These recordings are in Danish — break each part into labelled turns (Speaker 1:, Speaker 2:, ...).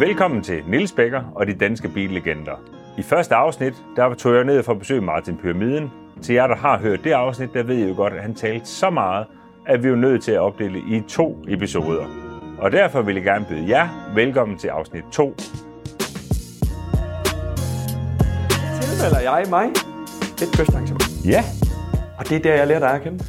Speaker 1: Velkommen til Nils Bækker og de danske billegender. I første afsnit, der tog jeg ned for at besøge Martin Pyramiden. Til jer, der har hørt det afsnit, der ved I jo godt, at han talte så meget, at vi er jo nødt til at opdele i to episoder. Og derfor vil jeg gerne byde jer velkommen til afsnit 2.
Speaker 2: tilmelder jeg mig et kystarrangement.
Speaker 1: Ja,
Speaker 2: Og det er der, jeg lærer dig at kende.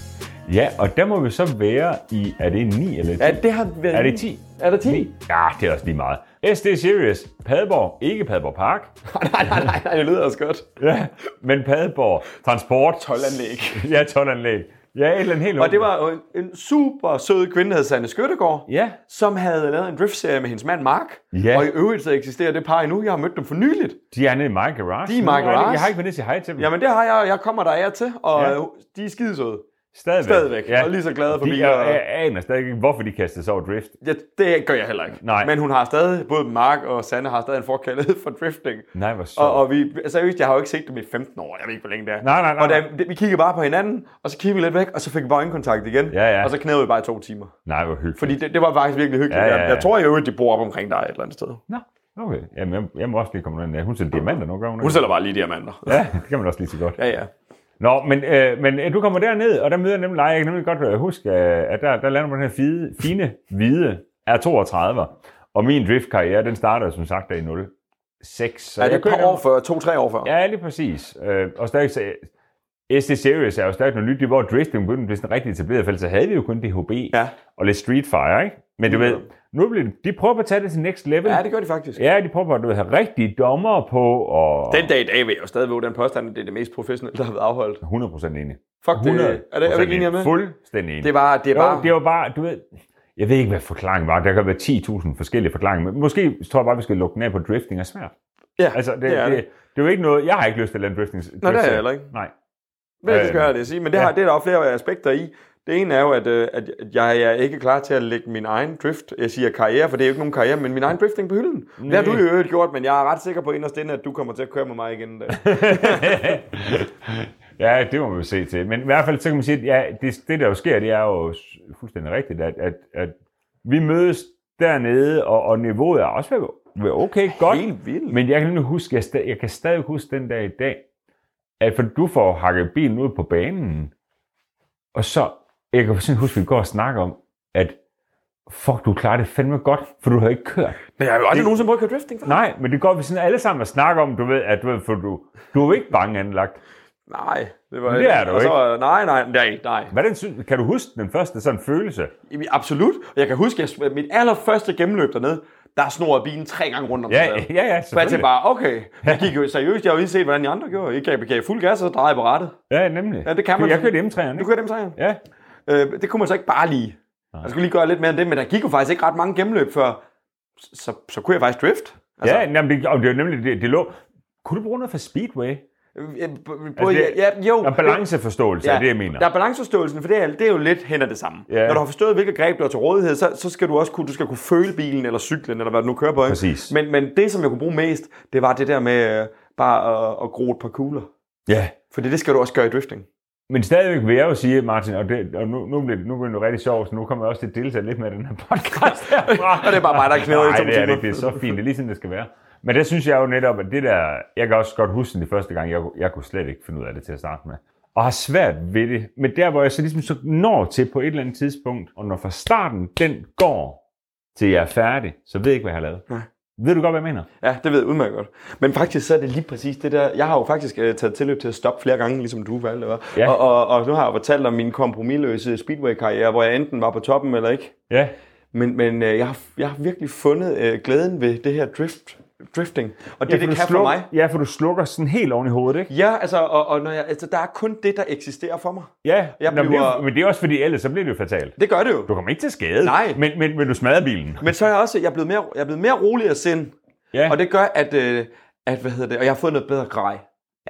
Speaker 1: ja, og der må vi så være i, er det 9 eller 10?
Speaker 2: Ja, det har været...
Speaker 1: Er det 10?
Speaker 2: Er det 10?
Speaker 1: Ja, det er også lige meget. SD Series, Padborg, ikke Padborg Park,
Speaker 2: nej, nej, nej, nej, det lyder også godt.
Speaker 1: ja, men Padborg Transport.
Speaker 2: Toldanlæg.
Speaker 1: Ja, tolvanlæg. Ja, et eller andet helt
Speaker 2: Og det
Speaker 1: åbenbart.
Speaker 2: var jo en, en super sød kvinde, der hed Sanne Skøttegård,
Speaker 1: Ja.
Speaker 2: som havde lavet en driftserie med hendes mand Mark.
Speaker 1: Ja.
Speaker 2: Og i øvrigt så eksisterer det par endnu. Jeg har mødt dem for nyligt.
Speaker 1: De er nede i My Garage.
Speaker 2: De er i My
Speaker 1: Nu det-
Speaker 2: Garage.
Speaker 1: Jeg har ikke været nede og sige hej til dem.
Speaker 2: Jamen det har jeg, og jeg kommer der af og til, og
Speaker 1: Ja.
Speaker 2: ja. de er skide søde.
Speaker 1: stadigvæk.
Speaker 2: Stadigvæk, ja. og lige så glade for
Speaker 1: de,
Speaker 2: biler.
Speaker 1: jeg,
Speaker 2: og-
Speaker 1: jeg aner stadig ikke, hvorfor de kastede sig over drift.
Speaker 2: Ja, det gør jeg heller ikke.
Speaker 1: Nej.
Speaker 2: Men hun har stadig, både Mark og Sanne har stadig en forkærlighed for drifting.
Speaker 1: Nej, hvor sjovt.
Speaker 2: Og, og vi, seriøst, jeg har jo ikke set dem i 15 år. Jeg ved ikke, hvor længe det er.
Speaker 1: Nej, nej, nej,
Speaker 2: Og da, det, vi kiggede bare på hinanden, og så kiggede vi lidt væk, og så fik vi bare øjenkontakt igen.
Speaker 1: Ja, ja.
Speaker 2: Og så knævede vi bare i to timer.
Speaker 1: Nej, hvor hyggeligt.
Speaker 2: Fordi det, det var faktisk virkelig
Speaker 1: Ja,
Speaker 2: hyggeligt.
Speaker 1: ja, ja.
Speaker 2: Jeg, jeg tror jo, at de bor op omkring dig et eller andet sted.
Speaker 1: Nå, okay. Jamen, jeg, jeg må også lige komme ned. Hun sælger diamanter nu, gør hun
Speaker 2: Hun
Speaker 1: ikke?
Speaker 2: sælger bare lige diamanter.
Speaker 1: Ja, det kan man også lige så godt.
Speaker 2: Ja, ja.
Speaker 1: Nå, men, øh, men øh, du kommer derned, og der møder jeg nemlig dig. Jeg kan nemlig godt øh, huske, øh, at der, der lander man den her fide, fine, hvide R32. Og min driftkarriere, den startede som sagt der i 06. Så
Speaker 2: Er det
Speaker 1: jeg
Speaker 2: et par
Speaker 1: kører-
Speaker 2: år før? To-tre år før?
Speaker 1: Ja, lige præcis. Øh, og stadig, så, øh, SD Series er jo stadig noget nyt, det var drifting begyndte at blive sådan rigtig etableret, for ellers så havde vi jo kun DHB
Speaker 2: Ja.
Speaker 1: og lidt Street Fire, ikke? Men du
Speaker 2: Mm.
Speaker 1: ved, nu bliver det, de prøver at tage det til next level.
Speaker 2: ja, det gør de faktisk.
Speaker 1: Ja, de prøver at du ved, have rigtige dommer på, og
Speaker 2: Den dag i dag vil jeg jo stadig våge den påstand, at det er det mest professionelle, der har været afholdt.
Speaker 1: 100% enig.
Speaker 2: Fuck det. Er, det, er vi ikke enige
Speaker 1: enig.
Speaker 2: med?
Speaker 1: Fuldstændig enig.
Speaker 2: Det var, det
Speaker 1: Jo,
Speaker 2: var,
Speaker 1: det var bare, du ved, jeg ved ikke, hvad forklaringen var. Der kan være 10.000 forskellige forklaringer, men måske tror jeg bare, vi skal lukke den af på, at drifting er svært.
Speaker 2: ja,
Speaker 1: Altså, det,
Speaker 2: det er
Speaker 1: det, det, det er jo ikke noget, jeg har ikke lyst til at lade drifting.
Speaker 2: Nå, det er jeg heller ikke.
Speaker 1: Nej.
Speaker 2: Men det skal
Speaker 1: Øh,
Speaker 2: jeg det sige, men det, har,
Speaker 1: ja.
Speaker 2: det er der jo flere aspekter i. Det ene er jo, at, øh, at jeg er ikke klar til at lægge min egen drift, jeg siger karriere, for det er jo ikke nogen karriere, men min egen drifting på hylden. Det har du
Speaker 1: Nej.
Speaker 2: jo i øvrigt gjort, men jeg er ret sikker på inderst inde, at du kommer til at køre med mig igen en dag.
Speaker 1: ja, det må man jo se til. Men i hvert fald, så kan man sige, at ja, det, det der jo sker, det er jo s- fuldstændig rigtigt, at, at, at vi mødes dernede, og, og niveauet er også ved- ved okay godt.
Speaker 2: Helt vildt.
Speaker 1: Men jeg kan nemlig huske, jeg, sta- jeg kan stadig huske den dag i dag, at for du får hakket bilen ud på banen, og så, jeg kan sådan huske, at vi går og snakker om, at fuck, du klarer det fandme godt, for du har ikke kørt.
Speaker 2: Men jeg har jo aldrig nogensinde prøvet at køre drifting før.
Speaker 1: Nej, men det går vi sådan alle sammen og snakker om, du ved, at du, ved, for du, du er jo ikke bange anlagt.
Speaker 2: Nej, det var
Speaker 1: Men det er du
Speaker 2: og så, ikke. Nej, nej, nej, nej.
Speaker 1: Hvordan synes, kan du huske den første sådan følelse?
Speaker 2: Jamen, Absolut. Og jeg kan huske, at mit allerførste gennemløb dernede, der snorede bilen tre gange rundt om
Speaker 1: Ja,
Speaker 2: sig selv.
Speaker 1: ja, ja,
Speaker 2: Så jeg tænkte
Speaker 1: selvfølgelig.
Speaker 2: bare, okay. Jeg gik jo seriøst, jeg har jo lige set, hvordan de andre gjorde. I gav, gav fuld gas, og så drejede jeg på rettet.
Speaker 1: Ja, nemlig.
Speaker 2: Ja, det kan man.
Speaker 1: Jeg kørte M3'eren,
Speaker 2: Du
Speaker 1: ikke?
Speaker 2: kører dem sejren.
Speaker 1: Ja.
Speaker 2: Øh, det kunne man så ikke bare lige. Jeg skulle lige gøre lidt mere end det, men der gik jo faktisk ikke ret mange gennemløb før. Så, så, så kunne jeg faktisk drift.
Speaker 1: Altså, ja, jamen, det, og det var nemlig, det, det lå... Kunne du bruge noget for Speedway?
Speaker 2: Øh, øh, både,
Speaker 1: Altså, det-
Speaker 2: ja, ja, jo. øh,
Speaker 1: Og balanceforståelse, ja, det jeg mener.
Speaker 2: Der er balanceforståelsen, for det er, det er jo lidt hen ad det samme.
Speaker 1: Ja.
Speaker 2: Når du har forstået, hvilke greb du har til rådighed, så, så skal du også kunne, du skal kunne føle bilen eller cyklen, eller hvad du nu kører på. ikke?
Speaker 1: Præcis.
Speaker 2: Men, men det, som jeg kunne bruge mest, det var det der med øh, bare at, at gro et par kugler.
Speaker 1: Ja.
Speaker 2: Fordi det skal du også gøre i drifting.
Speaker 1: Men stadigvæk vil jeg jo sige, Martin, og, det, og nu, nu, bliver det, nu bliver det rigtig sjovt, så nu kommer jeg også til at deltage lidt med den her podcast herfra.
Speaker 2: Og det er bare mig, der knæder i
Speaker 1: Ah. Nej,
Speaker 2: to
Speaker 1: det er det
Speaker 2: timer.
Speaker 1: ikke. Det er så fint. Det er lige sådan, det skal være. Men der synes jeg jo netop, at det der... Jeg kan også godt huske det første gang, jeg, kunne- jeg kunne slet ikke finde ud af det til at starte med. Og har svært ved det. Men der, hvor jeg så ligesom så når til på et eller andet tidspunkt, og når fra starten den går til jeg er færdig, så ved jeg ikke, hvad jeg har lavet.
Speaker 2: Nej.
Speaker 1: Ved du godt, hvad jeg mener?
Speaker 2: Ja, det ved jeg udmærket godt. Men faktisk så er det lige præcis det der. Jeg har jo faktisk øh, taget tilløb til at stoppe flere gange, ligesom du valgte. Var.
Speaker 1: Ja.
Speaker 2: Ja. Og, og, og, nu har jeg jo fortalt om min kompromilløse speedway-karriere, hvor jeg enten var på toppen eller ikke.
Speaker 1: Ja.
Speaker 2: Men, men øh, jeg, har, jeg har virkelig fundet øh, glæden ved det her drift, drifting. Og det,
Speaker 1: Ja,
Speaker 2: ja, det
Speaker 1: du
Speaker 2: kan for
Speaker 1: sluk-
Speaker 2: mig.
Speaker 1: Ja, for du slukker sådan helt oven i hovedet, ikke?
Speaker 2: Ja, altså, og, og når jeg, altså, der er kun det, der eksisterer for mig.
Speaker 1: Ja,
Speaker 2: Jeg
Speaker 1: Nå, men, det er, jo-
Speaker 2: bliver-
Speaker 1: men det er også fordi, ellers så bliver det jo fatalt.
Speaker 2: Det gør det jo.
Speaker 1: Du kommer ikke til skade,
Speaker 2: Nej.
Speaker 1: Men, men, men du smadrer bilen.
Speaker 2: Men så er jeg også jeg er blevet mere, jeg er blevet mere rolig af sind.
Speaker 1: Ja.
Speaker 2: Og det gør, at, øh, at hvad hedder det, og jeg har fået noget bedre grej.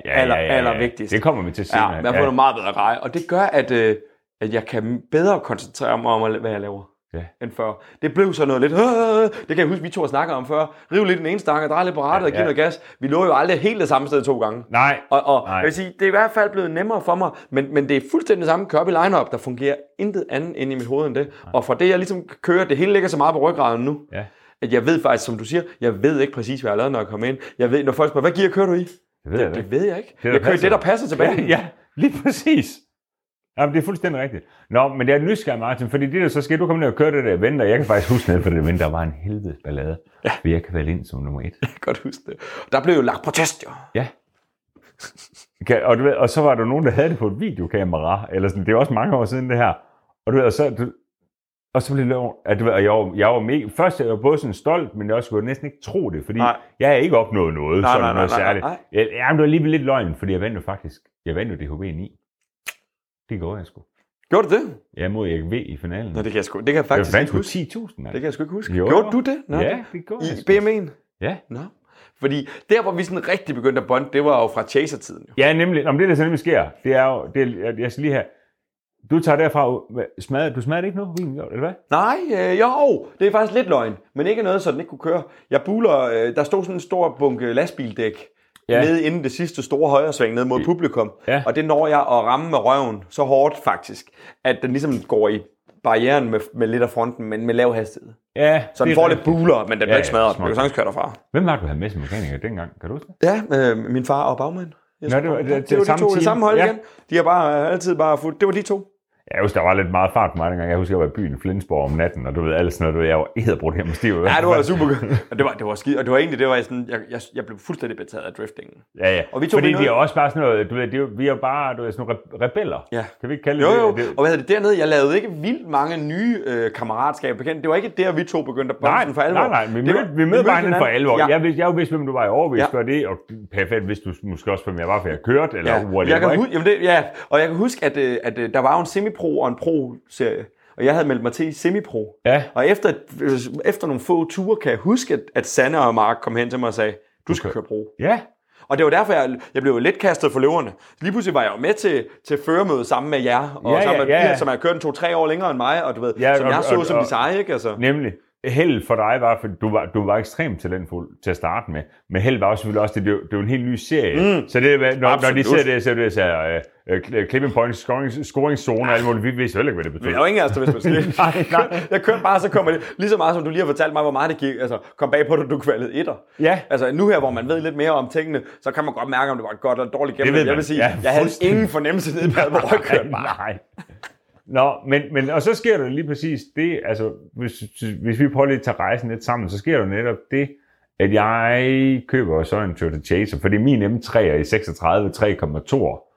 Speaker 1: ja,
Speaker 2: aller- allervigtigst.
Speaker 1: Det kommer vi til
Speaker 2: Ja,
Speaker 1: senere.
Speaker 2: jeg har fået noget meget bedre grej, og det gør, at, øh, at jeg kan bedre koncentrere mig om, hvad jeg laver.
Speaker 1: Ja.
Speaker 2: End før. Det blev så noget lidt, "Åh, åh, åh." det kan jeg huske, vi to har snakket om før. Rive lidt den ene stang og dreje lidt på rattet og give
Speaker 1: ja.
Speaker 2: noget gas. Vi lå jo aldrig helt det samme sted to gange.
Speaker 1: Nej,
Speaker 2: Og, og
Speaker 1: Nej.
Speaker 2: jeg vil sige, det er i hvert fald blevet nemmere for mig, men, men det er fuldstændig det samme Kirby lineup, der fungerer intet andet ind i mit hoved end det. Og fra det, jeg ligesom kører, det hele ligger så meget på ryggraden nu.
Speaker 1: Ja.
Speaker 2: at at jeg ved faktisk, som du siger, jeg ved ikke præcis, hvad jeg har lavet, når jeg kommer ind. Jeg ved, når folk spørger, hvad gear kører du i?
Speaker 1: Det ved jeg
Speaker 2: Det,
Speaker 1: da
Speaker 2: det
Speaker 1: ikke.
Speaker 2: ved jeg ikke.
Speaker 1: der
Speaker 2: Det, jeg kører i
Speaker 1: passer.
Speaker 2: det, der passer til banen.
Speaker 1: Ja, lige præcis. Jamen, det er fuldstændig rigtigt. Nå, men jeg er nysgerrig, Martin, fordi det der så sker, du kommer ned og kører det der event, og jeg kan faktisk huske ned på det event, der var en helvedes ballade, ja. for jeg kan valge ind som nummer et.
Speaker 2: Jeg kan godt huske det. Der blev jo lagt protest, jo.
Speaker 1: Ja. Kan, og, du ved, og så var der nogen, der havde det på et videokamera, eller sådan, det er også mange år siden det her. Og du ved, og så, du, og så blev det lov, at du ved, og jeg, var, jeg var mega, først jeg var både sådan stolt, men jeg også kunne næsten ikke tro det, fordi
Speaker 2: Nej.
Speaker 1: nej. jeg har ikke opnået noget, nej,
Speaker 2: Nej,
Speaker 1: sådan
Speaker 2: nej, nej,
Speaker 1: noget
Speaker 2: nej, nej,
Speaker 1: særligt.
Speaker 2: nej.
Speaker 1: Jeg, jamen, det var alligevel lidt løgn, fordi jeg vandt jo faktisk, jeg vandt jo DHB 9. Det går jeg sgu.
Speaker 2: Gjorde du det?
Speaker 1: Jeg mod Erik V i finalen.
Speaker 2: Nå, det kan jeg sgu, det kan jeg
Speaker 1: jeg
Speaker 2: faktisk
Speaker 1: vandt
Speaker 2: ikke
Speaker 1: på
Speaker 2: huske.
Speaker 1: 10.000, mand.
Speaker 2: Det kan jeg sgu ikke huske.
Speaker 1: Jo.
Speaker 2: Gjorde du det? Nå,
Speaker 1: ja,
Speaker 2: det-
Speaker 1: det går
Speaker 2: I
Speaker 1: jeg sgu.
Speaker 2: BM'en?
Speaker 1: Ja.
Speaker 2: Nå. Fordi der, hvor vi sådan rigtig begyndte at bonde, det var jo fra chaser-tiden. Jo.
Speaker 1: Ja, nemlig. Nå, men det, der så nemlig sker, det er jo... Det er, jeg, jeg skal lige have... Du tager derfra... ud- hvad, Smadrer, du smadrer ikke noget på bilen, jo, eller hvad?
Speaker 2: Nej, øh, jo, det er faktisk lidt løgn, men ikke noget, så den ikke kunne køre. Jeg buler, øh, der stod sådan en stor bunke lastbildæk ja.
Speaker 1: Ja.
Speaker 2: nede inden det sidste store højresving ned mod publikum.
Speaker 1: Ja.
Speaker 2: Og det når jeg at ramme med røven så hårdt faktisk, at den ligesom går i barrieren med, med lidt af fronten, men med lav hastighed.
Speaker 1: Ja,
Speaker 2: Så
Speaker 1: det
Speaker 2: den
Speaker 1: er
Speaker 2: får
Speaker 1: rigtigt.
Speaker 2: lidt buler, men den bliver
Speaker 1: Ja,
Speaker 2: ikke
Speaker 1: ja,
Speaker 2: smadret. Den
Speaker 1: smart.
Speaker 2: kan sagtens køre derfra.
Speaker 1: Hvem var det, du havde med som mekaniker dengang? Kan du huske det?
Speaker 2: Ja, øh, min far og bagmanden. Jeg
Speaker 1: Nå, det var-
Speaker 2: tror,
Speaker 1: det var-
Speaker 2: det, det var de
Speaker 1: samme
Speaker 2: to, det
Speaker 1: team.
Speaker 2: samme hold ja.
Speaker 1: Ja.
Speaker 2: igen. De har bare øh, altid bare fuldt. Det var de to.
Speaker 1: Jeg husker, der var lidt meget fart på mig dengang. Jeg husker, jeg var i byen Flensborg om natten, og du ved, alt sådan noget. Du ved, jeg var æderbrudt her med stiv.
Speaker 2: Ja, det var altså- super godt. Og det var, det var skidt. Og det var egentlig, det var sådan, jeg, jeg, jeg blev fuldstændig betaget af driftingen.
Speaker 1: Ja, ja.
Speaker 2: Og vi tog
Speaker 1: Fordi
Speaker 2: det
Speaker 1: vi
Speaker 2: ned.
Speaker 1: er også bare sådan noget, du ved, det er, jo- vi er jo bare du ved, sådan nogle re- rebeller.
Speaker 2: Ja.
Speaker 1: Kan vi ikke kalde
Speaker 2: Jo,
Speaker 1: det
Speaker 2: jo.
Speaker 1: det? det?
Speaker 2: Og hvad hedder det dernede? Jeg lavede ikke vildt mange nye øh, kammeratskaber bekendt. Det var ikke der, vi to begyndte at bonde
Speaker 1: Nej,
Speaker 2: sådan for alvor.
Speaker 1: nej, nej, vi
Speaker 2: Det var-
Speaker 1: mødte, vi mødte bare hinanden for alvor. Ja.
Speaker 2: Ja.
Speaker 1: Jeg, vidste, jeg vidste, hvem du var i overvis
Speaker 2: Ja.
Speaker 1: ja. før det, og perfekt vidste du måske også, hvem jeg var, for jeg kørte, eller
Speaker 2: Ja.
Speaker 1: ja. whatever.
Speaker 2: Jeg kan
Speaker 1: ikke?
Speaker 2: huske, jamen det, ja. Og jeg kan huske, at, øh, at øh, der var jo en semi-pro og en pro-serie. Og jeg havde meldt mig til i semi-pro.
Speaker 1: Ja.
Speaker 2: Og efter, øh, efter nogle få ture, kan jeg huske, at, at Sanne og Mark kom hen til mig og sagde, du skal
Speaker 1: Okay.
Speaker 2: køre pro.
Speaker 1: Ja,
Speaker 2: Og det var derfor, jeg, jeg blev jo lidt kastet for løverne. Lige pludselig var jeg jo med til, til føremødet sammen med jer, og
Speaker 1: Ja,
Speaker 2: sammen
Speaker 1: ja,
Speaker 2: med
Speaker 1: ja.
Speaker 2: piger, som har kørt en to-tre år længere end mig, og du ved,
Speaker 1: Ja,
Speaker 2: som
Speaker 1: og-
Speaker 2: jeg så
Speaker 1: og-
Speaker 2: som de
Speaker 1: og-
Speaker 2: seje, ikke? Altså.
Speaker 1: Nemlig, held for dig var, for du var, du var ekstremt talentfuld til at starte med, men held var jo selvfølgelig også, det, det, er jo- det er jo en helt ny serie. Mm. Så det, er, når, når de
Speaker 2: Absolut.
Speaker 1: ser det, så er det så uh, clipping points, scoring, scoring zone og alt muligt. Vi vidste heller ikke, hvad det betød.
Speaker 2: Jeg er jo ikke engang, hvis man skal.
Speaker 1: Nej, nej.
Speaker 2: Jeg kørte bare, så kommer det. Lige så meget som du lige har fortalt mig, hvor meget det gik. Altså, kom bag på det, du kvalede etter.
Speaker 1: Ja.
Speaker 2: Altså, nu her, hvor man ved lidt mere om tingene, så kan man godt mærke, om det var et godt eller et dårligt gennemløb.
Speaker 1: ved
Speaker 2: Jeg
Speaker 1: man.
Speaker 2: vil sige,
Speaker 1: Ja,
Speaker 2: jeg havde
Speaker 1: fuldstændig.
Speaker 2: ingen fornemmelse nede i badet, hvor jeg kørte bare.
Speaker 1: Nej. Nå, men, men, og så sker der lige præcis det, altså hvis, hvis vi prøver lige at tage rejsen lidt sammen, så sker der netop det, at jeg køber så en Toyota Chaser, fordi min M3 er i 36 3,2 år.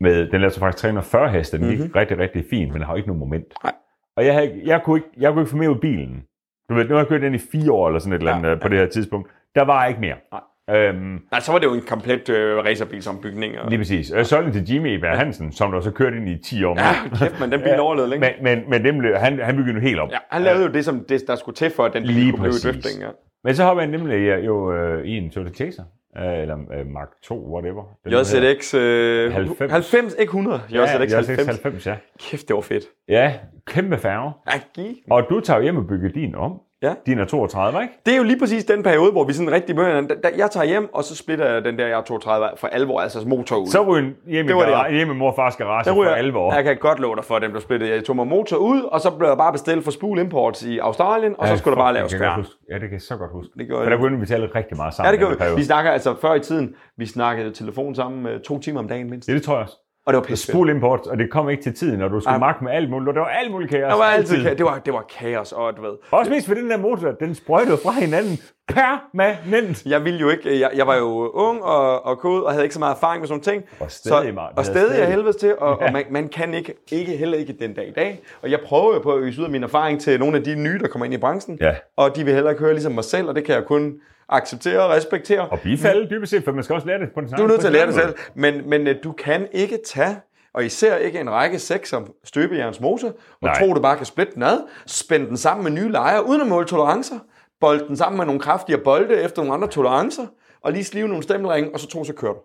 Speaker 1: Med, den lader så faktisk 340 heste, den gik mm-hmm. rigtig, rigtig fint, men den har jo ikke nogen moment.
Speaker 2: Mhm. Nej.
Speaker 1: Og jeg, havde, ikke- jeg, kunne ikke, jeg kunne ikke få mere ud af bilen. Du ved, nu har jeg kørt den i fire år eller sådan et eller
Speaker 2: Ja,
Speaker 1: andet ja, på det her tidspunkt. Der var ikke mere. Nej. Øhm,
Speaker 2: Nej, så var det jo en komplet øh, racerbilsombygning. Og...
Speaker 1: Lige præcis. Jeg solgte den til Jimmy Ebert Hansen, som der så kørte ind i 10 år. mere.
Speaker 2: Ja, kæft, men den bil overlevede længe.
Speaker 1: Men, men, men dem blev, han, han byggede nu helt op.
Speaker 2: Ja, han lavede jo det, som det, der skulle til for, at den bil
Speaker 1: Lige
Speaker 2: kunne blive i
Speaker 1: præcis.
Speaker 2: drifting. Ja.
Speaker 1: Men så hopper han nemlig ja, jo øh, i en Toyota Chaser, øh, eller øh, Mark 2, whatever. Den hedder.
Speaker 2: JZX øh, 90.
Speaker 1: 90.
Speaker 2: 90, ikke 100. JZX, ja,
Speaker 1: ja, JZX
Speaker 2: 90.
Speaker 1: 90. 90. ja.
Speaker 2: Kæft, det var fedt.
Speaker 1: Ja, kæmpe færge.
Speaker 2: Ja, gi-
Speaker 1: Og du tager jo hjem og bygger din om.
Speaker 2: Ja.
Speaker 1: Din er 32, ikke?
Speaker 2: Det er jo lige præcis den periode, hvor vi sådan rigtig møder Jeg tager hjem, og så splitter jeg den der, jeg er 32 for alvor, altså motor ud.
Speaker 1: Så ryger den hjem, i
Speaker 2: Det var det,
Speaker 1: gara- hjem i morfars garage for alvor.
Speaker 2: Jeg kan godt love dig for, at den blev splittet. Jeg tog mig motor ud, og så blev jeg bare bestilt for Spool Imports i Australien, og så skulle der bare laves
Speaker 1: ja, fuck, det kan jeg
Speaker 2: kværn.
Speaker 1: godt huske. Ja, det kan jeg så godt huske.
Speaker 2: Det gjorde
Speaker 1: For der
Speaker 2: jeg.
Speaker 1: begyndte vi tale rigtig meget sammen.
Speaker 2: Ja, det
Speaker 1: i den
Speaker 2: gjorde vi.
Speaker 1: periode.
Speaker 2: Vi snakker altså før i tiden, vi snakkede telefon sammen øh, to timer om dagen mindst.
Speaker 1: Ja, det tror jeg også.
Speaker 2: Og det var pisse
Speaker 1: Spul import, og det kom ikke til tiden, og du skulle
Speaker 2: Ej.
Speaker 1: magte med alt muligt, og det var alt muligt kaos.
Speaker 2: Det var altid, ka- det var, det var kaos, og du ved.
Speaker 1: Også mest for den der motor, den sprøjtede fra hinanden permanent.
Speaker 2: Jeg ville jo ikke, jeg, jeg var jo ung og, og kod, og havde ikke så meget erfaring med sådan nogle ting.
Speaker 1: Og stædig,
Speaker 2: så,
Speaker 1: Martin.
Speaker 2: Og
Speaker 1: Det er
Speaker 2: stedig af
Speaker 1: stædigt.
Speaker 2: helvedes til, og, ja. og man, man, kan ikke, ikke, heller ikke den dag i dag. Og jeg prøver jo på at øse ud af min erfaring til nogle af de nye, der kommer ind i branchen.
Speaker 1: Ja.
Speaker 2: Og de vil heller ikke høre ligesom mig selv, og det kan jeg kun acceptere og respektere.
Speaker 1: Og bifalde dybest set, for man skal også lære det på den samme
Speaker 2: Du er nødt til at lære det
Speaker 1: måde.
Speaker 2: selv, men, men øh, du kan ikke tage, og især ikke en række seks som støbejerns motor, og
Speaker 1: Nej.
Speaker 2: tro, du bare kan splitte den ad, spænde den sammen med nye lejer uden at måle tolerancer, bolde den sammen med nogle kraftigere bolde efter nogle andre tolerancer, og lige slive nogle stemmelringe, og så tro, så kører du.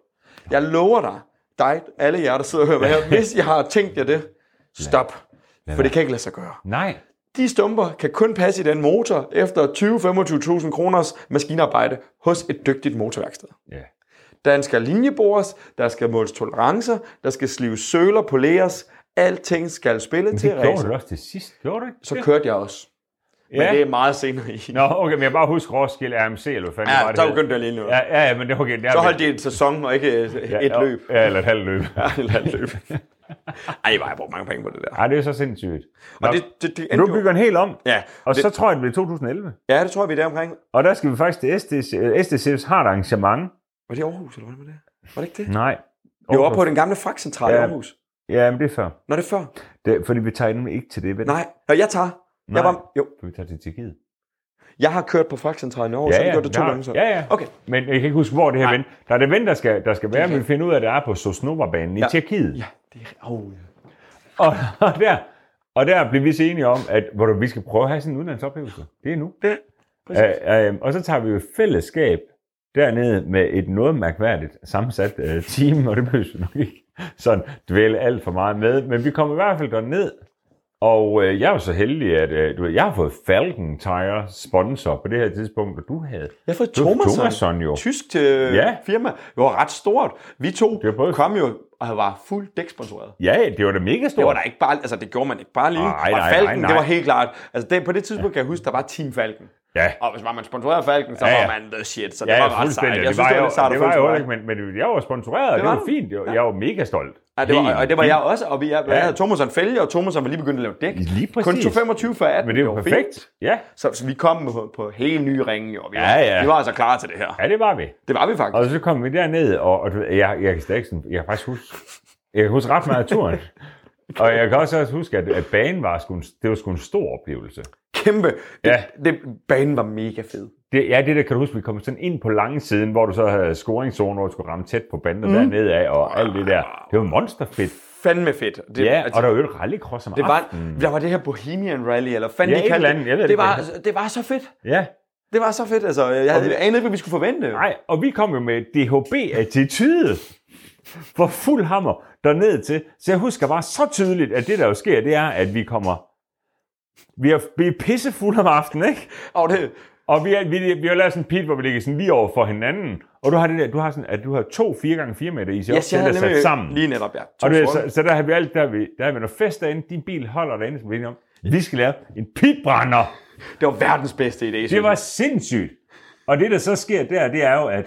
Speaker 2: Jeg lover dig, dig, alle jer, der sidder og hører med her, hvis jeg har tænkt jer det, stop. For det kan ikke lade sig gøre.
Speaker 1: Nej.
Speaker 2: De stumper kan kun passe i den motor efter 20-25.000 kroners maskinarbejde hos et dygtigt motorværksted.
Speaker 1: Ja.
Speaker 2: Der skal linjebores, der skal måles tolerancer, der skal slives søler, poleres, alting skal spille til
Speaker 1: Det gjorde
Speaker 2: racer.
Speaker 1: du også til sidst, gjorde du ikke?
Speaker 2: Så
Speaker 1: det?
Speaker 2: kørte jeg også. Men
Speaker 1: Ja.
Speaker 2: det er meget senere i.
Speaker 1: Nå, okay, men jeg kan bare husker Roskilde RMC, eller hvad fanden det var,
Speaker 2: ja,
Speaker 1: det
Speaker 2: så
Speaker 1: hed.
Speaker 2: begyndte jeg lige nu.
Speaker 1: Ja, ja, ja, men det er okay. Det er
Speaker 2: Så holdt de en sæson og ikke øh,
Speaker 1: ja,
Speaker 2: et
Speaker 1: ja,
Speaker 2: løb.
Speaker 1: Ja, eller et halvt løb.
Speaker 2: Ja, eller et løb. Ej, hvor har jeg brugt mange penge på det der.
Speaker 1: Ej, det er så sindssygt. Nå,
Speaker 2: Og det, det, det
Speaker 1: men
Speaker 2: endte
Speaker 1: du
Speaker 2: jo-
Speaker 1: bygger en helt om,
Speaker 2: Ja,
Speaker 1: og
Speaker 2: det-
Speaker 1: så tror jeg, det bliver 2011.
Speaker 2: ja, det tror jeg, vi er der omkring.
Speaker 1: Og der skal vi faktisk til SDC, øh, SDCF's har et arrangement.
Speaker 2: Var det i Aarhus, eller hvad var det? Var det ikke det?
Speaker 1: Nej.
Speaker 2: Vi var oppe på den gamle fragtcentral i
Speaker 1: Ja.
Speaker 2: Aarhus.
Speaker 1: Ja, men det er før.
Speaker 2: Når det er før?
Speaker 1: Det, fordi vi tager nemlig ikke til det, vel?
Speaker 2: Nej, når jeg tager.
Speaker 1: Nej.
Speaker 2: Jeg, var, jo,
Speaker 1: Vi tager til Tjekkiet.
Speaker 2: jeg har kørt på fragtcentralen i Aarhus, ja, ja, så vi gjorde det to
Speaker 1: har-
Speaker 2: gange så.
Speaker 1: Ja, ja.
Speaker 2: Okay.
Speaker 1: Men jeg kan ikke huske, hvor det her
Speaker 2: Nej.
Speaker 1: ven. Der er det ven, der skal, der skal være,
Speaker 2: Okay.
Speaker 1: men vi finder ud af, at det er på Sosnova-banen
Speaker 2: Ja.
Speaker 1: i Tjekkiet.
Speaker 2: Ja, det er... Oh, ja.
Speaker 1: Og, og, der, og der blev vi så enige om, at hvor du, vi skal prøve at have sådan en udlandsoplevelse. Det er nu.
Speaker 2: Det, præcis.
Speaker 1: Øh, øh, og så tager vi jo fællesskab dernede med et noget mærkværdigt sammensat øh, team, og det behøver vi nok ikke sådan dvæle alt for meget med. Men vi kommer i hvert fald derned, og øh, jeg er jo så heldig, at øh, du ved, jeg har fået Falcon Tire sponsor på det her tidspunkt, og du havde
Speaker 2: Jeg har fået
Speaker 1: du havde
Speaker 2: Thomasson.
Speaker 1: Thomasson jo.
Speaker 2: tysk øh,
Speaker 1: Ja.
Speaker 2: ja. firma. Det var ret stort. Vi to
Speaker 1: Det var både-
Speaker 2: kom jo og var fuldt dæksponsoreret.
Speaker 1: Ja, det var da mega stort.
Speaker 2: Det var der ikke bare, altså det gjorde man ikke bare lige.
Speaker 1: Nej,
Speaker 2: og
Speaker 1: nej,
Speaker 2: Falken,
Speaker 1: nej, nej.
Speaker 2: det var helt klart. Altså det, på det tidspunkt kan jeg huske, der var Team Falken.
Speaker 1: Ja.
Speaker 2: Og hvis man sponsorerede af Falken, så
Speaker 1: Ja, ja.
Speaker 2: var man the shit, så det
Speaker 1: Ja,
Speaker 2: var ret sejt.
Speaker 1: fuldstændig.
Speaker 2: Jeg synes, det var, lidt
Speaker 1: jo,
Speaker 2: sejt at
Speaker 1: det var
Speaker 2: føle
Speaker 1: jo
Speaker 2: sig
Speaker 1: ikke, men, men jeg var sponsoreret, og det,
Speaker 2: var
Speaker 1: var
Speaker 2: du.
Speaker 1: fint. Jeg, jeg var mega stolt.
Speaker 2: Ja, det var,
Speaker 1: Helt
Speaker 2: og det var
Speaker 1: vildt.
Speaker 2: jeg også, og vi jeg, jeg
Speaker 1: Ja.
Speaker 2: havde Thomas en fælge, og Thomas var lige begyndt at lave dæk.
Speaker 1: Lige
Speaker 2: Kun
Speaker 1: præcis.
Speaker 2: tog 25 for 18.
Speaker 1: Men det var
Speaker 2: fint.
Speaker 1: perfekt. Ja,
Speaker 2: Så, så, vi kom på, på hele nye ringe, jo. Vi,
Speaker 1: Ja,
Speaker 2: var-
Speaker 1: ja.
Speaker 2: vi var altså klar til det her.
Speaker 1: ja det var vi.
Speaker 2: Det var vi faktisk.
Speaker 1: Og så kom vi derned, og, og du ved, jeg, jeg kan stadig ikke sådan, jeg kan faktisk huske, jeg kan huske ret meget af turen. Og jeg kan også også huske, at, at banen var sgu en, det var sgu en stor oplevelse.
Speaker 2: Kæmpe. Det,
Speaker 1: Ja.
Speaker 2: det, banen var mega fed.
Speaker 1: Det, ja, det der kan du huske, vi kom sådan ind på lange siden, hvor du så havde scoringszone, hvor du skulle ramme tæt på bander mm. dernede af, og alt det der. Det var monsterfedt.
Speaker 2: Fandme fedt. Det,
Speaker 1: Ja,
Speaker 2: altså,
Speaker 1: og der var jo et rallycross om
Speaker 2: Det var,
Speaker 1: aftenen.
Speaker 2: der var det her Bohemian Rally, eller fanden
Speaker 1: Ja,
Speaker 2: de
Speaker 1: et
Speaker 2: kaldte
Speaker 1: eller andet. Jeg ved det
Speaker 2: det. Det
Speaker 1: ikke,
Speaker 2: var, altså-
Speaker 1: hvad
Speaker 2: det var så fedt.
Speaker 1: Ja,
Speaker 2: Det var så fedt. Altså, jeg havde
Speaker 1: vi-
Speaker 2: jeg anede ikke, hvad vi skulle forvente.
Speaker 1: Nej, og vi kom jo med DHB-attitude for fuld hammer derned til. Så jeg husker bare så tydeligt, at det der jo sker, det er, at vi kommer... Vi er, vi er pissefulde om aftenen, ikke?
Speaker 2: Og det,
Speaker 1: Og vi, er, vi, vi har lavet sådan en pit, hvor vi ligger sådan lige over for hinanden. Og du har det der, du har sådan, at du har to 4x4 meter is i
Speaker 2: jeg,
Speaker 1: yes,
Speaker 2: jeg
Speaker 1: der
Speaker 2: havde
Speaker 1: sat
Speaker 2: nemlig
Speaker 1: sammen.
Speaker 2: lige netop, ja. To
Speaker 1: og
Speaker 2: og
Speaker 1: du ved,
Speaker 2: så,
Speaker 1: så, så, der har vi alt, der har vi, der har vi noget fest derinde. Din bil holder derinde, som vi er enige om. Vi skal lave en pitbrænder.
Speaker 2: det var verdens bedste idé.
Speaker 1: Det var sindssygt. Og det, der så sker der, det er jo, at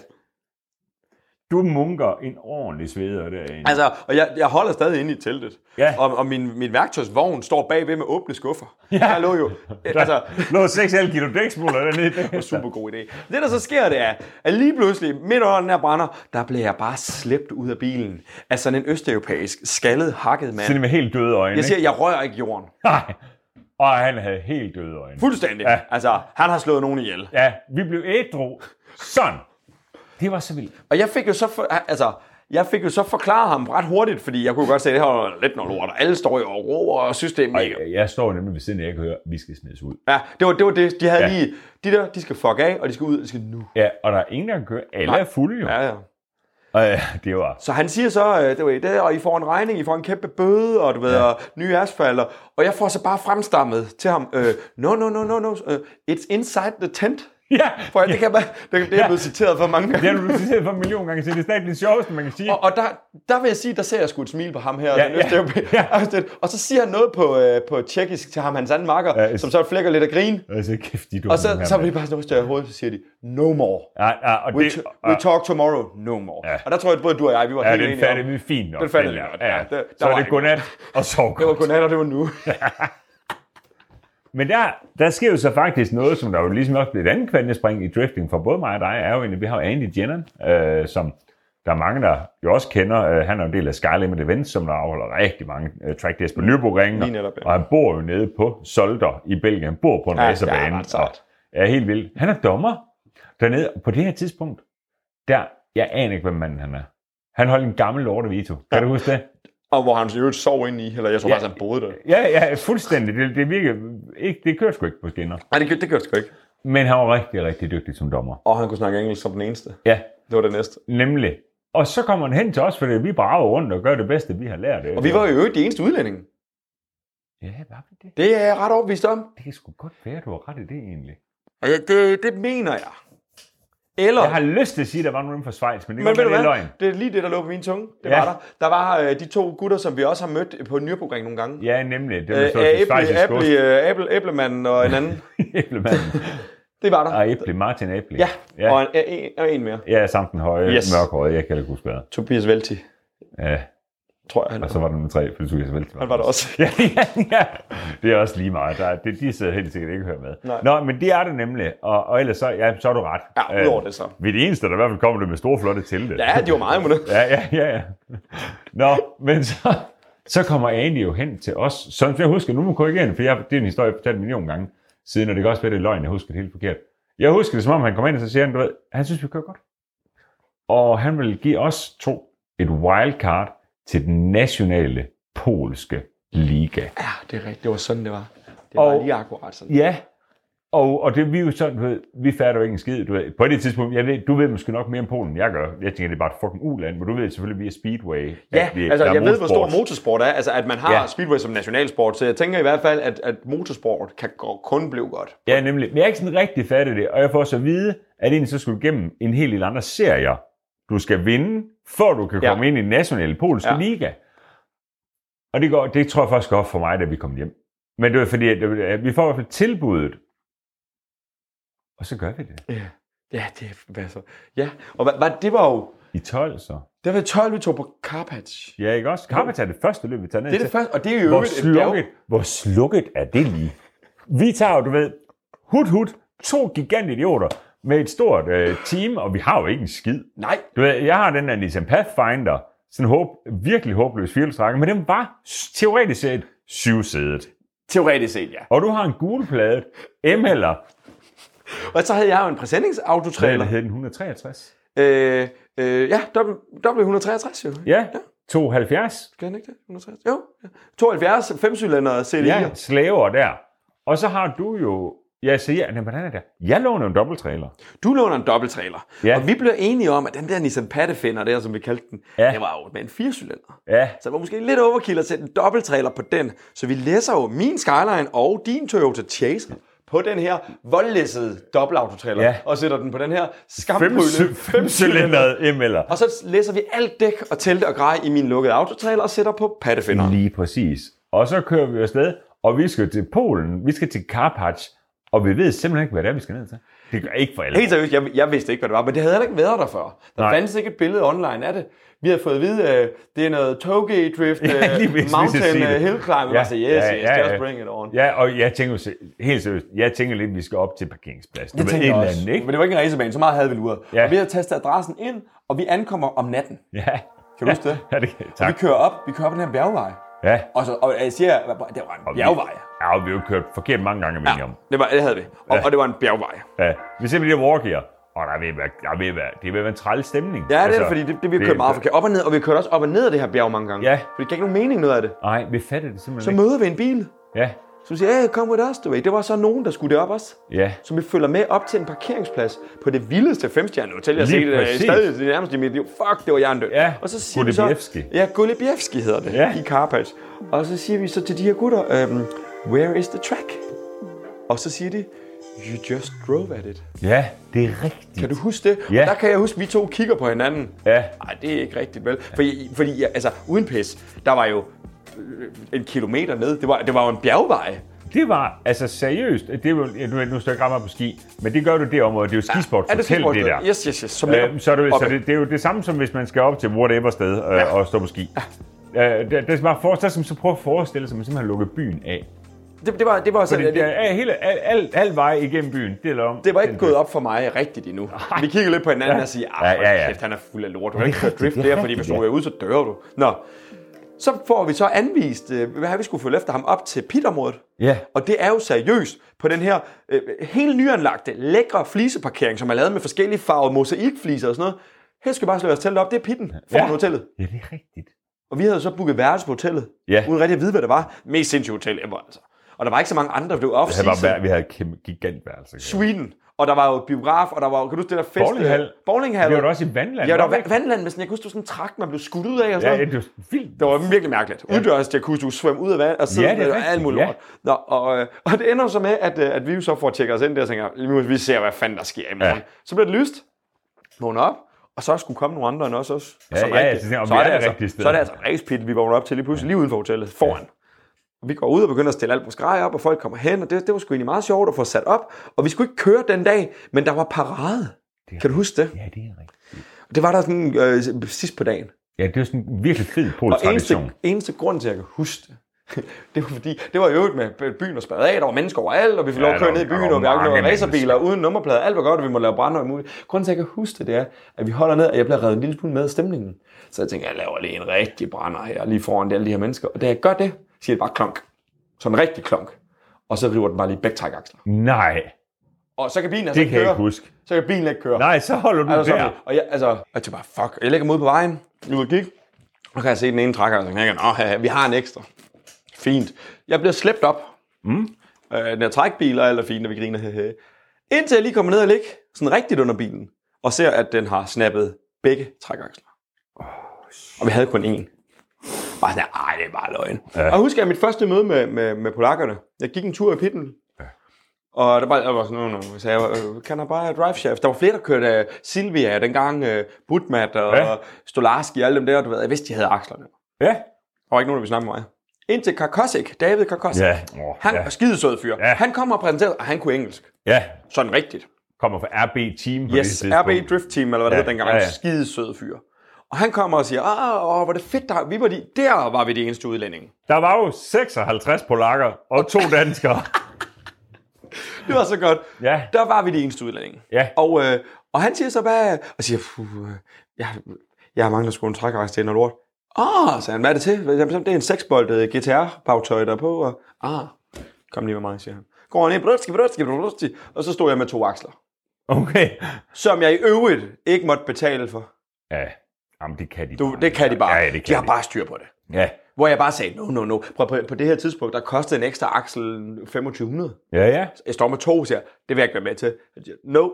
Speaker 1: du munker en ordentlig sveder derinde.
Speaker 2: Altså, og jeg, jeg holder stadig inde i teltet.
Speaker 1: Ja.
Speaker 2: Og, og min, min værktøjsvogn står bagved med åbne skuffer. Ja. Der lå jo...
Speaker 1: Der
Speaker 2: Altså,
Speaker 1: lå 6,5 kilo dæksmuller dernede.
Speaker 2: super god idé. Det, der så sker, det er, at lige pludselig, midt under den her brænder, der bliver jeg bare slæbt ud af bilen af sådan en østeuropæisk, skaldet, hakket mand.
Speaker 1: Så det med helt døde øjne.
Speaker 2: Jeg
Speaker 1: Siger...
Speaker 2: siger, jeg rører ikke jorden.
Speaker 1: Nej. Og han havde helt døde øjne.
Speaker 2: Fuldstændig.
Speaker 1: Ja.
Speaker 2: Ja. Altså, han har slået nogen ihjel.
Speaker 1: Ja, vi blev ædru. Sådan. Det var så vildt.
Speaker 2: Og jeg fik jo så, for, altså, jeg fik jo så forklaret ham ret hurtigt, fordi jeg kunne godt se, at det her var lidt noget lort, og alle står jo og råber og synes, det er mega.
Speaker 1: Jeg står nemlig ved siden af, jeg kan høre, at vi skal smides ud.
Speaker 2: Ja, det var det. Var det. De havde
Speaker 1: Ja.
Speaker 2: ja. lige, de der, de skal fuck af, og de skal ud, og de skal nu.
Speaker 1: Ja, og der er ingen, der kan køre. Alle
Speaker 2: Nej.
Speaker 1: er fulde jo. Ja.
Speaker 2: Ja, ja.
Speaker 1: Og, ja, det var...
Speaker 2: Så han siger så, øh, det var i det, og I får en regning, I får en kæmpe bøde, og du ved, ja. og nye asfalt, og, og jeg får så bare fremstammet til ham, øh, no, no, no, no, no, øh, it's inside the tent.
Speaker 1: Ja,
Speaker 2: For jeg, det, kan jeg bare, det, det er blevet citeret for mange
Speaker 1: det
Speaker 2: gange.
Speaker 1: har du citeret for en million gange, så det er stadig det sjoveste, man kan sige.
Speaker 2: Og, og der, der vil jeg sige, der ser jeg sgu et smil på ham her.
Speaker 1: Ja,
Speaker 2: Ja, den østeuropæ-
Speaker 1: ja,
Speaker 2: Østeuropæ- Og så siger han noget på, øh, på tjekkisk til ham, hans anden makker,
Speaker 1: Ja,
Speaker 2: ja, som så flækker lidt af grin.
Speaker 1: Altså, kæft, de er dumme,
Speaker 2: Og så,
Speaker 1: dem her,
Speaker 2: så
Speaker 1: mand.
Speaker 2: bliver de bare sådan noget i hovedet, så siger de, no more.
Speaker 1: Ja, ja, og
Speaker 2: We,
Speaker 1: det,
Speaker 2: t- we talk tomorrow, no more.
Speaker 1: Ja.
Speaker 2: Ja. Og der tror jeg, at både du og jeg, vi var
Speaker 1: ja,
Speaker 2: helt
Speaker 1: den
Speaker 2: enige om.
Speaker 1: fattede vi fint nok.
Speaker 2: Den fattede vi
Speaker 1: der.
Speaker 2: godt,
Speaker 1: Ja,
Speaker 2: ja. Det- der
Speaker 1: så
Speaker 2: var
Speaker 1: er det
Speaker 2: ikke-
Speaker 1: godnat og sov
Speaker 2: Det var
Speaker 1: godt.
Speaker 2: godnat, og det var nu.
Speaker 1: Men der, der sker jo så faktisk noget, som der jo ligesom også blev et andet kvantespring i drifting for både mig og dig, er jo egentlig, vi har jo Andy Jenner, øh, som der er mange, der jo også kender. Øh, han er jo en del af Skylimit Events, som der afholder rigtig mange øh, track days på Nyborg
Speaker 2: Lige netop, ja.
Speaker 1: Og han bor jo nede på Solder i Belgien. Han bor på en
Speaker 2: Ja, altså, det er
Speaker 1: racerbane.
Speaker 2: ret sejt.
Speaker 1: og er helt vildt. Han er dommer dernede. Og på det her tidspunkt, der, jeg aner ikke, hvem manden han er. Han holdt en gammel lorte Vito. Kan du huske det?
Speaker 2: Og hvor han så i øvrigt sov ind i, eller jeg tror
Speaker 1: Ja.
Speaker 2: faktisk, han boede der.
Speaker 1: Ja, ja, fuldstændig. Det, det virker ikke, det kører sgu ikke på skinner.
Speaker 2: Nej, det, gjorde- det gjorde det sgu ikke.
Speaker 1: Men han var rigtig, rigtig dygtig som dommer.
Speaker 2: Og han kunne snakke engelsk som den eneste.
Speaker 1: Ja,
Speaker 2: Det var det næste.
Speaker 1: nemlig. Og så kommer han hen til os, fordi vi brager rundt og gør det bedste, vi har lært.
Speaker 2: Og vi var jo i øvrigt de eneste udlændinge.
Speaker 1: Ja, var vi det?
Speaker 2: Det er jeg ret overbevist om.
Speaker 1: Det kan sgu godt være, du har ret i det egentlig.
Speaker 2: Og jeg, det, det mener jeg. Eller,
Speaker 1: Jeg har lyst til at sige, at der var nogen fra Schweiz, men det,
Speaker 2: men
Speaker 1: men
Speaker 2: ved du
Speaker 1: det er
Speaker 2: hvad?
Speaker 1: løgn.
Speaker 2: Det er lige det, der lå på min tunge. Det
Speaker 1: Ja.
Speaker 2: var der. Der var øh, de to gutter, som vi også har mødt på Nürburgring nogle gange.
Speaker 1: Ja, nemlig. Det
Speaker 2: Øh,
Speaker 1: var så til
Speaker 2: Æble,
Speaker 1: schweizisk ost.
Speaker 2: Æble, øh, Æble, Æblemanden og en anden.
Speaker 1: Æblemanden.
Speaker 2: Det var der.
Speaker 1: Og Æble, Martin Æble.
Speaker 2: Ja,
Speaker 1: Ja.
Speaker 2: Og, en, øh, en, og en mere.
Speaker 1: Ja, samt den høje,
Speaker 2: Yes.
Speaker 1: yes. mørkhøje, jeg kan ikke huske hvad.
Speaker 2: Tobias Velti,
Speaker 1: Ja,
Speaker 2: tror jeg. Han,
Speaker 1: og så var der nummer tre, for det skulle jeg vel.
Speaker 2: han var der også.
Speaker 1: ja, ja, ja, det er også lige meget. Der, er- det, de sidder helt sikkert ikke og hører med.
Speaker 2: Nej.
Speaker 1: Nå, men det er det nemlig, og, og ellers så, ja, så er du ret. Øh,
Speaker 2: Ja, udover det så.
Speaker 1: Ved det eneste, der i hvert fald kommer det med store, flotte telte.
Speaker 2: Ja, de var meget imod det.
Speaker 1: Ja, ja, ja, ja. Nå, men så, så kommer Andy jo hen til os. Sådan, jeg husker, nu må jeg korrigere den, for jeg, det er en historie, jeg har fortalt en million gange siden, og det kan også være, det er løgn, jeg husker det helt forkert. Jeg husker det, som om han kommer ind, og så siger han, du ved, han synes, vi kører godt. Og han vil give os to et wildcard til den nationale polske liga.
Speaker 2: Ja, det er rigtigt. Det var sådan, det var. Det
Speaker 1: Og-
Speaker 2: var lige akkurat sådan.
Speaker 1: Ja, og, og det er vi jo sådan, du ved, vi fatter jo ikke en skid. Du ved, på det tidspunkt, jeg ved, du ved måske nok mere om Polen, end jeg gør. Jeg tænker, det er bare et fucking uland, men du ved selvfølgelig, vi er Speedway.
Speaker 2: Ja,
Speaker 1: at vi-
Speaker 2: altså
Speaker 1: der er
Speaker 2: jeg ved, hvor stor
Speaker 1: motorsport.
Speaker 2: motorsport er. Altså at man har
Speaker 1: Ja.
Speaker 2: speedway som nationalsport, så jeg tænker i hvert fald, at, at motorsport kan gå- kun blive godt.
Speaker 1: Ja, nemlig. Men jeg er ikke sådan rigtig fattet det, og jeg får så at vide, at egentlig så skulle du igennem en hel del andre serier. Du skal vinde, før du kan
Speaker 2: Ja.
Speaker 1: komme ind i den nationale polske
Speaker 2: Ja.
Speaker 1: ja. liga. Og det, går, det tror jeg faktisk godt for mig, da vi kom hjem. Men det var fordi, at at vi får i hvert fald tilbuddet, og så gør vi det.
Speaker 2: Ja, ja det er hvad så. Ja, og hvad, hvad, det var jo...
Speaker 1: I 12 så.
Speaker 2: Det var 12, vi tog på Carpatch.
Speaker 1: Ja, ikke også? Carpenter er det første løb, vi tager ned
Speaker 2: Det er det
Speaker 1: til.
Speaker 2: første, og det er jo
Speaker 1: Hvor
Speaker 2: øvrigt et bjerg.
Speaker 1: slukket, hvor slukket er det lige? Vi tager jo, du ved, hut hut, to gigantidioter med et stort øh, team, og vi har jo ikke en skid.
Speaker 2: Nej,
Speaker 1: Du ved, jeg har den der Nissan Pathfinder, sådan en håb, virkelig håbløs firehjulstrækker, men den var s- teoretisk set syvsædet.
Speaker 2: teoretisk set, ja.
Speaker 1: Og du har en gulpladet ML'er,
Speaker 2: Og så havde jeg jo en
Speaker 1: eller
Speaker 2: præsendingsautotrailer.
Speaker 1: hed den 163?
Speaker 2: Øh, øh, ja, W- W163 jo.
Speaker 1: Ja, 72.
Speaker 2: Kan den ikke det? 163? Jo. ja. 72, 5-cylinder CD.
Speaker 1: Ja,
Speaker 2: Ja.
Speaker 1: slaver der. Og så har du jo, jeg siger, jamen, hvordan er det? Jeg låner en dobbelttrailer.
Speaker 2: Du låner en dobbelttrailer. Ja.
Speaker 1: Ja.
Speaker 2: Og vi blev enige om, at den der Nissan Pattefinder der, som vi kaldte den, ja.
Speaker 1: Ja.
Speaker 2: det var jo med en 4-cylinder.
Speaker 1: Ja,
Speaker 2: Så det var måske lidt overkill at sætte en dobbelttrailer på den. Så vi læser jo min Skyline og din Toyota Chaser på den her voldlæssede dobbeltautotrailer. Ja.
Speaker 1: Ja.
Speaker 2: Og sætter den på den her skamprydende
Speaker 1: femcylindret ML'er.
Speaker 2: Og så læser vi alt dæk og telte og grej i min lukkede autotrailer og sætter på pattefinderen.
Speaker 1: Lige præcis. Og så kører vi afsted, og vi skal til Polen, vi skal til Karpacz, og vi ved simpelthen ikke, hvad det er, vi skal ned til. Det gør ikke for alle.
Speaker 2: Helt seriøst, jeg, jeg vidste ikke, hvad det var, men det havde heller ikke været der før. Der Nej.
Speaker 1: Nej.
Speaker 2: fandtes ikke et billede online af det. Vi havde fået at vide, øh, det er noget toge drift,
Speaker 1: lige præcis,
Speaker 2: øh,
Speaker 1: lige
Speaker 2: mountain
Speaker 1: sige det.
Speaker 2: øh, hill climb. Ja.
Speaker 1: Ja,
Speaker 2: Altså, yes,
Speaker 1: ja,
Speaker 2: yes,
Speaker 1: ja,
Speaker 2: just
Speaker 1: ja.
Speaker 2: bring it on.
Speaker 1: Ja, og jeg tænker jo se- helt seriøst, jeg tænker lidt, at vi skal op til parkeringspladsen. Du ved,
Speaker 2: tænkte
Speaker 1: et
Speaker 2: jeg
Speaker 1: eller
Speaker 2: også.
Speaker 1: andet,
Speaker 2: Men
Speaker 1: ikke?
Speaker 2: det var ikke en racerbane, så meget havde vi luret.
Speaker 1: Ja.
Speaker 2: Og vi havde tastet adressen ind, og vi ankommer om natten.
Speaker 1: Ja.
Speaker 2: Kan du huske det?
Speaker 1: Ja, det kan
Speaker 2: Og vi
Speaker 1: Tak.
Speaker 2: kører op, vi kører op ad den her bjergvej.
Speaker 1: Ja.
Speaker 2: Og, så, og jeg siger, at det var en
Speaker 1: vi-
Speaker 2: bjergvej.
Speaker 1: Ja, og vi har jo kørt forkert mange gange, er vi ja. om.
Speaker 2: det, var, det havde vi. Og, ja. og det var en bjergvej.
Speaker 1: Ja. Vi ser på de der walkier, og der er ved at være, der er ved at være, det er ved at være en træl stemning. Altså,
Speaker 2: Ja, det er det, fordi det, det vi har kørt meget forkert. Op og ned, og vi har kørt også op og ned af det her bjerg mange gange.
Speaker 1: Ja.
Speaker 2: For det gav ikke nogen mening noget af det.
Speaker 1: Nej, vi fatter det simpelthen
Speaker 2: Så
Speaker 1: ikke.
Speaker 2: møder vi en bil,
Speaker 1: Ja,
Speaker 2: som siger, hey, kom with us, du ved. Det var så nogen, der skulle det op også.
Speaker 1: ja.
Speaker 2: Så vi følger med op til en parkeringsplads på det vildeste femstjerne hotel, jeg har
Speaker 1: Lige
Speaker 2: set øh,
Speaker 1: præcis.
Speaker 2: stadig det nærmest i mit liv. Fuck, det var jerndød.
Speaker 1: Ja,
Speaker 2: og så siger vi så,
Speaker 1: Gullibievski.
Speaker 2: Ja, Gullibievski hedder det
Speaker 1: Ja.
Speaker 2: i Carpatch. Og så siger vi så til de her gutter, øhm, where is the track? Og så siger de, you just drove at it.
Speaker 1: Ja, det er rigtigt.
Speaker 2: Kan du huske det?
Speaker 1: Ja.
Speaker 2: Og der kan jeg huske, at vi to kigger på hinanden.
Speaker 1: Ja.
Speaker 2: Nej, det er ikke rigtigt, vel? Fordi, fordi ja, altså, uden pis, der var jo øh, en kilometer ned. Det var, det var jo en bjergvej.
Speaker 1: Det var, altså seriøst, det er jo, ja, nu, nu står jeg ikke ret meget på ski, men det gør du i det område, det er jo skisport, ja,
Speaker 2: Er
Speaker 1: det,
Speaker 2: skisport?
Speaker 1: det der.
Speaker 2: Yes, yes, yes. Som
Speaker 1: Øh, så er det,
Speaker 2: op-
Speaker 1: så det, det er jo det samme som hvis man skal op til whatever sted øh, ja. og stå på ski. Ja. Øh, det, det er bare for, der, som så prøver at forestille sig, at man simpelthen har lukket byen af.
Speaker 2: det, det, var, det var sådan...
Speaker 1: Det,
Speaker 2: Det,
Speaker 1: det,
Speaker 2: det,
Speaker 1: er hele, al, al, al vej igennem byen, det er om.
Speaker 2: det var ikke gået op for mig rigtigt endnu. Vi kiggede lidt på hinanden ja. og siger, ah, ja, ja, ja. kæft, han er fuld af lort. Du kan ikke køre
Speaker 1: rigtigt,
Speaker 2: drift
Speaker 1: det er
Speaker 2: der, fordi hvis
Speaker 1: rigtigt,
Speaker 2: du
Speaker 1: ja.
Speaker 2: ryger ud, så dør du. Nå, så får vi så anvist, øh, hvad er vi skulle følge efter ham op til pitområdet.
Speaker 1: Ja.
Speaker 2: Og det er jo seriøst på den her øh, helt nyanlagte, lækre fliseparkering, som er lavet med forskellige farvede mosaikfliser og sådan noget. Her skal vi bare slå os telt op. Det er pitten foran ja.
Speaker 1: Ja.
Speaker 2: hotellet.
Speaker 1: Ja, det er rigtigt.
Speaker 2: Og vi havde jo så booket værelse på hotellet,
Speaker 1: Ja.
Speaker 2: uden rigtig at vide, hvad det var. Mest sindssygt hotel ever, altså. Og der var ikke så mange andre, for det var
Speaker 1: Det var,
Speaker 2: off-season.
Speaker 1: vær- vi havde et kæmpe gigantværelse. ikke?
Speaker 2: Sweden. Og der var jo biograf, og der var jo, kan du huske det der fest?
Speaker 1: Bowlinghal.
Speaker 2: Bowlinghal.
Speaker 1: Vi var da også i vandland.
Speaker 2: Ja, der
Speaker 1: var
Speaker 2: var
Speaker 1: vi ikke?
Speaker 2: vandland, men sådan, jeg kunne huske, det var sådan en trakt, man blev skudt ud af og
Speaker 1: Ja,
Speaker 2: sådan
Speaker 1: ja,
Speaker 2: noget.
Speaker 1: det var vildt.
Speaker 2: Det var virkelig mærkeligt. Uddørs til kunne du svømme ud af vand og sidde
Speaker 1: Ja, det er
Speaker 2: med og
Speaker 1: rigtigt,
Speaker 2: alt muligt
Speaker 1: ja.
Speaker 2: lort. Nå, og, øh, og det ender jo så med, at, øh, at vi jo så får tjekket os ind der og tænker, "Nu må vi ser, hvad fanden der sker i morgen. Ja.
Speaker 1: Ja.
Speaker 2: Så bliver det lyst, vågne op, og så skulle komme nogle andre end os også.
Speaker 1: Ja,
Speaker 2: som
Speaker 1: ja, jeg
Speaker 2: rigtigt.
Speaker 1: synes, om
Speaker 2: så,
Speaker 1: vi
Speaker 2: er
Speaker 1: er
Speaker 2: det
Speaker 1: det
Speaker 2: altså,
Speaker 1: rigtige sted.
Speaker 2: så er det altså racepit, vi vågner op til lige pludselig, lige uden for hotellet, foran. Og vi går ud og begynder at stille alt på skrej op, og folk kommer hen, og det, det var sgu egentlig meget sjovt at få sat op. Og vi skulle ikke køre den dag, men der var parade.
Speaker 1: Det er
Speaker 2: Kan du huske det?
Speaker 1: Ja, det er rigtigt.
Speaker 2: Det var der sådan øh, sidst på dagen.
Speaker 1: Ja, det er jo sådan en virkelig fed polsk
Speaker 2: Og eneste,
Speaker 1: tradition.
Speaker 2: eneste grund til, at jeg kan huske det, det var fordi, det var i øvrigt med byen og spadet af, der var mennesker overalt, og vi fik lov at
Speaker 1: der
Speaker 2: køre
Speaker 1: var-
Speaker 2: ned i
Speaker 1: der
Speaker 2: byen,
Speaker 1: var
Speaker 2: og vi afgjorde
Speaker 1: mange
Speaker 2: racerbiler uden nummerplader, alt var godt, og vi må lave brænder og muligt. Grunden til, at jeg kan huske det, det er, at vi holder ned, og jeg bliver reddet en lille smule med af stemningen. Så jeg tænker, jeg laver lige en rigtig brænder her, lige foran alle de her mennesker. Og da jeg gør det, siger det bare klonk. Sådan en rigtig klonk. Og så river den bare lige begge trækaksler.
Speaker 1: Nej,
Speaker 2: Og så kan bilen altså
Speaker 1: det kan
Speaker 2: ikke
Speaker 1: jeg ikke
Speaker 2: køre.
Speaker 1: huske.
Speaker 2: Så kan bilen ikke køre.
Speaker 1: Nej, så holder du
Speaker 2: Altså,
Speaker 1: der.
Speaker 2: sådan, og jeg, altså, og jeg tænker bare, fuck, jeg lægger mod på vejen, jeg er ude at kigge, og kan jeg se den ene trækker, og så tænker jeg, nå, haha, vi har en ekstra. Fint. Jeg bliver slæbt op. Mm. Øh, den her trækbil, og alt er fint, og vi griner, hehe. Indtil jeg lige kommer ned og ligger sådan rigtigt under bilen, og ser, at den har snappet begge trækaksler. Og vi havde kun én. Og sådan, ej, det er bare løgn. Ja. Og jeg husker jeg mit første møde med, med, med polakkerne. Jeg gik en tur i pitten. Og der var, der var sådan nogle, så jeg var, "Øh, kan jeg bare drive chef? Der var flere, der kørte øh, Silvia dengang, uh, Budmat og
Speaker 1: Ja.
Speaker 2: ja. Stolarski og alle dem der, du ved, jeg vidste, de havde akslerne. Der
Speaker 1: Ja.
Speaker 2: var ikke nogen, der ville snakke med mig. Indtil Karkosik, David Karkosik,
Speaker 1: Ja.
Speaker 2: ja.
Speaker 1: Oh,
Speaker 2: han
Speaker 1: ja.
Speaker 2: er skidesød fyr.
Speaker 1: Ja.
Speaker 2: Ja. Han kom og præsenterede, og han kunne engelsk.
Speaker 1: ja.
Speaker 2: Sådan rigtigt.
Speaker 1: Kommer fra RB Team på det
Speaker 2: Yes,
Speaker 1: tidspunkt.
Speaker 2: RB Drift Team, eller hvad det
Speaker 1: Ja,
Speaker 2: hed dengang.
Speaker 1: ja,
Speaker 2: Ja,
Speaker 1: ja.
Speaker 2: ja. Skidesød fyr. Og han kommer og siger, åh, åh, hvor er det fedt, der, vi var de, der var vi de eneste udlændinge.
Speaker 1: Der var jo 56 polakker og to danskere.
Speaker 2: Det var så godt.
Speaker 1: Ja.
Speaker 2: Der var vi de eneste udlændinge.
Speaker 1: Ja.
Speaker 2: Og, øh, og han siger så bare, og siger, "Puh, øh, jeg, jeg mangler sgu en trækrejse til noget lort. Åh, sagde han, hvad er det til? Jamen, så- Det er en 6-boltet GTR-bagtøj, der er på. Og, ah, kom lige med mig, siger han. Går han ind, brudski, brudski, brudski, og så stod jeg med to aksler,
Speaker 1: Okay.
Speaker 2: som jeg i øvrigt ikke måtte betale for.
Speaker 1: Ja. Jamen, det kan de
Speaker 2: Du, det kan de bare.
Speaker 1: Ja, ja det kan
Speaker 2: de har
Speaker 1: de.
Speaker 2: bare styr på det.
Speaker 1: Ja.
Speaker 2: Hvor jeg bare sagde, no, no, no. Prøv, på, på det her tidspunkt, der kostede en ekstra aksel 2500.
Speaker 1: Ja, ja.
Speaker 2: Jeg står med to, siger jeg, det vil jeg ikke være med til. Jeg siger, No, you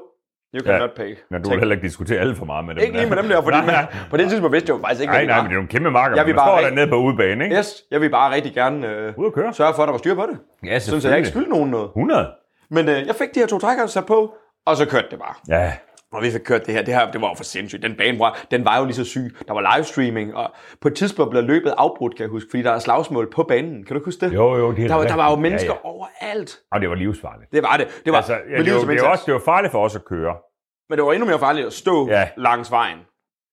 Speaker 1: Ja.
Speaker 2: cannot pay.
Speaker 1: Men du
Speaker 2: Tænk,
Speaker 1: vil heller ikke diskutere alt for meget med dem.
Speaker 2: ikke lige med dem der, fordi
Speaker 1: nej, nej.
Speaker 2: man, på det tidspunkt vidste jeg jo faktisk ikke,
Speaker 1: Nej,
Speaker 2: hvad
Speaker 1: nej,
Speaker 2: det
Speaker 1: men
Speaker 2: var.
Speaker 1: det er jo en kæmpe marker.
Speaker 2: Jeg
Speaker 1: Jeg
Speaker 2: vil
Speaker 1: man
Speaker 2: bare
Speaker 1: står
Speaker 2: rigtig-
Speaker 1: dernede på udebane, ikke?
Speaker 2: Yes, jeg vil bare rigtig gerne øh,
Speaker 1: Ude at køre.
Speaker 2: sørge for, at der var styr på det.
Speaker 1: Ja,
Speaker 2: Sådan, så jeg ikke skylder nogen noget.
Speaker 1: 100?
Speaker 2: Men øh, jeg fik de her to trækker sat på, og så kørte det bare.
Speaker 1: Ja.
Speaker 2: Og vi fik kørt det her. Det her det var jo for sindssygt. Den bane, bror, den var jo lige så syg. Der var livestreaming, og på et tidspunkt blev løbet afbrudt, kan jeg huske, fordi der er slagsmål på banen. Kan du ikke huske det?
Speaker 1: Jo, jo, det er
Speaker 2: Der, var, der var jo
Speaker 1: rigtigt.
Speaker 2: mennesker
Speaker 1: Ja,
Speaker 2: ja, ja. overalt.
Speaker 1: Og det var livsfarligt.
Speaker 2: Det var det. Det var,
Speaker 1: Altså, ja,
Speaker 2: med
Speaker 1: det,
Speaker 2: livet
Speaker 1: var, det,
Speaker 2: som
Speaker 1: var
Speaker 2: indsats.
Speaker 1: også, det var farligt for os at køre.
Speaker 2: Men det var endnu mere farligt at stå
Speaker 1: Ja.
Speaker 2: ja. langs vejen.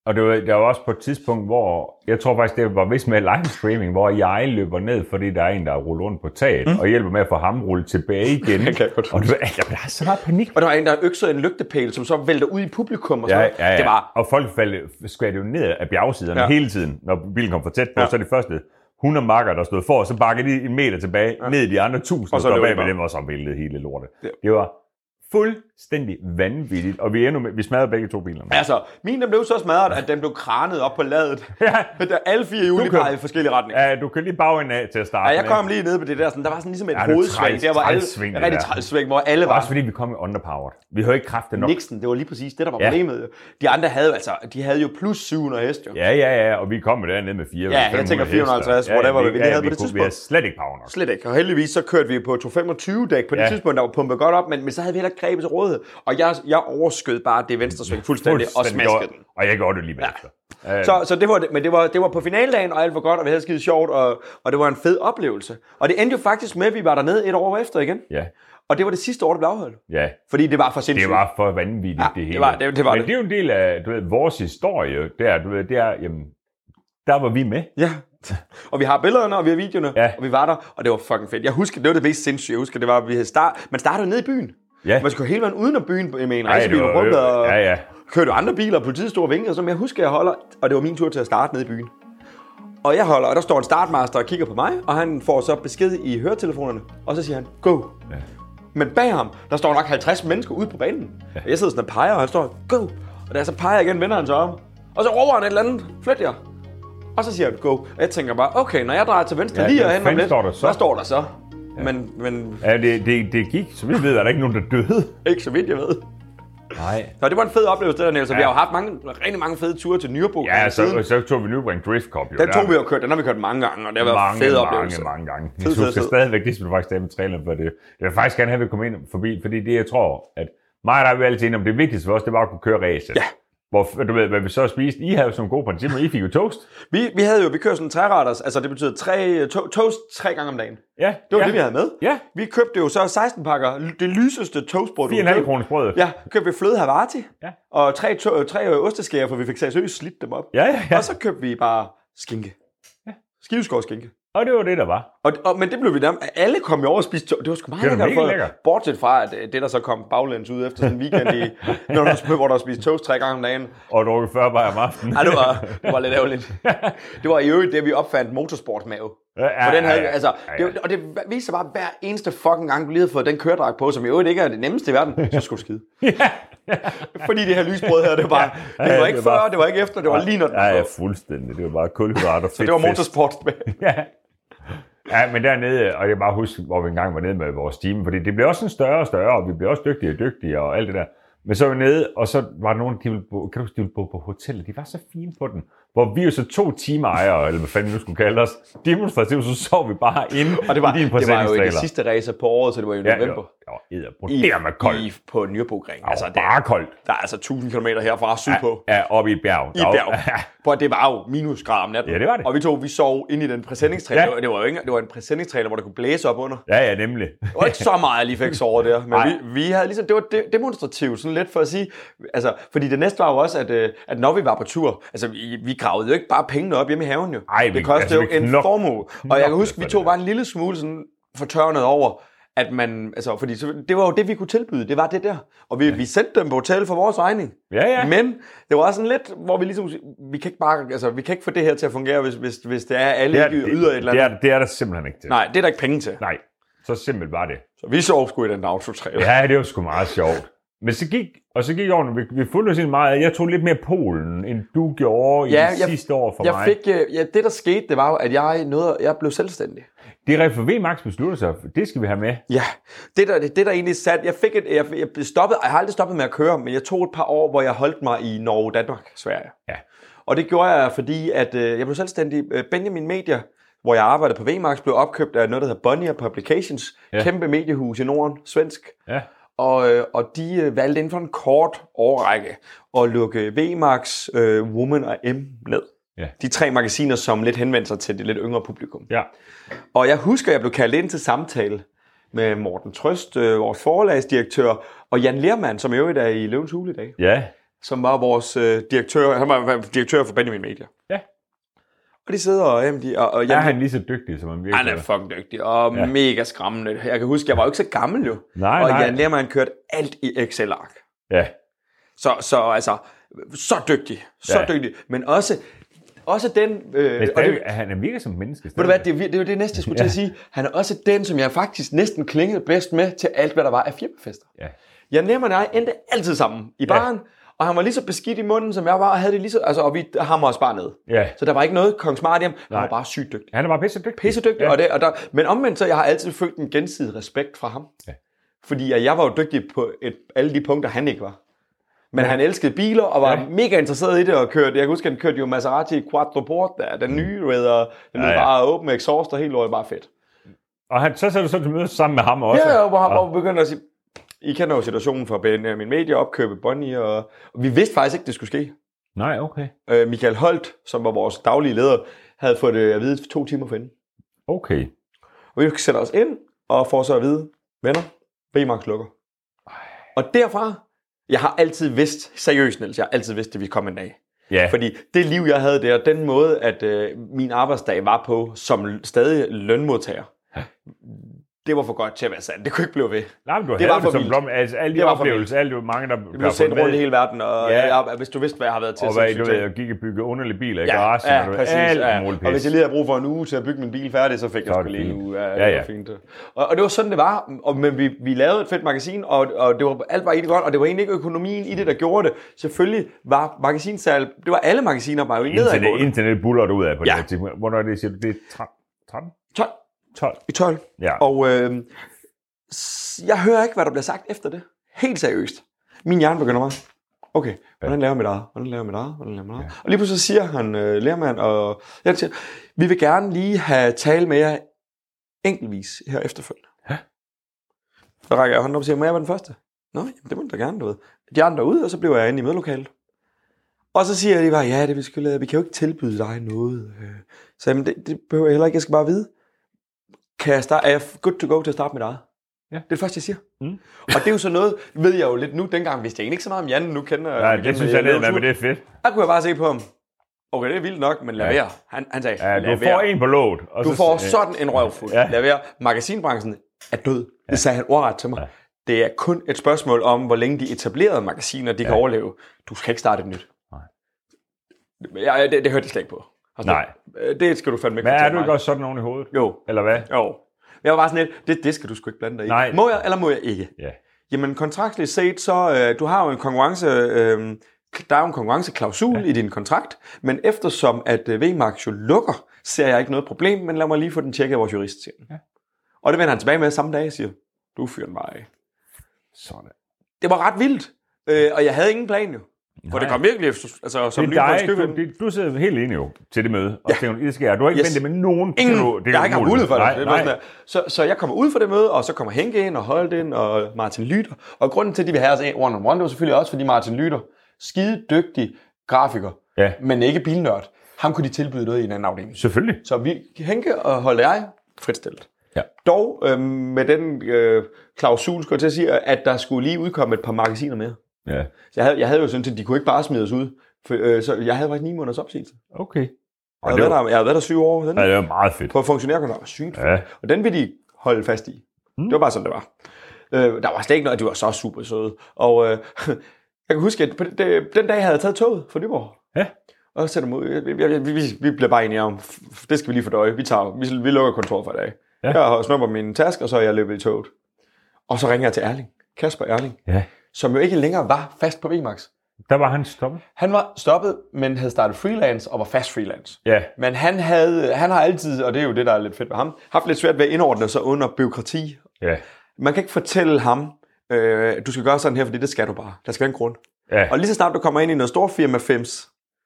Speaker 1: Og det var, der var også på et tidspunkt, hvor jeg tror faktisk, det var vist med live streaming, hvor jeg løber ned, fordi der er en, der ruller rundt på taget, mm. og hjælper med at få ham rullet tilbage igen.
Speaker 2: Det kan jeg godt
Speaker 1: og det var, jamen, der er så meget panik.
Speaker 2: Og der var en, der øksede en lygtepæl, som så vælter ud i publikum. Og sådan noget. Det var
Speaker 1: Og folk faldt, skvatte jo ned af bjergsiderne ja.
Speaker 2: Ja.
Speaker 1: hele tiden, når bilen kom for tæt på, ja.
Speaker 2: Ja.
Speaker 1: så de første 100 marker, der stod for, så bakkede de en meter tilbage, ja. ned i de andre 1000, og
Speaker 2: så
Speaker 1: så
Speaker 2: løb
Speaker 1: bag
Speaker 2: de
Speaker 1: med
Speaker 2: bare.
Speaker 1: dem, og så væltede hele lortet. Ja.
Speaker 2: Ja.
Speaker 1: Det var fuldstændig vanvittigt, og vi, endnu med, vi smadrede begge to bilerne.
Speaker 2: Altså, min den blev så smadret, at den blev kranet op på ladet.
Speaker 1: Ja.
Speaker 2: Men der alle fire hjul de
Speaker 1: kører-
Speaker 2: pegede i forskellige retninger.
Speaker 1: Ja, du kan lige bagende af til at starte
Speaker 2: Ja, jeg
Speaker 1: med,
Speaker 2: kom lige ned på det der, sådan, der var sådan ligesom et
Speaker 1: Ja,
Speaker 2: ja,
Speaker 1: det er
Speaker 2: hovedsving,
Speaker 1: træls-
Speaker 2: der var alle,
Speaker 1: trælssving, det
Speaker 2: rigtig
Speaker 1: der.
Speaker 2: trælsving, hvor alle
Speaker 1: Også
Speaker 2: var.
Speaker 1: fordi vi kom underpowered. Vi havde ikke kraft nok.
Speaker 2: Nixon, det var lige præcis det, der var
Speaker 1: Ja.
Speaker 2: problemet. jo. De andre havde jo altså, de havde jo plus 700 hest, jo.
Speaker 1: Ja, ja, ja, og vi kom jo dernede med 400
Speaker 2: Ja, jeg tænker 450,
Speaker 1: heste.
Speaker 2: whatever, hvad vi lige havde
Speaker 1: vi
Speaker 2: på det
Speaker 1: kunne- Vi
Speaker 2: tidspunkt.
Speaker 1: havde slet ikke power nok.
Speaker 2: Slet ikke. Og heldigvis så kørte vi på 225-dæk på det
Speaker 1: Ja.
Speaker 2: ja. tidspunkt, der var pumpet godt op, men, men så havde vi heller ikke grebet til rådighed. Og jeg, jeg overskød bare det venstre sving fuldstændig, fuldstændig og smaskede den.
Speaker 1: Og jeg gjorde det lige bagefter. Ja.
Speaker 2: Så, så det var, det- men det var, det var på finaldagen, og alt var godt, og vi havde skide sjovt, og, og det var en fed oplevelse. Og det endte jo faktisk med, at vi var dernede et år efter igen.
Speaker 1: ja,
Speaker 2: Og det var det sidste år, det blev afholdt.
Speaker 1: ja.
Speaker 2: Fordi det var for sindssygt.
Speaker 1: Det var for vanvittigt,
Speaker 2: Ja,
Speaker 1: det
Speaker 2: det
Speaker 1: hele.
Speaker 2: var- det- det var
Speaker 1: Men
Speaker 2: det.
Speaker 1: det er jo en del af du ved, vores historie, der, du ved, det er, jamen, der var vi med.
Speaker 2: Ja. Og vi har billederne, og vi har videoerne,
Speaker 1: Ja.
Speaker 2: ja. og vi var der, og det var fucking fedt. Jeg husker, det var det mest sindssyge, jeg husker, det var, at vi havde start... Man startede nede i byen.
Speaker 1: Ja.
Speaker 2: Man skulle hele vejen uden om byen Altså, med en
Speaker 1: Ej,
Speaker 2: rejsebil
Speaker 1: det var-
Speaker 2: og rundt, og
Speaker 1: ja, ja.
Speaker 2: kørte andre biler, og politiet stod og vinkede, og så, men jeg husker, jeg holder, og det var min tur til at starte nede i byen. Og jeg holder, og der står en startmaster og kigger på mig, og han får så besked i høretelefonerne, og så siger han, go. Ja. Men bag ham, der står nok 50 mennesker ude på banen. Ja. Og jeg sidder sådan og peger, og han står, go. Og da jeg så peger igen, vender han sig om. Og så råber han et eller andet, flyt jer. Og så siger han, go. Og jeg tænker bare, okay, når jeg drejer til venstre
Speaker 1: Ja,
Speaker 2: ja, lige
Speaker 1: hvad
Speaker 2: og hen om
Speaker 1: fanden
Speaker 2: lidt,
Speaker 1: står der så?
Speaker 2: hvad står der så? Ja. Men, men
Speaker 1: Ja, det, det, det gik, så vi ved, at der ikke er nogen, der døde.
Speaker 2: ikke så vidt, jeg ved.
Speaker 1: Nej.
Speaker 2: Så det var en fed oplevelse, det der, Niels. Ja. Vi har jo haft mange, rigtig mange fede ture til Nürburgring
Speaker 1: Ja, altså,
Speaker 2: siden.
Speaker 1: så, så tog vi Nürburgring Drift Cup. Jo,
Speaker 2: Den
Speaker 1: der.
Speaker 2: tog vi jo kørt, den har vi kørt mange gange, og det har været en
Speaker 1: mange,
Speaker 2: fed
Speaker 1: mange,
Speaker 2: oplevelse.
Speaker 1: mange gange.
Speaker 2: Fed,
Speaker 1: Jeg
Speaker 2: fed,
Speaker 1: husker
Speaker 2: fed.
Speaker 1: stadigvæk, det skulle du faktisk have med traileren for det. Jeg vil faktisk gerne have, at vi kom ind forbi, fordi det, jeg tror, at mig og dig, vi er altid enige om, det vigtigste for os, det var at kunne køre race.
Speaker 2: Ja.
Speaker 1: Hvor, du ved, hvad vi så spiste. I havde jo sådan gode principper. I fik jo toast.
Speaker 2: Vi, vi havde jo, vi kørte sådan en træretters, altså det betyder tre, to, toast tre gange om dagen.
Speaker 1: Ja,
Speaker 2: Det var
Speaker 1: ja.
Speaker 2: ja. det, vi havde med.
Speaker 1: Ja,
Speaker 2: Vi købte jo så 16 pakker, l- det lyseste toastbrød, du kunne
Speaker 1: 4,5
Speaker 2: købe.
Speaker 1: kroners brød.
Speaker 2: Ja, købte vi fløde Havarti,
Speaker 1: Ja.
Speaker 2: og tre, to, øh, tre osteskærer, for vi fik seriøst slidt dem op.
Speaker 1: ja, ja. ja.
Speaker 2: Og så købte vi bare skinke. Ja. Skiveskårsskinke.
Speaker 1: Og det var det, der var.
Speaker 2: Og, og, men det blev vi nærmest... Alle kom jo over og spiste to- Det var sgu meget
Speaker 1: Det var
Speaker 2: lækkert.
Speaker 1: mega
Speaker 2: for-
Speaker 1: lækkert.
Speaker 2: Bortset fra, at øh, det, der så kom baglæns ud efter sådan en weekend, i, når der, var- hvor der var spist toast tre gange om dagen.
Speaker 1: Og drukket 40 bajer om aftenen.
Speaker 2: Ej, det var, det var lidt ærgerligt. Det var i øvrigt det, vi opfandt motorsportmave.
Speaker 1: Ja, ja,
Speaker 2: For den havde,
Speaker 1: ja, ja.
Speaker 2: altså,
Speaker 1: Ja, ja.
Speaker 2: det, og det viste sig bare hver eneste fucking gang, du lige havde fået den køredrag på, som i øvrigt ikke er det nemmeste i verden, så skulle du skide. Fordi det her lysbrød her, det var, bare,
Speaker 1: Ja,
Speaker 2: det
Speaker 1: ja,
Speaker 2: var ikke
Speaker 1: det var-
Speaker 2: før, det var ikke efter, det var lige når den
Speaker 1: Ja, ja,
Speaker 2: var på.
Speaker 1: fuldstændig. Det var bare kulhydrater og fedt.
Speaker 2: Det var
Speaker 1: fedt.
Speaker 2: motorsport.
Speaker 1: Ja. ja, men dernede, og jeg kan bare huske, hvor vi engang var nede med vores team, fordi det blev også sådan større og større, og vi blev også dygtigere og dygtigere og alt det der. Men så var vi nede, og så var der nogen, de ville bo, kan du huske, de ville bo på hotellet. De var så fine på den. Hvor vi jo så to timeejere, eller hvad fanden vi nu skulle kalde os, demonstrativt, så sov vi bare inde
Speaker 2: Og det var,
Speaker 1: i din
Speaker 2: det var jo i det
Speaker 1: præsentingstræler.
Speaker 2: sidste race på året, så det var jo i
Speaker 1: Ja, det
Speaker 2: november.
Speaker 1: var, det var edderbrug. Eddermame koldt.
Speaker 2: i, på Nürburgring.
Speaker 1: Altså,
Speaker 2: Altså,
Speaker 1: det
Speaker 2: der,
Speaker 1: var bare koldt.
Speaker 2: der er altså 1000 km herfra sydpå.
Speaker 1: Ja, oppe i et bjerg.
Speaker 2: I et bjerg. For det var jo minusgrader om natten.
Speaker 1: Ja, det var det.
Speaker 2: Og vi tog, vi sov inde i den præsendingstræler.
Speaker 1: Ja.
Speaker 2: Ja. Det, var, det var jo ikke, det var en præsendingstræler, hvor der kunne blæse op under. Det
Speaker 1: Ja, ja, nemlig.
Speaker 2: var ikke så meget, jeg lige fik sovet der. Men
Speaker 1: Nej.
Speaker 2: vi, vi, havde ligesom, det var de, demonstrativt, sådan lidt for at sige. Altså, fordi det næste var jo også, at, øh, at når vi var på tur, altså vi, vi gravede jo ikke bare pengene op hjemme i haven jo.
Speaker 1: Ej, vi-
Speaker 2: det kostede
Speaker 1: altså,
Speaker 2: jo
Speaker 1: vi
Speaker 2: en
Speaker 1: knok-
Speaker 2: formue. Og jeg kan huske,
Speaker 1: for
Speaker 2: vi
Speaker 1: det
Speaker 2: tog
Speaker 1: der.
Speaker 2: bare en lille smule sådan fortørnet over, at man, altså, fordi så, det var jo det, vi kunne tilbyde, det var det der. Og vi, ja. vi sendte dem på hotel for vores regning.
Speaker 1: Ja, ja.
Speaker 2: Men det var også sådan lidt, hvor vi ligesom, vi kan ikke, bare, altså, vi kan ikke få det her til at fungere, hvis, hvis, hvis det er, at alle
Speaker 1: Det
Speaker 2: det
Speaker 1: er,
Speaker 2: er, ikke yder et eller andet.
Speaker 1: det, er, det er der simpelthen ikke til.
Speaker 2: Nej, det er der ikke penge til.
Speaker 1: Nej. Så simpelt var det.
Speaker 2: Så vi sov sgu i den autotrailer. Ja.
Speaker 1: Ja, det var sgu meget sjovt. Men så gik, og så gik årene, vi, vi fulgte os egentlig meget, jeg tog lidt mere Polen, end du gjorde
Speaker 2: Ja,
Speaker 1: i
Speaker 2: jeg-
Speaker 1: sidste år for mig.
Speaker 2: Jeg fik, øh, ja, det der skete, det var jo, at jeg, nåede, jeg blev selvstændig.
Speaker 1: Det er for Max besluttede sig, for, det skal vi have med.
Speaker 2: Ja, det der, det der egentlig sat, jeg fik et, jeg, jeg blev stoppet, jeg har aldrig stoppet med at køre, men jeg tog et par år, hvor jeg holdt mig i Norge, Danmark, Sverige.
Speaker 1: Ja.
Speaker 2: Og det gjorde jeg, fordi at, øh, jeg blev selvstændig. Øh, Benjamin Media, hvor jeg arbejdede på VMAX, blev opkøbt af noget, der hedder Bonnier Publications,
Speaker 1: Ja.
Speaker 2: ja. kæmpe mediehus i Norden, svensk.
Speaker 1: Ja.
Speaker 2: Og, øh, og de øh, valgte inden for en kort årrække at lukke VMAX, øh, Woman og M ned.
Speaker 1: Ja.
Speaker 2: De tre magasiner, som lidt henvendte sig til det lidt yngre publikum.
Speaker 1: Ja.
Speaker 2: Og jeg husker, jeg blev kaldt ind til samtale med Morten Trøst, øh, vores forlagsdirektør, og Jan Lermann, som i øvrigt er i Løvens Hule i dag,
Speaker 1: Ja.
Speaker 2: som var vores øh, direktør, han var, var direktør for Benjamin Media.
Speaker 1: Ja.
Speaker 2: Og de sidder og, jamen, de, og, og Jan,
Speaker 1: Er han lige så dygtig, som han virkelig
Speaker 2: han er fucking dygtig og
Speaker 1: Ja.
Speaker 2: ja. mega skræmmende. Jeg kan huske, jeg var jo ikke så gammel jo.
Speaker 1: Nej,
Speaker 2: og
Speaker 1: nej.
Speaker 2: Jan Lermann kørte alt i Excel-ark.
Speaker 1: Ja.
Speaker 2: Så, så altså, så dygtig,
Speaker 1: Ja.
Speaker 2: så ja. dygtig. Men også, også den... Øh,
Speaker 1: Men
Speaker 2: og det,
Speaker 1: stadig, det, han er virkelig som menneske.
Speaker 2: ved du hvad, det, er vir- det er jo det næste, jeg skulle ja. til at sige. Han er også den, som jeg faktisk næsten klingede bedst med til alt, hvad der var af firmafester.
Speaker 1: Ja.
Speaker 2: Jeg nemmer og jeg endte altid sammen i baren, ja. og han var lige så beskidt i munden, som jeg var, og, havde det lige så, altså, og vi hammer os bare ned.
Speaker 1: Ja.
Speaker 2: Så der var ikke noget Kongs Martium, han
Speaker 1: Nej.
Speaker 2: var bare sygt dygtig.
Speaker 1: Han er bare pisse dygtig.
Speaker 2: Pissedygtig,
Speaker 1: Ja.
Speaker 2: ja. og det, og der, men omvendt så, jeg har altid følt en gensidig respekt fra ham.
Speaker 1: Ja.
Speaker 2: Fordi at jeg var jo dygtig på et, alle de punkter, han ikke var. Men han elskede biler og var
Speaker 1: Ja.
Speaker 2: ja. mega interesseret i det og kørte. Jeg kan huske, han kørte jo Maserati Quattroporte, der, den nye Raider. Den
Speaker 1: Ja,
Speaker 2: ja, ja.
Speaker 1: Mm. ja.
Speaker 2: bare åben med exhaust og helt lort, bare fedt.
Speaker 1: Og han, så sad du så til møde sammen med ham også.
Speaker 2: Ja, ja, hvor, hvor vi begyndte at sige, I kender jo situationen fra Benjamin Media, opkøbe Bonnie, og, og vi vidste faktisk ikke, det skulle ske.
Speaker 1: Nej, okay.
Speaker 2: Øh, Michael Holt, som var vores daglige leder, havde fået det at vide to timer forinden.
Speaker 1: Okay.
Speaker 2: Og vi sætter os ind og får så at vide, venner, B-Max lukker. Og derfra, jeg har altid vidst, seriøst Niels, jeg har altid vidst, at vi kom en dag.
Speaker 1: Ja.
Speaker 2: Fordi det liv, jeg havde der, den måde, at øh, min arbejdsdag var på, som l- stadig lønmodtager, det var for godt til at være sandt. Det kunne ikke blive ved.
Speaker 1: Nej, men du
Speaker 2: det
Speaker 1: havde
Speaker 2: var
Speaker 1: det
Speaker 2: for
Speaker 1: som
Speaker 2: vildt.
Speaker 1: blom. Altså, alle de
Speaker 2: Det var for
Speaker 1: oplevelser, alle de mange, der
Speaker 2: Vi blev sendt rundt i hele verden, og
Speaker 1: Ja.
Speaker 2: ja. jeg, hvis du vidste, hvad jeg har været til.
Speaker 1: Og
Speaker 2: så
Speaker 1: hvad,
Speaker 2: synes
Speaker 1: du
Speaker 2: jeg-
Speaker 1: ved, og gik og byggede underlige biler i
Speaker 2: Ja,
Speaker 1: garagen. og
Speaker 2: ja,
Speaker 1: du ved,
Speaker 2: præcis.
Speaker 1: Alt
Speaker 2: ja.
Speaker 1: muligt
Speaker 2: Og hvis
Speaker 1: pis.
Speaker 2: jeg lige havde brug for en uge til at bygge min bil færdig, så fik jeg
Speaker 1: Så er
Speaker 2: sgu
Speaker 1: det
Speaker 2: lige en
Speaker 1: fint.
Speaker 2: uge.
Speaker 1: Ja,
Speaker 2: det var
Speaker 1: ja.
Speaker 2: Fint. Og, og, det var sådan, det var. Og, men vi, vi lavede et fedt magasin, og, og det var, alt var egentlig godt, og det var egentlig ikke økonomien i det, der gjorde det. Selvfølgelig var magasinsalg, det var alle magasiner, var jo i
Speaker 1: Internet,
Speaker 2: nedadgående.
Speaker 1: internet buller du ud af på ja.
Speaker 2: Ja.
Speaker 1: det her tidspunkt. Hvornår er det, siger du? Det er 13? 13?
Speaker 2: 12,
Speaker 1: 12?
Speaker 2: I 12.
Speaker 1: Ja.
Speaker 2: Og øh, s- jeg hører ikke, hvad der bliver sagt efter det. Helt seriøst. Min hjerne begynder bare, okay, hvordan laver jeg mit eget? Hvordan laver jeg mit eget? Hvordan laver jeg mit eget? Og lige pludselig siger han, øh, lærmand, og jeg siger, vi vil gerne lige have tale med jer enkeltvis her efterfølgende.
Speaker 1: Ja.
Speaker 2: Så rækker jeg hånden op og siger, må jeg være den første? Nå, jamen, det må du da gerne, du ved. De andre er ude, og så bliver jeg inde i mødelokalet. Og så siger de bare, ja, det er vi skal vi kan jo ikke tilbyde dig noget. Øh, Så jamen, det, det behøver jeg heller ikke, jeg skal bare vide. Kan jeg starte, er jeg good to go til at starte med dig?
Speaker 1: Ja.
Speaker 2: Det er det første, jeg siger.
Speaker 1: Mm.
Speaker 2: Og det er jo sådan noget, ved jeg jo lidt nu, dengang vidste jeg egentlig ikke så meget om Jan, nu kender øh,
Speaker 1: Ja, det synes jeg ned med, men det er fedt.
Speaker 2: Der kunne jeg bare se på ham. Okay, det er vildt nok, men lad
Speaker 1: Ja.
Speaker 2: være. Han, han sagde,
Speaker 1: Ja,
Speaker 2: lad
Speaker 1: du
Speaker 2: være.
Speaker 1: får en på låget. Og
Speaker 2: Du
Speaker 1: så-
Speaker 2: får
Speaker 1: øh,
Speaker 2: sådan en røvfuld.
Speaker 1: Ja.
Speaker 2: Ja. Lad være. Magasinbranchen er død. Det sagde han ordret til mig. Det er kun et spørgsmål om, hvor længe de etablerede magasiner, de kan overleve. Du skal ikke starte et nyt.
Speaker 1: Nej.
Speaker 2: Nej. Ja, det, det hørte jeg slet ikke på. Altså,
Speaker 1: Nej.
Speaker 2: øh, Det skal du fandme ikke
Speaker 1: Men er
Speaker 2: fortælle
Speaker 1: du ikke
Speaker 2: mig.
Speaker 1: også sådan oven i hovedet?
Speaker 2: Jo.
Speaker 1: Eller hvad?
Speaker 2: Jo. Jeg var bare sådan lidt, det, det skal du sgu ikke blande dig i.
Speaker 1: Nej.
Speaker 2: Må jeg, eller må jeg ikke?
Speaker 1: Ja.
Speaker 2: Jamen kontraktligt set, så øh, du har jo en konkurrence, øh, der er jo en konkurrenceklausul ja. i din kontrakt, men eftersom at øh, VMAX jo lukker, ser jeg ikke noget problem, men lad mig lige få den tjekket af vores jurist, siger ja. Og det vender han tilbage med samme dag, siger, du fyrer den bare af.
Speaker 1: Sådan.
Speaker 2: Det var ret vildt, øh, og jeg havde ingen plan jo. Nej. For det kom virkelig, altså som
Speaker 1: Det
Speaker 2: lyn
Speaker 1: er
Speaker 2: fra en
Speaker 1: dig,
Speaker 2: skyvind.
Speaker 1: du, det, du sidder helt enig jo til det møde, og ja. tænker, det skal jeg. Du har ikke yes.
Speaker 2: Yes.
Speaker 1: ventet med nogen.
Speaker 2: Ingen,
Speaker 1: det er jo-
Speaker 2: det, det jeg har ikke haft
Speaker 1: umuligt.
Speaker 2: mulighed for det.
Speaker 1: Nej,
Speaker 2: det er
Speaker 1: nej.
Speaker 2: bare sådan der. så, så jeg kommer ud for det møde, og så kommer Henke ind, og Holt ind, og Martin Lytter. Og grunden til, at de vil have os one on one, det var selvfølgelig også, fordi Martin Lytter, skide dygtig grafiker,
Speaker 1: Ja.
Speaker 2: men ikke bilnørd. Ham kunne de tilbyde noget i en anden afdeling.
Speaker 1: Selvfølgelig.
Speaker 2: Så vi, Henke og Holt og jeg, fritstillet.
Speaker 1: Ja.
Speaker 2: Dog øh, med den øh, klausul, skulle jeg til at sige, at der skulle lige udkomme et par magasiner mere.
Speaker 1: Ja.
Speaker 2: Jeg havde, jeg havde jo sådan set, de kunne ikke bare smide os ud. For, øh, så jeg havde faktisk ni måneders opsigelse.
Speaker 1: Okay. Og
Speaker 2: Jeg
Speaker 1: det var,
Speaker 2: havde, været der, jeg havde været der syv år. Den,
Speaker 1: ja, det var meget fedt.
Speaker 2: På funktionærkontrakt. Sygt
Speaker 1: Ja.
Speaker 2: og den vil de holde fast i. Mm. Det var bare sådan, det var. Øh, der var slet ikke noget, at de var så super søde. Og øh, jeg kan huske, at på det, det, den dag havde jeg taget toget fra Nyborg.
Speaker 1: Ja.
Speaker 2: Og så sætter mig ud. Jeg- jeg- jeg- Vi, vi, vi bliver bare enige om, f- f- det skal vi lige fordøje. Vi, tager, vi, vi lukker kontoret for i dag.
Speaker 1: Ja.
Speaker 2: Ja. Jeg snupper min taske, og så er jeg løbet i toget. Og så ringer jeg til Erling. Kasper Erling,
Speaker 1: ja.
Speaker 2: som jo ikke længere var fast på VMAX.
Speaker 1: Der var han stoppet.
Speaker 2: Han var stoppet, men havde startet freelance og var fast freelance.
Speaker 1: Ja.
Speaker 2: Men han, havde, han har altid, og det er jo det, der er lidt fedt ved ham, haft lidt svært ved at indordne sig under byråkrati.
Speaker 1: Ja.
Speaker 2: Man kan ikke fortælle ham, øh, du skal gøre sådan her, fordi det skal du bare. Der skal være en grund.
Speaker 1: Ja.
Speaker 2: Og lige så snart du kommer ind i noget stor firma 5,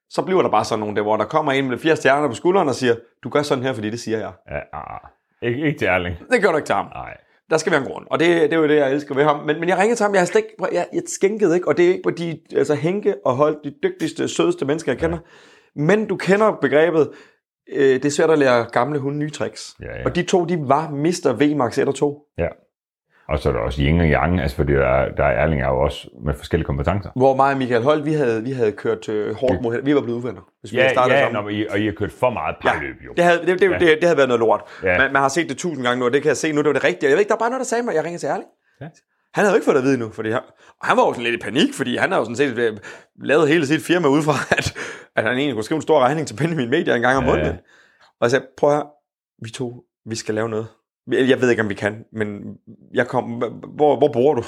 Speaker 2: så bliver der bare sådan nogle der, hvor der kommer en med fire stjerner på skulderen og siger, du gør sådan her, fordi det siger jeg.
Speaker 1: ja. Ah. Ikke, ikke til Erling.
Speaker 2: Det gør du ikke til ham.
Speaker 1: Nej.
Speaker 2: Der skal være en grund, og det, det er jo det, jeg elsker ved ham. Men, men jeg ringede til ham, jeg, har slet ikke, prøv- jeg, jeg skænkede ikke, og det er ikke, fordi altså, Henke og Holt, de dygtigste, sødeste mennesker, jeg kender. Men du kender begrebet, øh, det er svært at lære gamle hunde nye tricks.
Speaker 1: Ja, ja.
Speaker 2: Og de to, de var Mr. VMAX 1 og 2.
Speaker 1: Ja. Og så er der også yin og yang, altså fordi der, er- der er Erling er jo også med forskellige kompetencer.
Speaker 2: Hvor mig og Michael Holt, vi havde, vi havde kørt øh, hårdt mod hinanden. Vi var blevet uvenner, hvis vi
Speaker 1: Ja,
Speaker 2: havde startet
Speaker 1: ja,
Speaker 2: sammen.
Speaker 1: når I, og I har kørt for meget parløb jo.
Speaker 2: Det havde, det, det,
Speaker 1: Ja.
Speaker 2: ja. det, det havde været noget lort.
Speaker 1: Ja.
Speaker 2: Ja. Man, man har set det tusind gange nu, og det kan jeg se nu, det var det rigtige. Jeg ved ikke, der er bare noget, der sagde mig, jeg ringer til Erling.
Speaker 1: Ja.
Speaker 2: Ja. Han havde jo ikke fået det at vide nu, fordi han, og han var jo sådan lidt i panik, fordi han havde jo sådan set øh, lavet hele sit firma ud fra, at, at han egentlig kunne skrive en stor regning til Benjamin Media en gang om
Speaker 1: Ja, ja.
Speaker 2: måneden. Og jeg sagde, prøv at høre, vi to, vi skal lave noget. Jeg jeg ved ikke, om vi kan, men jeg kom, hvor, hvor bor du?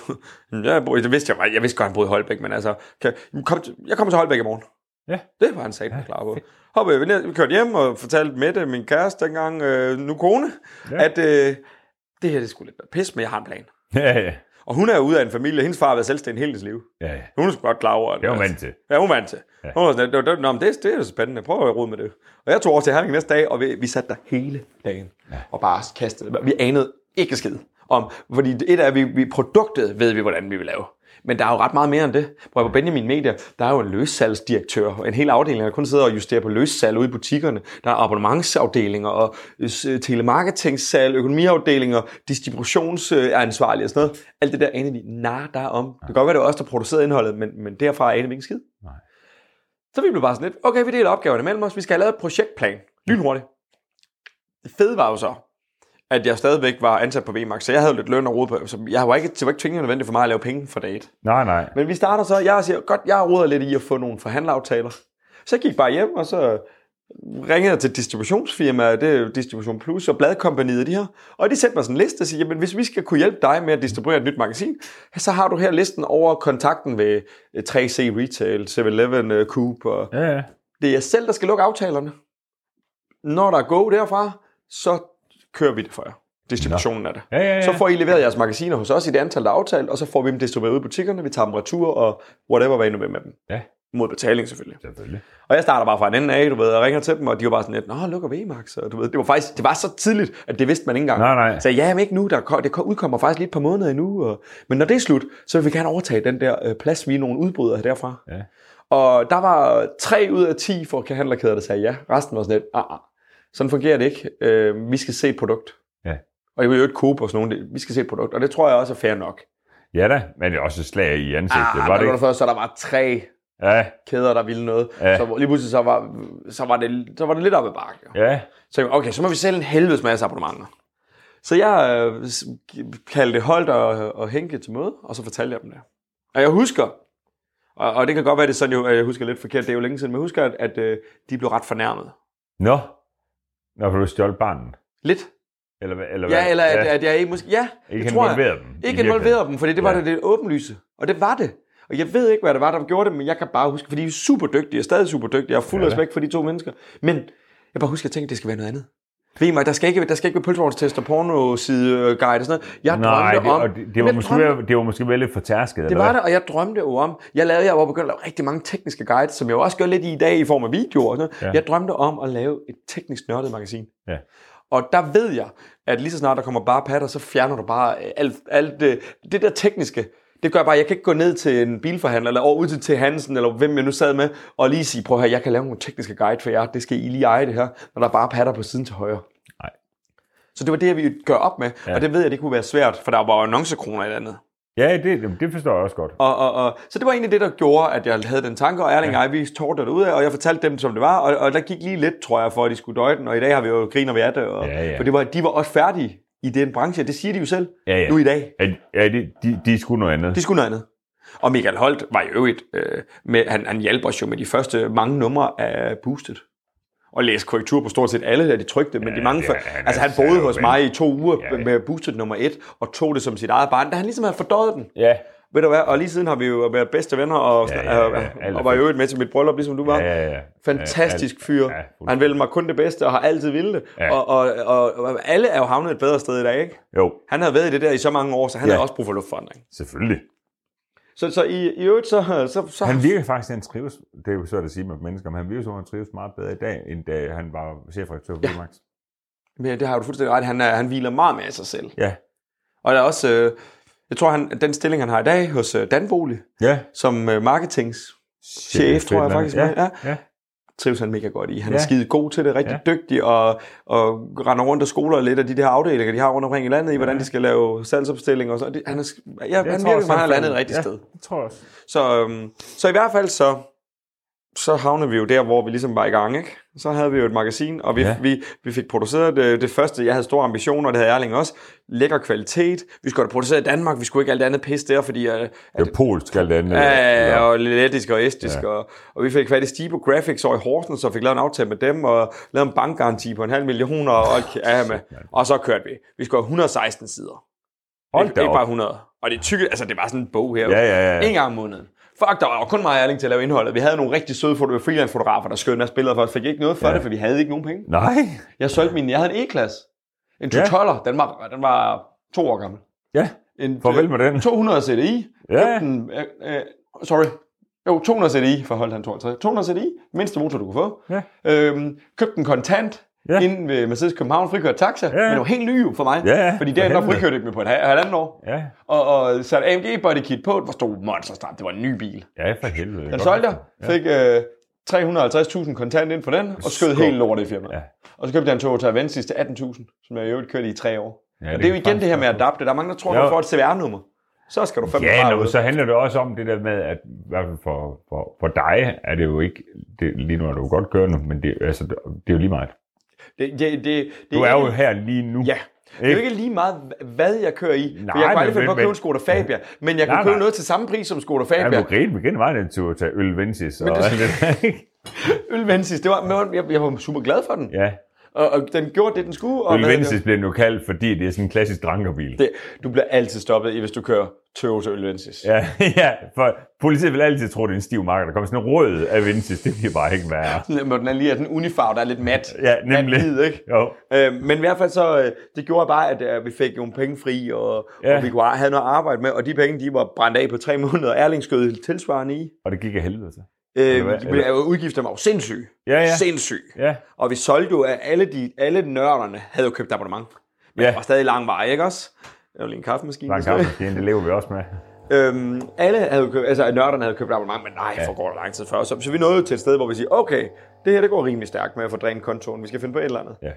Speaker 2: Jeg bor, det vidste jeg, var- jeg vidste godt, han boede i Holbæk, men altså, kan, kom, til- jeg kommer til Holbæk i morgen.
Speaker 1: Ja.
Speaker 2: Det var han satan klar på. Hoppede vi, ned, vi kørte hjem og fortalte Mette, min kæreste dengang, øh, nu kone,
Speaker 1: Ja.
Speaker 2: ja. at øh, det her det skulle lidt være pis, men jeg har en plan.
Speaker 1: Ja, ja.
Speaker 2: Og hun er jo ude af en familie, hendes far har været selvstændig hele sit liv.
Speaker 1: ja, ja.
Speaker 2: Hun er sgu godt klar over det.
Speaker 1: Det var
Speaker 2: altså.
Speaker 1: vant til.
Speaker 2: Ja, hun var vant til. Ja. Hun var sådan, det, det, det, det, det er jo spændende. Prøv at rode med det. Og jeg tog over til Herning næste dag, og vi, vi satte der hele dagen. Ja. Og bare kastede. Vi anede ikke skid om. Fordi et af vi, vi produktet ved vi, hvordan vi vil lave. Men der er jo ret meget mere end det. Prøv at på Benjamin Media, der er jo en løssalgsdirektør, og en hel afdeling, der kun sidder og justerer på løssalg ude i butikkerne. Der er abonnementsafdelinger, og øh, telemarketingsalg, økonomiafdelinger, distributionsansvarlige og sådan noget. Alt det der anede vi nada om. Det kan godt være, det var os, der producerede indholdet, men, men derfra anede vi ikke en skid. Så vi blev bare sådan lidt, okay, vi deler opgaverne mellem os, vi skal have lavet et projektplan, lynhurtigt. Det fede var jo så, at jeg stadigvæk var ansat på VMAX, så jeg havde jo lidt løn og rod på, så jeg var ikke, det var ikke tvingende nødvendigt for mig at lave penge for date.
Speaker 1: Nej, nej.
Speaker 2: Men vi starter så, jeg siger, godt, jeg roder lidt i at få nogle forhandleraftaler. Så jeg gik bare hjem, og så ringede jeg til distributionsfirmaet, det er jo Distribution Plus og Bladkompaniet og de her, og de sendte mig sådan en liste og siger, jamen hvis vi skal kunne hjælpe dig med at distribuere et nyt magasin, så har du her listen over kontakten ved øh, 3C Retail, 7-Eleven, øh, Coop og
Speaker 1: Ja, ja.
Speaker 2: det er jer selv, der skal lukke aftalerne. Når der er go derfra, så kører vi det for jer. Distributionen af det.
Speaker 1: Ja, ja, ja.
Speaker 2: Så får I leveret jeres magasiner hos os i det antal, der er aftalt, og så får vi dem distribueret ud i butikkerne, vi tager dem retur og whatever, hvad I nu vil med dem.
Speaker 1: Ja.
Speaker 2: Mod betaling selvfølgelig.
Speaker 1: Selvfølgelig.
Speaker 2: Og jeg starter bare fra en anden af, du ved, og ringer til dem, og de var bare sådan lidt, nå, lukker vi Max, og du ved, det var faktisk, det var så tidligt, at det vidste man ikke engang.
Speaker 1: Nej, nej.
Speaker 2: Så jeg, ja, men ikke nu, der, ko- det ko- udkommer faktisk lige et par måneder endnu, og, men når det er slut, så vil vi gerne overtage den der øh, plads, vi er nogle udbrydere derfra.
Speaker 1: Ja.
Speaker 2: Og der var 3 ud af 10 for handlerkæder, der sagde ja. Resten var sådan lidt, ah, ah. sådan fungerer det ikke. Øh, vi skal se et produkt.
Speaker 1: Ja.
Speaker 2: Og jeg vil jo ikke Coop og sådan nogle, vi skal se et produkt, og det tror jeg også er fair nok.
Speaker 1: Ja da, men det er også et slag i ansigtet,
Speaker 2: Ah,
Speaker 1: var
Speaker 2: var
Speaker 1: det ikke?
Speaker 2: Først, så der var tre
Speaker 1: Ja,
Speaker 2: kæder, der ville noget.
Speaker 1: Ja.
Speaker 2: Ja. Så hvor- lige pludselig så var, så var, det, så var det lidt op ad bakke. Ja.
Speaker 1: ja,
Speaker 2: Så jeg, okay, så må vi sælge en helvedes masse abonnementer. Så jeg øh, s- kaldte Holt og, og Henke til møde, og så fortalte jeg dem det. Og jeg husker, og, og det kan godt være, det er sådan, jo, at jeg husker lidt forkert, det er jo længe siden, men jeg husker, at, at øh, de blev ret fornærmet.
Speaker 1: Nå, når du stjålet barnet.
Speaker 2: Lidt.
Speaker 1: Eller, hvad- eller
Speaker 2: Ja,
Speaker 1: hvad?
Speaker 2: eller at, at jeg ikke måske... Ja,
Speaker 1: ikke
Speaker 2: det tror jeg.
Speaker 1: involveret dem. i
Speaker 2: Ikke
Speaker 1: virkeligheden.
Speaker 2: involveret dem, for det var
Speaker 1: Ja.
Speaker 2: det, det åbenlyse. Og det var det. Og jeg ved ikke, hvad det var, der gjorde det, men jeg kan bare huske, fordi de er super dygtige, er stadig super dygtige, jeg har fuld
Speaker 1: Ja.
Speaker 2: ja. respekt for de to mennesker. Men jeg kan bare husker, at jeg tænkte, det skal være noget andet. Ved I mig, der skal ikke, der skal ikke være pølsevognstest og porno-side-guide og sådan noget. Jeg
Speaker 1: Nej,
Speaker 2: drømte
Speaker 1: det,
Speaker 2: om...
Speaker 1: og det, det, var
Speaker 2: Jamen, jeg
Speaker 1: måske,
Speaker 2: drømte-
Speaker 1: være- det var måske vel lidt for tærsket,
Speaker 2: det var det, og jeg drømte jo om, jeg lavede, jeg var begyndt at lave rigtig mange tekniske guides, som jeg jo også gør lidt i i dag i form af videoer og sådan noget.
Speaker 1: Ja.
Speaker 2: Ja. Jeg drømte om at lave et teknisk nørdet magasin.
Speaker 1: Ja.
Speaker 2: Og der ved jeg, at lige så snart der kommer bare patter, så fjerner du bare øh, alt, alt det, det der tekniske. Det gør jeg bare, jeg kan ikke gå ned til en bilforhandler, eller over ud til, til Hansen, eller hvem jeg nu sad med, og lige sige, prøv her, jeg kan lave nogle tekniske guide for jer, det skal I lige eje det her, når der er bare patter på siden til højre.
Speaker 1: Nej.
Speaker 2: Så det var det, vi gør op med,
Speaker 1: Ja.
Speaker 2: ja. og det ved jeg, det kunne være svært, for der var jo annoncekroner i andet.
Speaker 1: Ja, det, jamen, det forstår jeg også godt.
Speaker 2: Og, og, og, så det var egentlig det, der gjorde, at jeg havde den tanke, og Erling ja. og jeg, vi tårte det ud af, og jeg fortalte dem, som det var, og, og der gik lige lidt, tror jeg, for at de skulle døje den, og i dag har vi jo griner vi af det, og,
Speaker 1: Ja, ja.
Speaker 2: for det var, de var også færdige i den branche, det siger de jo selv,
Speaker 1: Ja, ja.
Speaker 2: nu i dag.
Speaker 1: Ja, ja de, de, de skulle noget andet.
Speaker 2: De skulle noget andet. Og Michael Holt var i øvrigt, øh, med, han, han hjalp os jo med de første mange numre af Boosted. Og læste korrektur på stort set alle, da de trykte, men
Speaker 1: Ja,
Speaker 2: de mange
Speaker 1: ja,
Speaker 2: før.
Speaker 1: han er-
Speaker 2: altså han
Speaker 1: han er
Speaker 2: boede
Speaker 1: jo
Speaker 2: hos
Speaker 1: ven.
Speaker 2: mig i to uger
Speaker 1: Ja, ja.
Speaker 2: med Boosted nummer et, og tog det som sit eget barn, da han ligesom havde fordøjet den.
Speaker 1: Ja,
Speaker 2: Ved du hvad, og lige siden har vi jo været bedste venner, og,
Speaker 1: Ja,
Speaker 2: ja,
Speaker 1: ja, ja.
Speaker 2: ja,
Speaker 1: Alt er
Speaker 2: og var i
Speaker 1: fedt.
Speaker 2: øvrigt med til mit bryllup, ligesom du var.
Speaker 1: ja, ja. ja.
Speaker 2: Fantastisk
Speaker 1: Ja,
Speaker 2: fyr.
Speaker 1: ja,
Speaker 2: han ville mig kun det bedste, og har altid ville det.
Speaker 1: Ja.
Speaker 2: Og, og, og, og alle er jo havnet et bedre sted i dag, ikke?
Speaker 1: Jo,
Speaker 2: Han havde været i det der i så mange år, så han
Speaker 1: Ja.
Speaker 2: ja. havde også brug for luftforandring.
Speaker 1: selvfølgelig.
Speaker 2: Så, så i, i øvrigt, så... så, så
Speaker 1: Han virker faktisk, han trives, det er jo svært at sige med mennesker, men han virker som, om, han trives meget bedre i dag, end da han var chefredaktør på ja. Max.
Speaker 2: men det har du fuldstændig ret. i. Han, er, han hviler meget mere i sig selv.
Speaker 1: Ja.
Speaker 2: Og der er også... Øh, jeg tror, han, den stilling, han har i dag hos øh, Danbolig,
Speaker 1: Ja.
Speaker 2: som øh, marketingschef, tror jeg faktisk.
Speaker 1: Ja,
Speaker 2: Ja. Ja.
Speaker 1: ja.
Speaker 2: trives han mega godt i. Han
Speaker 1: Ja.
Speaker 2: er skide god til det, rigtig ja. dygtig, og, og render rundt og skoler lidt af de der afdelinger, de har rundt omkring i landet, i hvordan de skal lave salgsopstillinger og så. Det, han, er, sk- ja, han
Speaker 1: Jeg tror
Speaker 2: virker,
Speaker 1: også,
Speaker 2: som han har
Speaker 1: fandt-
Speaker 2: landet et rigtigt
Speaker 1: ja,
Speaker 2: ja. sted.
Speaker 1: det tror jeg også.
Speaker 2: Så, øhm, så i hvert fald så, så havnede vi jo der, hvor vi ligesom var i gang, ikke? Så havde vi jo et magasin, og vi,
Speaker 1: Ja.
Speaker 2: ja. vi, vi fik produceret øh, det, det første. Jeg havde store ambitioner, og det havde Erling også. Lækker kvalitet. Vi skulle have det produceret i Danmark. Vi skulle ikke alt andet pisse der, fordi... Øh,
Speaker 1: Det er jo polsk alt andet.
Speaker 2: Ja,
Speaker 1: eller-
Speaker 2: ja, og lettisk og estisk. Ja. Og, og vi fik fat i Stibo Graphics over i Horsens, og fik lavet en aftale med dem, og lavet en bankgaranti på en halv million, og, og, ja, med. og så kørte vi. Vi skulle have 116 sider.
Speaker 1: Hold
Speaker 2: Ikke,
Speaker 1: da
Speaker 2: ikke
Speaker 1: op.
Speaker 2: bare 100. Og det tykke, altså det var sådan en bog her.
Speaker 1: Ja, ja, ja.
Speaker 2: En gang om måneden. Fuck, der var jo kun mig og Erling til at lave indholdet. Vi havde nogle rigtig søde foto- freelance-fotografer, der skønne af billeder for os. Fik ikke noget for
Speaker 1: Ja.
Speaker 2: ja. det, for vi havde ikke nogen penge.
Speaker 1: Nej.
Speaker 2: Jeg solgte min, jeg havde en E-klasse. En
Speaker 1: Ja.
Speaker 2: 212'er, den var, den var to år gammel.
Speaker 1: Ja,
Speaker 2: En, øh,
Speaker 1: farvel med den.
Speaker 2: 200 CDI.
Speaker 1: Ja.
Speaker 2: Ja. Den, øh, øh, sorry. Jo, 200 CDI for Holden 52. 200 CDI, mindste motor, du kunne få.
Speaker 1: Ja.
Speaker 2: Øhm, købte den kontant
Speaker 1: Ja.
Speaker 2: ja. inden ved Mercedes København, frikørte taxa. Ja. Men det var helt ny jo for mig.
Speaker 1: Ja, ja.
Speaker 2: Fordi
Speaker 1: For
Speaker 2: derinde der
Speaker 1: helvede.
Speaker 2: frikørte jeg dem jo på et halv- halvandet år.
Speaker 1: Ja,
Speaker 2: Og, og satte AMG body kit på, det var stor monsterstrap, det var en ny bil.
Speaker 1: ja for helvede.
Speaker 2: Den
Speaker 1: Godt.
Speaker 2: solgte jeg, fik øh, 350.000 kontant ind på den, og skød
Speaker 1: Skål.
Speaker 2: helt lort i firmaet.
Speaker 1: Ja.
Speaker 2: Og så købte jeg en Toyota Avensis til 18.000, som jeg i øvrigt kørte i tre år.
Speaker 1: Ja,
Speaker 2: Ja, og
Speaker 1: det
Speaker 2: det er jo
Speaker 1: kan
Speaker 2: igen det her
Speaker 1: faktisk
Speaker 2: med at adapte. Der er mange, der tror, at
Speaker 1: Ja.
Speaker 2: du får et CVR-nummer. Så skal du fandme
Speaker 1: Ja,
Speaker 2: bare
Speaker 1: nå,
Speaker 2: ud.
Speaker 1: men så handler det også om det der med, at i hvert fald for, for, for dig er det jo ikke, det, lige nu er du jo godt kørende, men det, altså, det det er jo lige meget.
Speaker 2: Det, det, det, det,
Speaker 1: Du er jo
Speaker 2: ikke-
Speaker 1: her lige nu.
Speaker 2: Ja. Det er jo ikke lige meget, hvad jeg kører i.
Speaker 1: Nej,
Speaker 2: for jeg
Speaker 1: men-
Speaker 2: kunne aldrig finde på at
Speaker 1: men-
Speaker 2: købe en Skoda Fabia. Men jeg
Speaker 1: Nej,
Speaker 2: kunne købe
Speaker 1: nej.
Speaker 2: noget til samme pris som Skoda
Speaker 1: Ja, du
Speaker 2: Fabia.
Speaker 1: griner mig igen meget, den tur til øl Vensis. Og
Speaker 2: det-
Speaker 1: alt det der, ikke?
Speaker 2: Øl Vensis, det var, men jeg, jeg var super glad for den. Ja.
Speaker 1: ja.
Speaker 2: Og, og, den gjorde det, den skulle. Og
Speaker 1: Øl
Speaker 2: hvad hedder det?
Speaker 1: Vensis bliver den jo kaldt, fordi det er sådan en klassisk drankerbil.
Speaker 2: Det, du bliver altid stoppet i, hvis du kører Toyota Øl Vensis.
Speaker 1: Ja, ja, for politiet vil altid tro, det er en stiv marker. Der kommer sådan en rød af Vensis, det bliver bare ikke værre.
Speaker 2: Når den er lige er den unifarve, der er lidt mat.
Speaker 1: Ja, nemlig.
Speaker 2: Mat hvid, ikke?
Speaker 1: Jo.
Speaker 2: Øh, men i hvert fald så, øh, det gjorde bare, at øh, vi fik nogle penge fri, og,
Speaker 1: Ja.
Speaker 2: ja. og vi kunne have noget at arbejde med, og de penge, de var brændt af på tre måneder, og Erling skød tilsvarende i.
Speaker 1: Og det gik af helvede så.
Speaker 2: Øh,
Speaker 1: hvad?
Speaker 2: de blev- udgifterne var jo sindssyge.
Speaker 1: Ja, ja.
Speaker 2: Sindssyge.
Speaker 1: Ja,
Speaker 2: Og vi solgte jo, at alle, de, alle nørderne havde jo købt abonnement. Men
Speaker 1: Ja.
Speaker 2: det var stadig lang vej, ikke også? Det var lige en kaffemaskine.
Speaker 1: lang kaffe, det lever vi også med.
Speaker 2: Øhm, alle havde købt, altså nørderne havde købt abonnement, men nej, for går der lang tid før. Så, så vi nåede til et sted, hvor vi siger, okay, det her det går rimelig stærkt med at få drænet kontoen. Vi skal finde på et eller andet.
Speaker 1: Ja.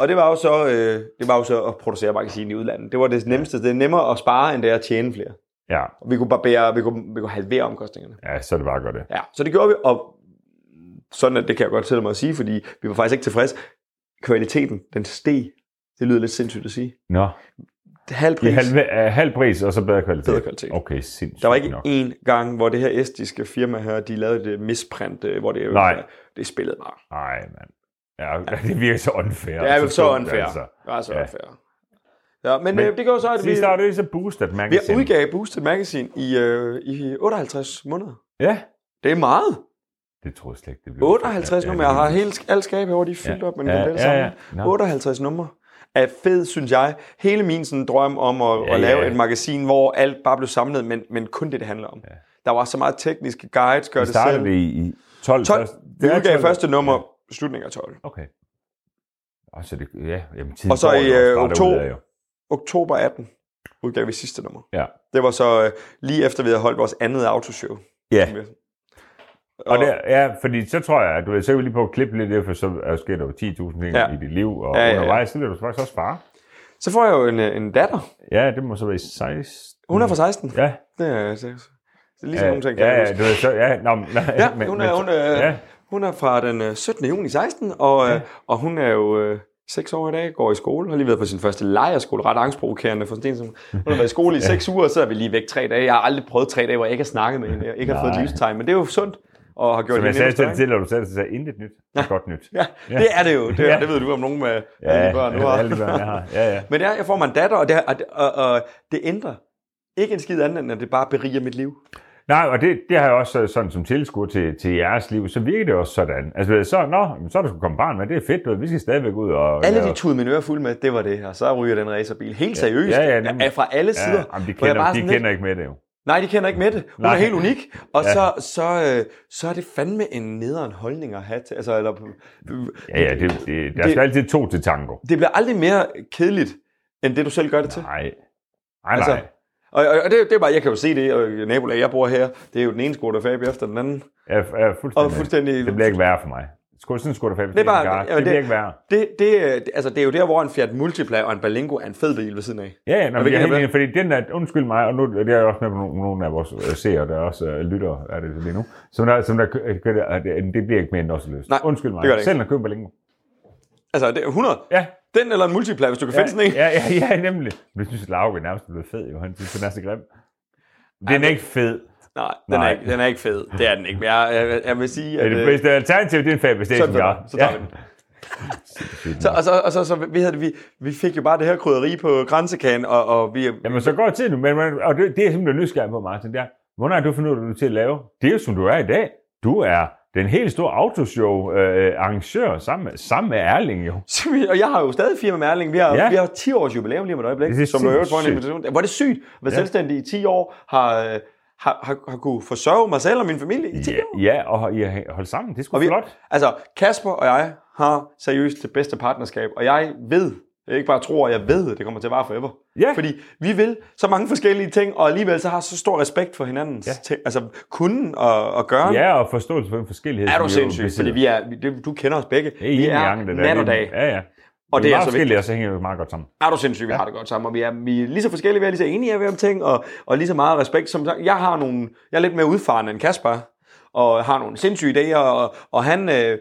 Speaker 2: Og det var jo så, øh, det var jo så at producere magasin i udlandet. Det var det nemmeste. Det er nemmere at spare, end det er at tjene flere.
Speaker 1: Ja,
Speaker 2: Og vi kunne barbere, vi kunne, vi kunne halvere omkostningerne.
Speaker 1: ja, så er det bare godt det.
Speaker 2: Ja, så det gjorde vi, og sådan at det kan jeg godt tillade mig at sige, fordi vi var faktisk ikke tilfredse. Kvaliteten, den steg. Det lyder lidt sindssygt at sige.
Speaker 1: Nå,
Speaker 2: Halv
Speaker 1: i
Speaker 2: pris.
Speaker 1: halv, øh, halv pris, og så bedre kvalitet.
Speaker 2: Bedre kvalitet.
Speaker 1: Okay, sindssygt
Speaker 2: Der var ikke
Speaker 1: nok.
Speaker 2: én gang, hvor det her estiske firma her, de lavede det misprint, øh, hvor det,
Speaker 1: Nej.
Speaker 2: det spillede bare.
Speaker 1: Nej, mand. Ja, det virker så unfair.
Speaker 2: Det er jo så
Speaker 1: dumt,
Speaker 2: unfair. Altså. Det er så
Speaker 1: Ja.
Speaker 2: unfair. Ja, men,
Speaker 1: Men
Speaker 2: men det gør så, at vi,
Speaker 1: Sidste år, det er så boostet, man kan
Speaker 2: vi
Speaker 1: sende.
Speaker 2: udgav Boosted Magazine i, øh, i 58 måneder.
Speaker 1: Ja,
Speaker 2: Det er meget.
Speaker 1: det tror jeg slet ikke, det blev.
Speaker 2: 58 numre. Jeg har
Speaker 1: helt...
Speaker 2: hele, alle skab herovre, de er fyldt
Speaker 1: Ja.
Speaker 2: op med
Speaker 1: Ja,
Speaker 2: ja, det
Speaker 1: ja,
Speaker 2: sammen.
Speaker 1: ja. Nå.
Speaker 2: 58 numre er fed, synes jeg. Hele min sådan, drøm om at,
Speaker 1: Ja,
Speaker 2: ja, at lave
Speaker 1: ja.
Speaker 2: ja. et magasin, hvor alt bare blev samlet, men, men kun det, det handler om. Ja. Der var så meget tekniske guides, gør
Speaker 1: Vi
Speaker 2: det
Speaker 1: startede
Speaker 2: selv.
Speaker 1: det i i 12.
Speaker 2: 12, vi
Speaker 1: er
Speaker 2: udgav
Speaker 1: 12.
Speaker 2: første nummer, slutningen af 12.
Speaker 1: Okay. Og så det, ja, jamen, tiden
Speaker 2: Og så
Speaker 1: går
Speaker 2: i,
Speaker 1: jo også
Speaker 2: øh,
Speaker 1: bare
Speaker 2: oktober-
Speaker 1: derudad, jo.
Speaker 2: Oktober 18 udgav vi sidste nummer.
Speaker 1: Ja.
Speaker 2: Det var så øh, lige efter, vi havde holdt vores andet autoshow.
Speaker 1: Ja,
Speaker 2: Og,
Speaker 1: og der, ja, fordi så tror jeg, at du ved, så kan vi lige på at klippe lidt det, for så er- sker der jo 10.000 ting
Speaker 2: Ja.
Speaker 1: i dit liv, og
Speaker 2: Ja,
Speaker 1: ja,
Speaker 2: ja,
Speaker 1: ja,
Speaker 2: ja.
Speaker 1: undervejs, så bliver du faktisk også far.
Speaker 2: så får jeg jo en, øh, en datter.
Speaker 1: Ja, det må så være i 16.
Speaker 2: Hun er fra 16.
Speaker 1: Mm. Ja,
Speaker 2: Det er, det er ligesom
Speaker 1: ja,
Speaker 2: nogle ting, kan
Speaker 1: ja,
Speaker 2: jeg
Speaker 1: ja, du
Speaker 2: huske.
Speaker 1: ved, så, ja, nå, men- nej,
Speaker 2: Ja, hun er, hun, øh, er,
Speaker 1: ja,
Speaker 2: ja. hun er fra den øh, 17. juni 16, og, ja. og hun er jo øh, 6 år i dag, går i skole, har lige været på sin første lejerskole, ret angstprovokerende for sådan en, som hun har været i skole i 6 uger, og så er vi lige væk 3 dage. Jeg har aldrig prøvet 3 dage, hvor jeg ikke har snakket med hende, jeg ikke har fået
Speaker 1: Nej.
Speaker 2: et livstegn, men det er jo sundt, og har gjort
Speaker 1: Som jeg
Speaker 2: hende
Speaker 1: sagde til
Speaker 2: endnu
Speaker 1: dig,
Speaker 2: større.
Speaker 1: tidligere, du sagde, så sagde jeg, intet nyt, er godt nyt.
Speaker 2: Ja, det er det jo. Det,
Speaker 1: Ja.
Speaker 2: ja. det ved du om nogen med ja, alle de børn, du har.
Speaker 1: alle de børn, jeg har. Ja, ja.
Speaker 2: Men ja, jeg får mig en datter, og det, og, det- og, og det ændrer ikke en skid andet, end at det bare beriger mit liv.
Speaker 1: Nej, og det, det har jeg også øh, sådan som tilskuer til, til jeres liv, så virker det også sådan. Altså, ved, så, nå, jamen, så er der sgu kommet barn med, det er fedt, ved, vi skal stadigvæk ud og...
Speaker 2: Alle de
Speaker 1: og-
Speaker 2: tude mine ører fuld med, det var det, og så ryger den racerbil. Helt seriøst.
Speaker 1: Ja, ja, nemlig.
Speaker 2: Er fra alle
Speaker 1: ja,
Speaker 2: sider.
Speaker 1: jamen, de
Speaker 2: Hvor
Speaker 1: kender,
Speaker 2: jeg bare
Speaker 1: de
Speaker 2: sådan lidt,
Speaker 1: kender ikke med det jo.
Speaker 2: Nej, de kender ikke med det. Hun
Speaker 1: Nej.
Speaker 2: er helt unik. Og
Speaker 1: Ja.
Speaker 2: ja. så, så, øh, så er det fandme en nederen holdning at have til. Altså, eller,
Speaker 1: Ja, ja, det, det, der er
Speaker 2: Det-
Speaker 1: sgu altid to til tango.
Speaker 2: det bliver aldrig mere kedeligt, end det du selv gør det til.
Speaker 1: Nej, nej,
Speaker 2: Altså,
Speaker 1: nej.
Speaker 2: Og, og, og det, det er bare, jeg kan jo se det, og nabolag, jeg bor her, det er jo den ene skole, der fab efter den anden.
Speaker 1: Jeg, er- jeg er fuldstændig,
Speaker 2: Og fuldstændig...
Speaker 1: Det bliver ikke værre for mig. Skulle sådan skulle det
Speaker 2: Det er bare-
Speaker 1: det,
Speaker 2: jamen,
Speaker 1: det bliver
Speaker 2: det-
Speaker 1: ikke værre.
Speaker 2: Det, det, øh, det, altså, det er jo der, hvor en Fiat Multipla og en Berlingo er en fed bil ved siden af.
Speaker 1: Ja, ja, når
Speaker 2: vi
Speaker 1: vi er
Speaker 2: kan
Speaker 1: helt
Speaker 2: have-
Speaker 1: enige, fordi den der, undskyld mig, og nu det er jeg også med på nogle- nogle af vores øh, seere, der også øh, lytter, er det lige nu, som der, som der kø- kø- det, øh, det- det bliver ikke mere end også løst.
Speaker 2: Nej,
Speaker 1: undskyld mig,
Speaker 2: det gør det ikke.
Speaker 1: selv når køber længe.
Speaker 2: Altså, det er 100.
Speaker 1: Ja,
Speaker 2: Den eller en Multipla, hvis du kan ja, finde sådan en.
Speaker 1: ja, ja, ja, nemlig. Men jeg synes, at Lauke nærmest er blevet fed, jo. Han synes, den er så grim. Den er ikke fed.
Speaker 2: Nej, den,
Speaker 1: Nej.
Speaker 2: Er ikke, den er ikke fed. Det er den ikke. Men jeg, jeg, jeg vil sige,
Speaker 1: Det
Speaker 2: at...
Speaker 1: er det
Speaker 2: øh,
Speaker 1: bedste alternativ, det er en fabelst, det er
Speaker 2: så,
Speaker 1: som jeg.
Speaker 2: så tager vi den. Så, og så, og så, så vi, havde, vi, vi fik jo bare det her krydderi på grænsekagen, og, og vi...
Speaker 1: Jamen, så går tiden nu, men, men og det, det er simpelthen nysgerrig på, Martin, der. Hvornår har du fundet ud af, hvad du er til at lave? Det er jo, som du er i dag. Du er den helt store autoshow-arrangør sammen, med- sammen med Erling, jo.
Speaker 2: Så vi- Og jeg har jo stadig firma med Erling. Vi har,
Speaker 1: Ja.
Speaker 2: ja. vi har 10 års jubilæum lige om et øjeblik,
Speaker 1: Det er
Speaker 2: som du øvrigt får en
Speaker 1: sindssygt.
Speaker 2: invitation. Hvor er det sygt at være
Speaker 1: Ja.
Speaker 2: ja. selvstændig i 10 år, har, øh, har, har, har kunne forsørge mig selv og min familie i 10
Speaker 1: Ja,
Speaker 2: år.
Speaker 1: ja og I har holdt sammen. Det er sgu
Speaker 2: Og vi-
Speaker 1: flot.
Speaker 2: Altså, Kasper og jeg har seriøst det bedste partnerskab, og jeg ved, jeg ikke bare tror, jeg ved, at det kommer til at vare forever.
Speaker 1: Ja.
Speaker 2: Fordi vi vil så mange forskellige ting, og alligevel så har så stor respekt for hinandens
Speaker 1: Ja.
Speaker 2: ja. ting, altså kunden og, og gøren.
Speaker 1: Ja, og forståelse for den forskellighed.
Speaker 2: Er du
Speaker 1: som I jo
Speaker 2: sindssyg?
Speaker 1: besidder.
Speaker 2: Fordi vi er, vi- det, du kender os begge.
Speaker 1: Det er
Speaker 2: vi
Speaker 1: en
Speaker 2: er
Speaker 1: gang, det der.
Speaker 2: nat og
Speaker 1: Det er-
Speaker 2: dag.
Speaker 1: Ja, ja.
Speaker 2: Og
Speaker 1: det er meget
Speaker 2: så vigtigt.
Speaker 1: forskelligt, og så hænger det meget godt sammen.
Speaker 2: Er du sindssyg? Vi har det godt sammen, og vi er, vi er lige så forskellige, vi er lige så enige ved om ting, og, og lige så meget respekt. Som sagt, jeg, har nogle, jeg er lidt mere udfarende end Kasper, og har nogle sindssyge idéer, og, og han, øh,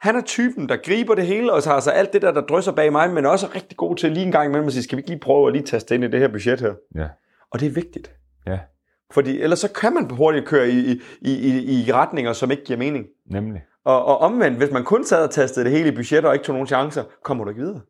Speaker 2: han er typen, der griber det hele, og tager sig alt det der, der drysser bag mig, men også er rigtig god til lige en gang imellem at sige, skal vi ikke lige prøve at lige taste ind i det her budget her?
Speaker 1: Ja.
Speaker 2: Og det er vigtigt.
Speaker 1: Ja.
Speaker 2: Fordi ellers så kan man hurtigt køre i, i, i, i- i retninger, som ikke giver mening.
Speaker 1: Nemlig.
Speaker 2: Og, og omvendt, hvis man kun sad og tastede det hele i budget og ikke tog nogen chancer, kommer du ikke videre.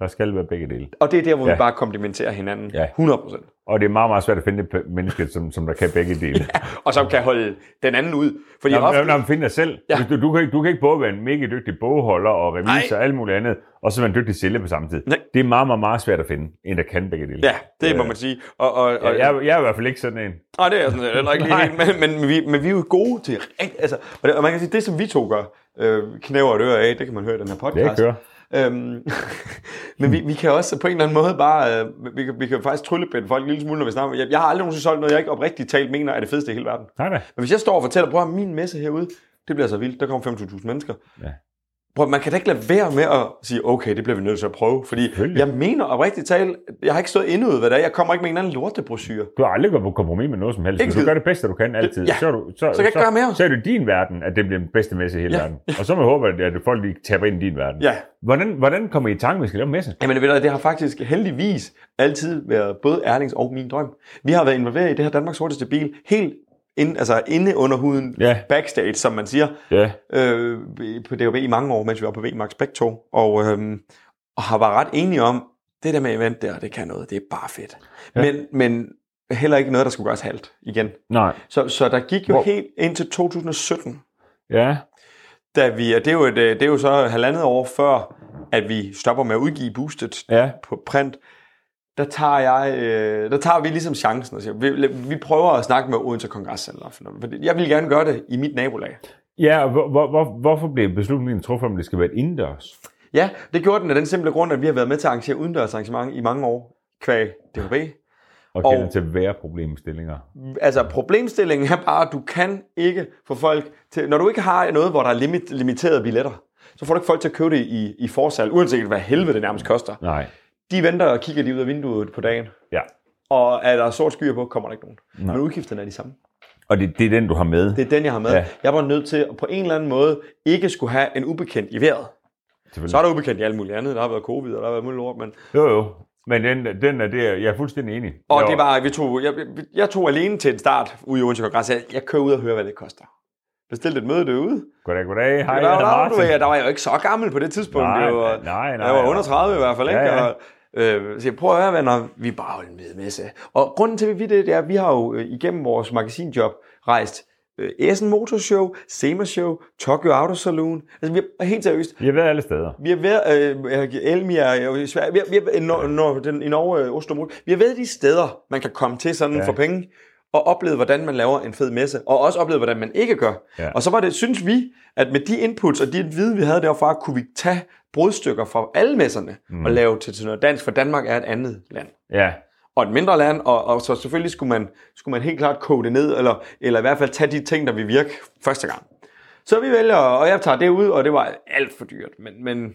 Speaker 1: Der skal være begge dele.
Speaker 2: Og det er der, hvor ja.
Speaker 1: Ja.
Speaker 2: vi bare komplementerer hinanden.
Speaker 1: Ja.
Speaker 2: 100%.
Speaker 1: Og det er meget, meget svært at finde et pe- menneske, som, som der kan begge dele.
Speaker 2: Og som kan holde den anden ud. Fordi
Speaker 1: Når,
Speaker 2: ofte,
Speaker 1: når, når man finder dig selv.
Speaker 2: Ja.
Speaker 1: Ja. Du, du, kan ikke, du kan ikke både være en mega dygtig bogholder og revisor og alt muligt andet, og så være en dygtig sælger på samme tid.
Speaker 2: Nej.
Speaker 1: Det er meget, meget, meget svært at finde en, der kan begge dele.
Speaker 2: Ja, det må man sige. Og, og, og,
Speaker 1: Og jeg, jeg er i hvert fald ikke sådan en.
Speaker 2: Nej, det er jeg sådan set heller ikke lige
Speaker 1: Nej.
Speaker 2: helt, men, men, vi, men vi er jo gode til rigt- altså, og, det, og man kan sige, det som vi to gør, øh, knæver et øre af, det kan man høre i den her
Speaker 1: Det
Speaker 2: podcast.
Speaker 1: kører.
Speaker 2: Øhm, men vi, vi kan også på en eller anden måde bare, øh, vi, kan, vi kan faktisk tryllebinde folk en lille smule, når vi snakker. Jeg, jeg har aldrig nogensinde solgt noget, jeg ikke oprigtigt talt mener er det fedeste i hele verden.
Speaker 1: Nej, nej.
Speaker 2: Men hvis jeg står og fortæller, prøv at høre, min messe herude, det bliver så vildt, der kommer 25.000 mennesker.
Speaker 1: Ja.
Speaker 2: Prøv, at- man kan da ikke lade være med at sige, okay, det bliver vi nødt til at prøve, fordi
Speaker 1: Selvfølgelig.
Speaker 2: jeg mener oprigtigt talt, jeg har ikke stået endnu ud, hvad det er, jeg kommer ikke med en eller anden lortebrochure.
Speaker 1: Du har aldrig gået på kompromis med noget som helst.
Speaker 2: Ikke
Speaker 1: Ikke du
Speaker 2: skid.
Speaker 1: gør det bedste, du kan altid.
Speaker 2: Ja.
Speaker 1: Så, er du, så, så,
Speaker 2: kan jeg ikke gøre mere.
Speaker 1: så er det din verden, at det bliver den bedste messe i hele
Speaker 2: Ja.
Speaker 1: ja. verden. Og så må jeg håbe, at at folk lige taber ind i din verden.
Speaker 2: Ja,
Speaker 1: Hvordan, hvordan kommer I i tanke, om, at I skal lave en messe?
Speaker 2: Jamen ved du, det har faktisk heldigvis altid været både Erlings og min drøm. Vi har været involveret i det her Danmarks hurtigste bil helt ind, altså inde under huden,
Speaker 1: Ja.
Speaker 2: backstage, som man siger,
Speaker 1: Ja.
Speaker 2: øh, på DOB i mange år, mens vi var på VMAX begge to, og, øh, og har været ret enige om, det der med event der, det kan noget, det er bare fedt. Ja.
Speaker 1: Ja.
Speaker 2: Men, men heller ikke noget, der skulle gøres halvt igen.
Speaker 1: Nej.
Speaker 2: Så, så der gik jo Hvor?
Speaker 1: Hvor-
Speaker 2: helt indtil 2017,
Speaker 1: Ja.
Speaker 2: da vi, og det er, jo et, øh, det er jo så halvandet år før, at vi stopper med at udgive Boosted
Speaker 1: Ja.
Speaker 2: på print, der tager, jeg, øh, der tager vi ligesom chancen og siger, vi, vi prøver at snakke med Odense Kongresscenter. for noget, fordi Jeg vil gerne gøre det i mit nabolag.
Speaker 1: Ja, og hvor, hvor, hvor, hvorfor blev beslutningen truffet, om det skal være et indendørs?
Speaker 2: Ja, det gjorde den af den simple grund, at vi har været med til at arrangere udendørsarrangement i mange år kvæg DHB.
Speaker 1: Og
Speaker 2: Og-
Speaker 1: kender til hver problemstillinger.
Speaker 2: Altså problemstillingen er bare, at du kan ikke få folk til... Når du ikke har noget, hvor der er limit, limiterede billetter, så får du ikke folk til at købe det i, i forsal, uanset hvad helvede det nærmest koster.
Speaker 1: Nej.
Speaker 2: De venter og kigger lige ud af vinduet på dagen,
Speaker 1: Ja.
Speaker 2: og er der sort skyer på, kommer der ikke nogen.
Speaker 1: Nej.
Speaker 2: Men udgifterne er de samme.
Speaker 1: Og det, det er den, du har med?
Speaker 2: Det er den, jeg har med. Ja.
Speaker 1: Ja.
Speaker 2: Jeg var nødt til at på en eller anden måde ikke skulle have en ubekendt i vejret.
Speaker 1: Selvfølgelig.
Speaker 2: Så er der ubekendt i alt muligt andet. Der har været covid, og der har været muligt lort, men...
Speaker 1: Jo, jo. Men den, den er der, jeg er fuldstændig enig.
Speaker 2: Og
Speaker 1: Jeg
Speaker 2: det var, vi tog, jeg, jeg tog alene til en start ude i Odense Kongress. Jeg, jeg kører ud og hører, hvad det koster. Bestilte et møde derude.
Speaker 1: Goddag, goddag. Hej,
Speaker 2: Ej,
Speaker 1: jeg
Speaker 2: der,
Speaker 1: hedder
Speaker 2: der,
Speaker 1: Martin.
Speaker 2: du, ved, der var jeg jo ikke så gammel på det tidspunkt.
Speaker 1: Nej,
Speaker 2: det var,
Speaker 1: nej, nej.
Speaker 2: jeg var under 30 i hvert fald, ikke?
Speaker 1: Ja, ja.
Speaker 2: Og, øh, så jeg prøver at høre, venner, vi er bare holder med messe. Og grunden til, at vi ved det, det er, at vi har jo øh, igennem vores magasinjob rejst øh, Essen Motorshow, Sema Show, Tokyo Auto Saloon. Altså, vi er helt seriøst,
Speaker 1: Jeg ved alle steder.
Speaker 2: vi har været, øh, Elmia jo i Sverige, vi har, vi har, i, Nor- Nor- den, i Norge, øh, Oslo, Brug. vi har været de steder, man kan komme til sådan ja.
Speaker 1: Ja.
Speaker 2: for penge, og opleve, hvordan man laver en fed messe, og også opleve, hvordan man ikke gør. Ja.
Speaker 1: Ja.
Speaker 2: Og så var det, synes vi, at med de inputs og de viden, vi havde derfra, kunne vi tage brudstykker fra alle messerne mm. og lave til, til noget dansk, for Danmark er et andet land.
Speaker 1: Ja.
Speaker 2: Og et mindre land, og, og så selvfølgelig skulle man, skulle man helt klart kode det ned, eller, eller i hvert fald tage de ting, der vil virke første gang. Så vi vælger, og jeg tager det ud, og det var alt for dyrt, men, men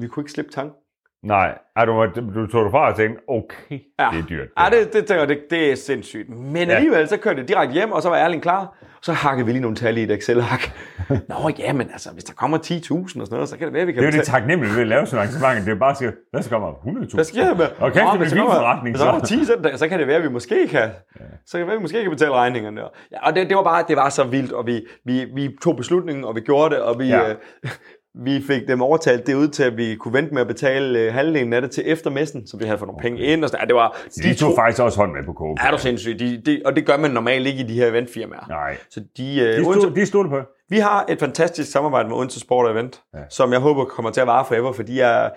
Speaker 2: vi kunne ikke slippe tanken.
Speaker 1: Nej. Ej, du, var- du tog dig fra og tænkte, okay,
Speaker 2: Ja.
Speaker 1: det er dyrt.
Speaker 2: Ja, det, det, tænker jeg, det, det er sindssygt. Men
Speaker 1: Ja.
Speaker 2: alligevel, så kørte jeg direkte hjem, og så var Erling klar. Så hakkede vi lige nogle tal i et Excel-hak. Nå ja, men altså, hvis der kommer 10.000 og sådan noget, så kan det være, vi kan
Speaker 1: Det er jo det
Speaker 2: betale-
Speaker 1: taknemmelige ved at lave sådan et arrangement. Det er bare at sige, hvad skal komme 100.000?
Speaker 2: Hvad sker der med?
Speaker 1: Og kæft,
Speaker 2: Nå,
Speaker 1: det
Speaker 2: men
Speaker 1: bliver
Speaker 2: så
Speaker 1: en
Speaker 2: kommer-
Speaker 1: forretning.
Speaker 2: Så
Speaker 1: Så.
Speaker 2: kommer 10 cent, så kan det være, at vi måske kan, så kan det være, at vi måske kan betale regningerne. der. Ja, og det, det, var bare, det var så vildt, og vi, vi, vi tog beslutningen, og vi gjorde det, og vi, ja.
Speaker 1: Ja.
Speaker 2: øh, vi fik dem overtalt det ud til, at vi kunne vente med at betale øh, halvdelen af det til eftermessen, så vi havde fået nogle penge ind. Og sådan. Ja, det var,
Speaker 1: De tog faktisk også hånd med på KB.
Speaker 2: er du sindssyg? De, de, og det gør man normalt ikke i de her eventfirmaer.
Speaker 1: Nej.
Speaker 2: Så de, øh,
Speaker 1: De
Speaker 2: Odense-
Speaker 1: stod, de stod på.
Speaker 2: vi har et fantastisk samarbejde med Odense Sport og Event, ja.
Speaker 1: Ja.
Speaker 2: som jeg håber kommer til at vare forever, for de er,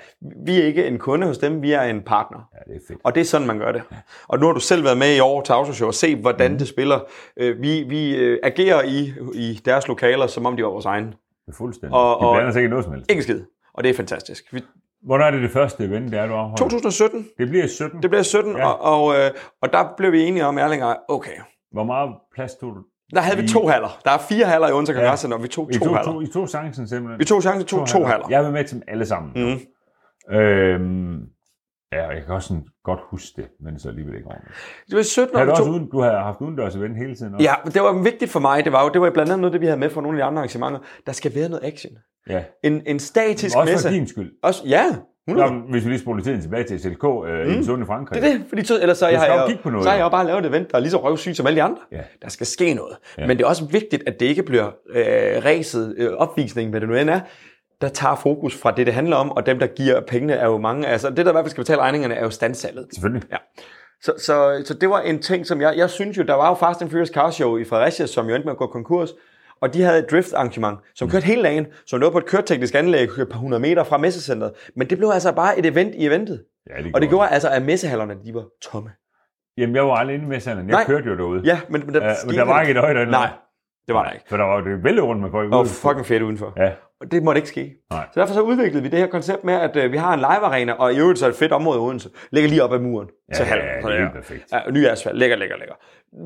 Speaker 2: vi er ikke en kunde hos dem, vi er en partner.
Speaker 1: Ja, det er fedt.
Speaker 2: Og det er sådan, man gør det. Og nu har du selv været med i år til Autoshow og se, hvordan det spiller. Øh, Vi, vi øh, agerer i, i deres lokaler, som om de var vores egne.
Speaker 1: Det er fuldstændig.
Speaker 2: Og-
Speaker 1: de
Speaker 2: og-
Speaker 1: blander sig ikke i noget som helst.
Speaker 2: Ingen skid. Og det er fantastisk. Vi,
Speaker 1: Hvornår er det det første event, der er du afholder?
Speaker 2: 2017,
Speaker 1: Det bliver i 17.
Speaker 2: det blev 17, ja.
Speaker 1: Ja.
Speaker 2: og, og, øh, og der blev vi enige om, Erling og jeg, okay.
Speaker 1: Hvor meget plads tog du?
Speaker 2: Der havde vi
Speaker 1: I-
Speaker 2: to haller. Der er fire haller i Odense
Speaker 1: Ja.
Speaker 2: Kongressen, og vi tog
Speaker 1: I
Speaker 2: to,
Speaker 1: to,
Speaker 2: haller.
Speaker 1: to, I to chancen simpelthen.
Speaker 2: Vi tog chancen, to, to haller.
Speaker 1: Jeg vil med til dem alle sammen.
Speaker 2: Mhm.
Speaker 1: Øhm, ja, og jeg kan også sådan godt huske det, men så alligevel ikke ordentligt.
Speaker 2: Det var i 17,
Speaker 1: Har
Speaker 2: og
Speaker 1: du,
Speaker 2: vi tog
Speaker 1: også uden, du har haft udendørs event hele tiden? Også?
Speaker 2: Ja, men det var vigtigt for mig. Det var jo det var blandt andet noget, det vi havde med fra nogle af de andre arrangementer. Der skal være noget action.
Speaker 1: ja.
Speaker 2: En, en statisk
Speaker 1: Også
Speaker 2: messe.
Speaker 1: for din skyld.
Speaker 2: Også, ja, 100.
Speaker 1: Nå, hvis vi lige spoler tiden tilbage til SLK øh, i den sunde Frankrig.
Speaker 2: Mm. Det er det, fordi så, ellers så, jeg
Speaker 1: skal
Speaker 2: har
Speaker 1: jo
Speaker 2: jeg,
Speaker 1: kigge på noget,
Speaker 2: så har
Speaker 1: jo.
Speaker 2: jeg jo bare lavet et event, der er lige så røvsygt som alle de andre.
Speaker 1: Ja.
Speaker 2: Der skal ske noget. Ja.
Speaker 1: Ja.
Speaker 2: Men det er også vigtigt, at det ikke bliver øh, ræset, øh, opvisningen, hvad det nu end er. der tager fokus fra det, det handler om, og dem, der giver pengene, er jo mange. Altså, det, der i hvert fald skal betale regningerne, er jo standsalget.
Speaker 1: Selvfølgelig.
Speaker 2: Ja. Så, så, så det var en ting, som jeg... Jeg synes jo, der var jo Fast and Furious Car Show i Fredericia, som jo endte med at gå konkurs, og de havde et drift arrangement,
Speaker 1: Mm.
Speaker 2: som kørte hele dagen, som lå på et køreteknisk anlæg et par hundrede meter fra messecenteret. Men det blev altså bare et event i eventet.
Speaker 1: Ja, det
Speaker 2: Og det gjorde altså, at messehallerne, de var tomme.
Speaker 1: Jamen, jeg var aldrig inde med sanden. Jeg
Speaker 2: Nej.
Speaker 1: kørte jo derude.
Speaker 2: Ja, men, men der,
Speaker 1: Øh, men
Speaker 2: skete-
Speaker 1: der var ikke et øje derinde.
Speaker 2: Nej, det var der ikke.
Speaker 1: For der var det vældig rundt med folk
Speaker 2: Og
Speaker 1: ude.
Speaker 2: fucking fedt udenfor.
Speaker 1: Ja.
Speaker 2: Og det måtte ikke ske.
Speaker 1: Nej.
Speaker 2: Så derfor så udviklede vi det her koncept med, at øh, vi har en live-arena, og i øvrigt så er det et fedt område i Odense. Ligger lige op ad muren.
Speaker 1: Ja,
Speaker 2: til hallen.
Speaker 1: ja, det
Speaker 2: Sådan
Speaker 1: er
Speaker 2: der.
Speaker 1: helt perfekt.
Speaker 2: Ja, ny asfalt. Lækker, lækker, lækker.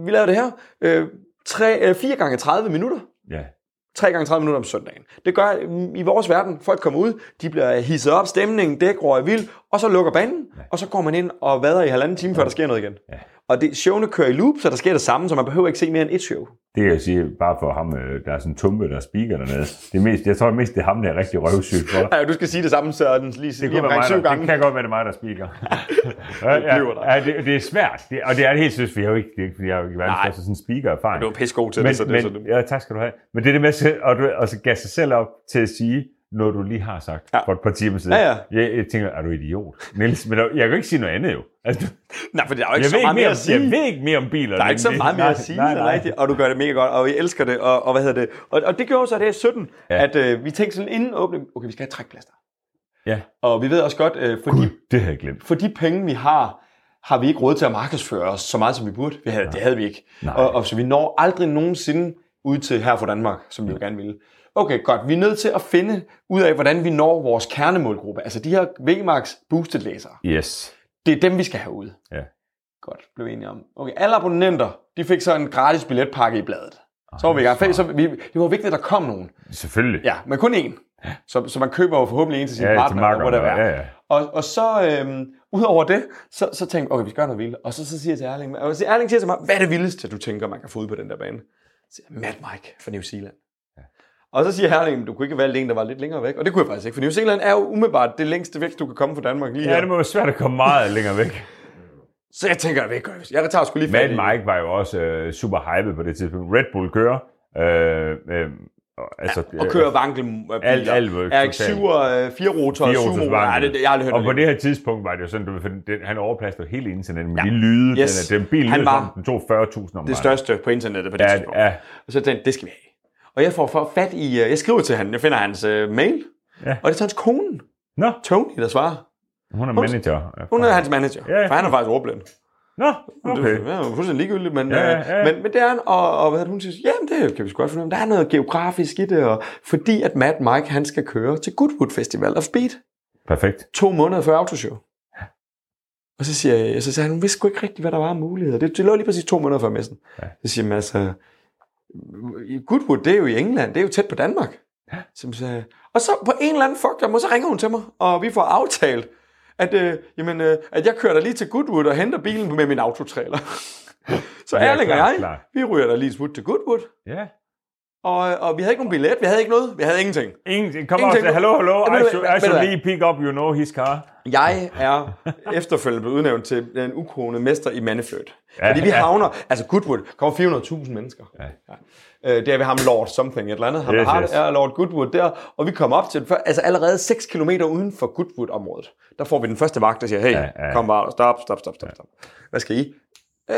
Speaker 2: Vi lavede det her. Øh, 3, øh, 4 gange 30 minutter.
Speaker 1: Ja.
Speaker 2: 3 gange 30 minutter om søndagen. Det gør mm, i vores verden, folk kommer ud, de bliver hisset op, stemningen, dæk, røg vild, og så lukker banen, og så går man ind og vader i halvanden time, før der sker noget igen.
Speaker 1: Ja.
Speaker 2: Og det, showene kører i loop, så der sker det samme, så man behøver ikke se mere end et show.
Speaker 1: Det kan jeg sige, bare for ham, øh, der er sådan en tumpe, der speaker dernede. Det er mest, jeg tror mest, det er ham, der er rigtig røvsyg for.
Speaker 2: Ja, du skal sige det samme, Søren, lige,
Speaker 1: Det,
Speaker 2: lige
Speaker 1: kunne være
Speaker 2: omkring
Speaker 1: mig,
Speaker 2: syv
Speaker 1: der,
Speaker 2: gange.
Speaker 1: det kan godt være, det er mig, der speaker. ja, ja,
Speaker 2: bliver der.
Speaker 1: ja, det, det, er svært, det, og det er det helt synes, for jeg er jo ikke, det er ikke, fordi jeg er jo ikke verdens
Speaker 2: Nej.
Speaker 1: bedste sådan speaker-erfaring.
Speaker 2: Du er pissegod til
Speaker 1: men,
Speaker 2: det, så det er
Speaker 1: men,
Speaker 2: sådan. det.
Speaker 1: ja, tak skal du have. Men det er det med at sætte- og, du, og så gasse sig selv op til at sige noget, du lige har sagt
Speaker 2: Ja.
Speaker 1: ja. for et par timer siden.
Speaker 2: Ja, ja.
Speaker 1: Jeg, jeg tænker, er du idiot? Niels, men der, jeg kan jo ikke sige noget andet jo. Altså,
Speaker 2: Nej, for der er jo ikke
Speaker 1: jeg,
Speaker 2: så
Speaker 1: ved
Speaker 2: meget
Speaker 1: ikke mere,
Speaker 2: mere at
Speaker 1: om- jeg
Speaker 2: sige.
Speaker 1: ved ikke mere om biler.
Speaker 2: Der er ikke så meget mere at sige, nej, nej. Rigtigt, og du gør det mega godt, og vi elsker det, og, og hvad hedder det. Og, og det gjorde så, at det er 17, ja.
Speaker 1: Ja.
Speaker 2: at øh, vi tænkte sådan inden åbning, okay, vi skal have trækplaster.
Speaker 1: Ja.
Speaker 2: Og vi ved også godt, øh, for, de,
Speaker 1: Det havde jeg glemt.
Speaker 2: for de penge, vi har, har vi ikke råd til at markedsføre os så meget, som vi burde. Vi havde, det havde vi ikke.
Speaker 1: Nej.
Speaker 2: Og, og så vi når aldrig nogensinde ud til her for Danmark, som vi jo gerne ville. Okay, godt. Vi er nødt til at finde ud af, hvordan vi når vores kernemålgruppe. Altså de her VMAX boosted læsere.
Speaker 1: Yes.
Speaker 2: Det er dem, vi skal have ud.
Speaker 1: Ja.
Speaker 2: Godt, blev vi enige om. Okay, alle abonnenter, de fik så en gratis billetpakke i bladet. Så var vi i gang. Fælles, Så vi, det var vigtigt, at der kom nogen.
Speaker 1: Selvfølgelig.
Speaker 2: Ja, men kun én. Så, så man køber jo forhåbentlig en til sin
Speaker 1: Ja, til
Speaker 2: partner. eller
Speaker 1: makkeren,
Speaker 2: whatever.
Speaker 1: ja, ja.
Speaker 2: Og, og så, øhm, udover det, så, så tænkte jeg, okay, vi skal gøre noget vildt. Og så, så siger jeg til Erling, og så- Erling siger til mig, hvad er det vildeste, du tænker, man kan få ud på den der bane? Så siger jeg, Mad Mike fra New Zealand. Og så siger Erling, du kunne ikke have valgt en, der var lidt længere væk. Og det kunne jeg faktisk ikke, for New Zealand er jo umiddelbart det længste væk, du kan komme fra Danmark lige her.
Speaker 1: Ja, det må være svært at komme meget længere væk.
Speaker 2: Så jeg tænker, jeg gør det. Jeg tager sgu lige fat
Speaker 1: Mad
Speaker 2: i-
Speaker 1: Mike var jo også øh, super hyped på det tidspunkt. Red Bull kører. Øh, øh, og- altså,
Speaker 2: og
Speaker 1: øh,
Speaker 2: kører vankelbiler.
Speaker 1: Alt- alt var
Speaker 2: Er ikke
Speaker 1: totalt.
Speaker 2: syv og øh, fire rotor og
Speaker 1: fire
Speaker 2: syv
Speaker 1: rotors
Speaker 2: motor. Nej,
Speaker 1: vankel.
Speaker 2: det, det, jeg har aldrig hørt
Speaker 1: Og på
Speaker 2: det.
Speaker 1: det her tidspunkt var det jo sådan, du ved, for den, han overplastede hele internettet med ja. de lyde.
Speaker 2: Yes.
Speaker 1: Den, den bil
Speaker 2: Han
Speaker 1: lød
Speaker 2: var
Speaker 1: som, den tog 40.000 om
Speaker 2: det største på internettet på det
Speaker 1: Ja,
Speaker 2: tidspunkt.
Speaker 1: ja.
Speaker 2: Og så tænkte jeg, det skal vi have. Og jeg får for fat i, øh, jeg skriver til han, jeg finder hans øh, mail.
Speaker 1: Ja.
Speaker 2: Og det er så hans kone,
Speaker 1: Nå,
Speaker 2: Tony, der svarer.
Speaker 1: hun er manager. Ja,
Speaker 2: Hun er hans manager,
Speaker 1: Ja, ja.
Speaker 2: for han er faktisk ordblind.
Speaker 1: Nå,
Speaker 2: Okay.
Speaker 1: okay.
Speaker 2: Det er fuldstændig ligegyldigt, men, ja,
Speaker 1: Ja,
Speaker 2: ja,
Speaker 1: ja,
Speaker 2: ja.
Speaker 1: ja.
Speaker 2: men, men det er han, og, og hvad er det, hun siger, jamen det kan vi sgu godt finde ud af. Der er noget geografisk i det, og fordi at Matt Mike, han skal køre til Goodwood Festival of Speed.
Speaker 1: Perfekt.
Speaker 2: to måneder før autoshow. Og så siger jeg, så sagde han, hun vidste sgu ikke rigtigt, hvad der var af muligheder. Det, det lå lige præcis to måneder før messen. Ja. Så siger man altså, Goodwood, det er jo i England, det er jo tæt på Danmark. Ja. Så sagde, og så på en eller anden fuck, der må, så ringer hun til mig, og vi får aftalt, at, øh, jamen, øh, at jeg kører der lige til Goodwood og henter bilen med min autotrailer. så
Speaker 1: Ja,
Speaker 2: Erling og
Speaker 1: klart,
Speaker 2: jeg,
Speaker 1: klart.
Speaker 2: vi ryger der lige et smut til Goodwood,
Speaker 1: Ja.
Speaker 2: og, og vi havde ikke nogen billet, vi havde ikke noget, vi havde ingenting.
Speaker 1: Ingen, kom
Speaker 2: Ingenting.
Speaker 1: op til, hallo, hallo,
Speaker 2: Ja, ved
Speaker 1: I
Speaker 2: du
Speaker 1: should,
Speaker 2: hvad,
Speaker 1: I
Speaker 2: ved du
Speaker 1: should
Speaker 2: hvad?
Speaker 1: lige pick up, you know, his car.
Speaker 2: Jeg er efterfølgende blevet udnævnt til den ukronede mester i mandefløjt. Ja,
Speaker 1: Ja,
Speaker 2: Fordi vi
Speaker 1: ja.
Speaker 2: havner, altså Goodwood, kommer 400.000 mennesker. Ja. Ja. Øh, Det er ved ham Lord something, et eller andet. Han
Speaker 1: Yes,
Speaker 2: har
Speaker 1: yes.
Speaker 2: er Lord Goodwood der, og vi kommer op til den før, altså allerede 6 km uden for Goodwood-området. Der får vi den første vagt, der siger, hey, ja,
Speaker 1: Ja,
Speaker 2: ja.
Speaker 1: ja.
Speaker 2: kom bare, stop, stop, stop, stop, stop. Hvad skal I?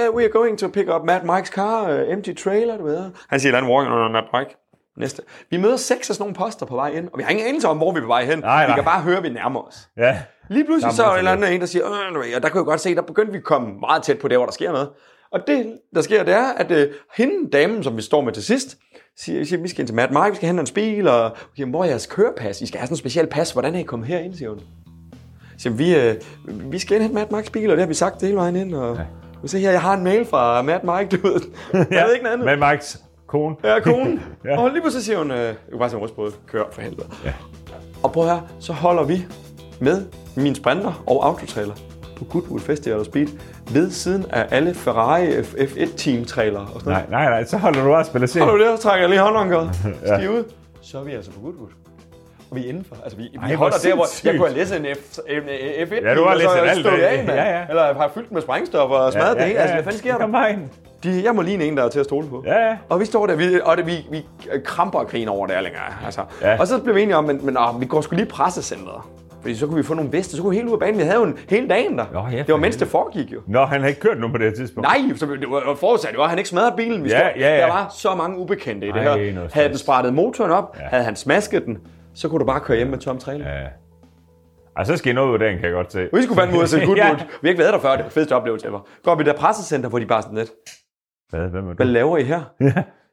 Speaker 2: Uh, we are going to pick up Matt Mike's car, uh, empty trailer, du ved. Han siger, I'm walking on Matt Mike. Næste. Vi møder seks af sådan nogle poster på vej ind, og vi har ingen anelse om, hvor vi er på vej hen.
Speaker 1: Nej,
Speaker 2: Vi
Speaker 1: nej.
Speaker 2: kan bare høre, at vi nærmer os.
Speaker 1: Ja.
Speaker 2: Lige pludselig
Speaker 1: Der
Speaker 2: så
Speaker 1: er
Speaker 2: er der
Speaker 1: meget
Speaker 2: en eller anden, en, der siger, "Øh, du ved," og der kunne jeg godt se, der begyndte vi at komme meget tæt på der, hvor der sker noget. Og det, der sker, det er, at øh, hende, damen, som vi står med til sidst, siger, siger vi skal ind til Matt Mark, vi skal hente en bil, og okay, hvor er jeres kørepas? I skal have sådan en speciel pas, hvordan er I kommet herind, siger hun. Så Siger, vi, øh, vi skal indhente Matt Marks bil, og det har vi sagt hele vejen ind. Og, ja. Se her, jeg har en mail fra Matt Mark, du ved. Jeg
Speaker 1: ja.
Speaker 2: ved ikke noget andet.
Speaker 1: Med Mikes kone.
Speaker 2: Ja, konen. ja.
Speaker 1: Ja.
Speaker 2: Og lige pludselig siger hun, øh, jeg kunne bare se en rystbrød, kør for helvede. Ja. Og prøv her, så holder vi med min sprinter og autotrailer på Goodwood Festival of Speed ved siden af alle Ferrari F1 team trailer og sådan
Speaker 1: Nej, nej, nej, så holder du bare og spiller
Speaker 2: noget.
Speaker 1: serien.
Speaker 2: Holder du det, så trækker jeg lige håndhåndgøret. ja. Skal I ud? Så er vi altså på Goodwood. Og vi er indenfor. Altså, vi, vi
Speaker 1: Ej, hvor
Speaker 2: holder der, hvor jeg
Speaker 1: sindssygt.
Speaker 2: kunne have læsset en, F, en F1
Speaker 1: Ja, du har læsset alt,
Speaker 2: alt.
Speaker 1: hvad-
Speaker 2: Af, mand.
Speaker 1: ja, ja.
Speaker 2: Eller har fyldt den med sprængstof og smadret ja, ja, ja. det hele. Altså, hvad fanden sker der?
Speaker 1: Kom bare ind.
Speaker 2: De, jeg må lige en, der er til at stole på.
Speaker 1: Ja, ja.
Speaker 2: Og vi står der, vi, og det, vi, vi kramper og griner over det her længere. Altså.
Speaker 1: Ja.
Speaker 2: Og så blev vi enige om, men, men åh, vi går sgu lige i pressecentret. Fordi så kunne vi få nogle bedste, så kunne vi helt ud af banen. Vi havde jo en hele dagen der.
Speaker 1: Nå, ja,
Speaker 2: det
Speaker 1: for
Speaker 2: var mens
Speaker 1: helvede.
Speaker 2: det foregik jo.
Speaker 1: Nå, han har ikke kørt nu på det her tidspunkt.
Speaker 2: Nej, så det var forudsat det var, at han ikke smadrede bilen. Vi
Speaker 1: Ja,
Speaker 2: står-
Speaker 1: ja, ja.
Speaker 2: Der var så mange ubekendte i det
Speaker 1: Ej,
Speaker 2: her.
Speaker 1: noget stress.
Speaker 2: Havde den sprættet motoren op,
Speaker 1: Ja.
Speaker 2: ja. havde han smasket den, så kunne du bare køre hjem med tom trailer. Ja.
Speaker 1: Ja. Ej, så skal I noget ud af dagen, kan jeg godt se.
Speaker 2: Vi skulle fandme ud og se Goodwood.
Speaker 1: Ja.
Speaker 2: ja. Vi har ikke været der før, det var den fedeste oplevelse ever. Går op i det der pressecenter, hvor de bare sådan lidt,
Speaker 1: Hvad, hvad med
Speaker 2: hvad
Speaker 1: du?
Speaker 2: laver I her?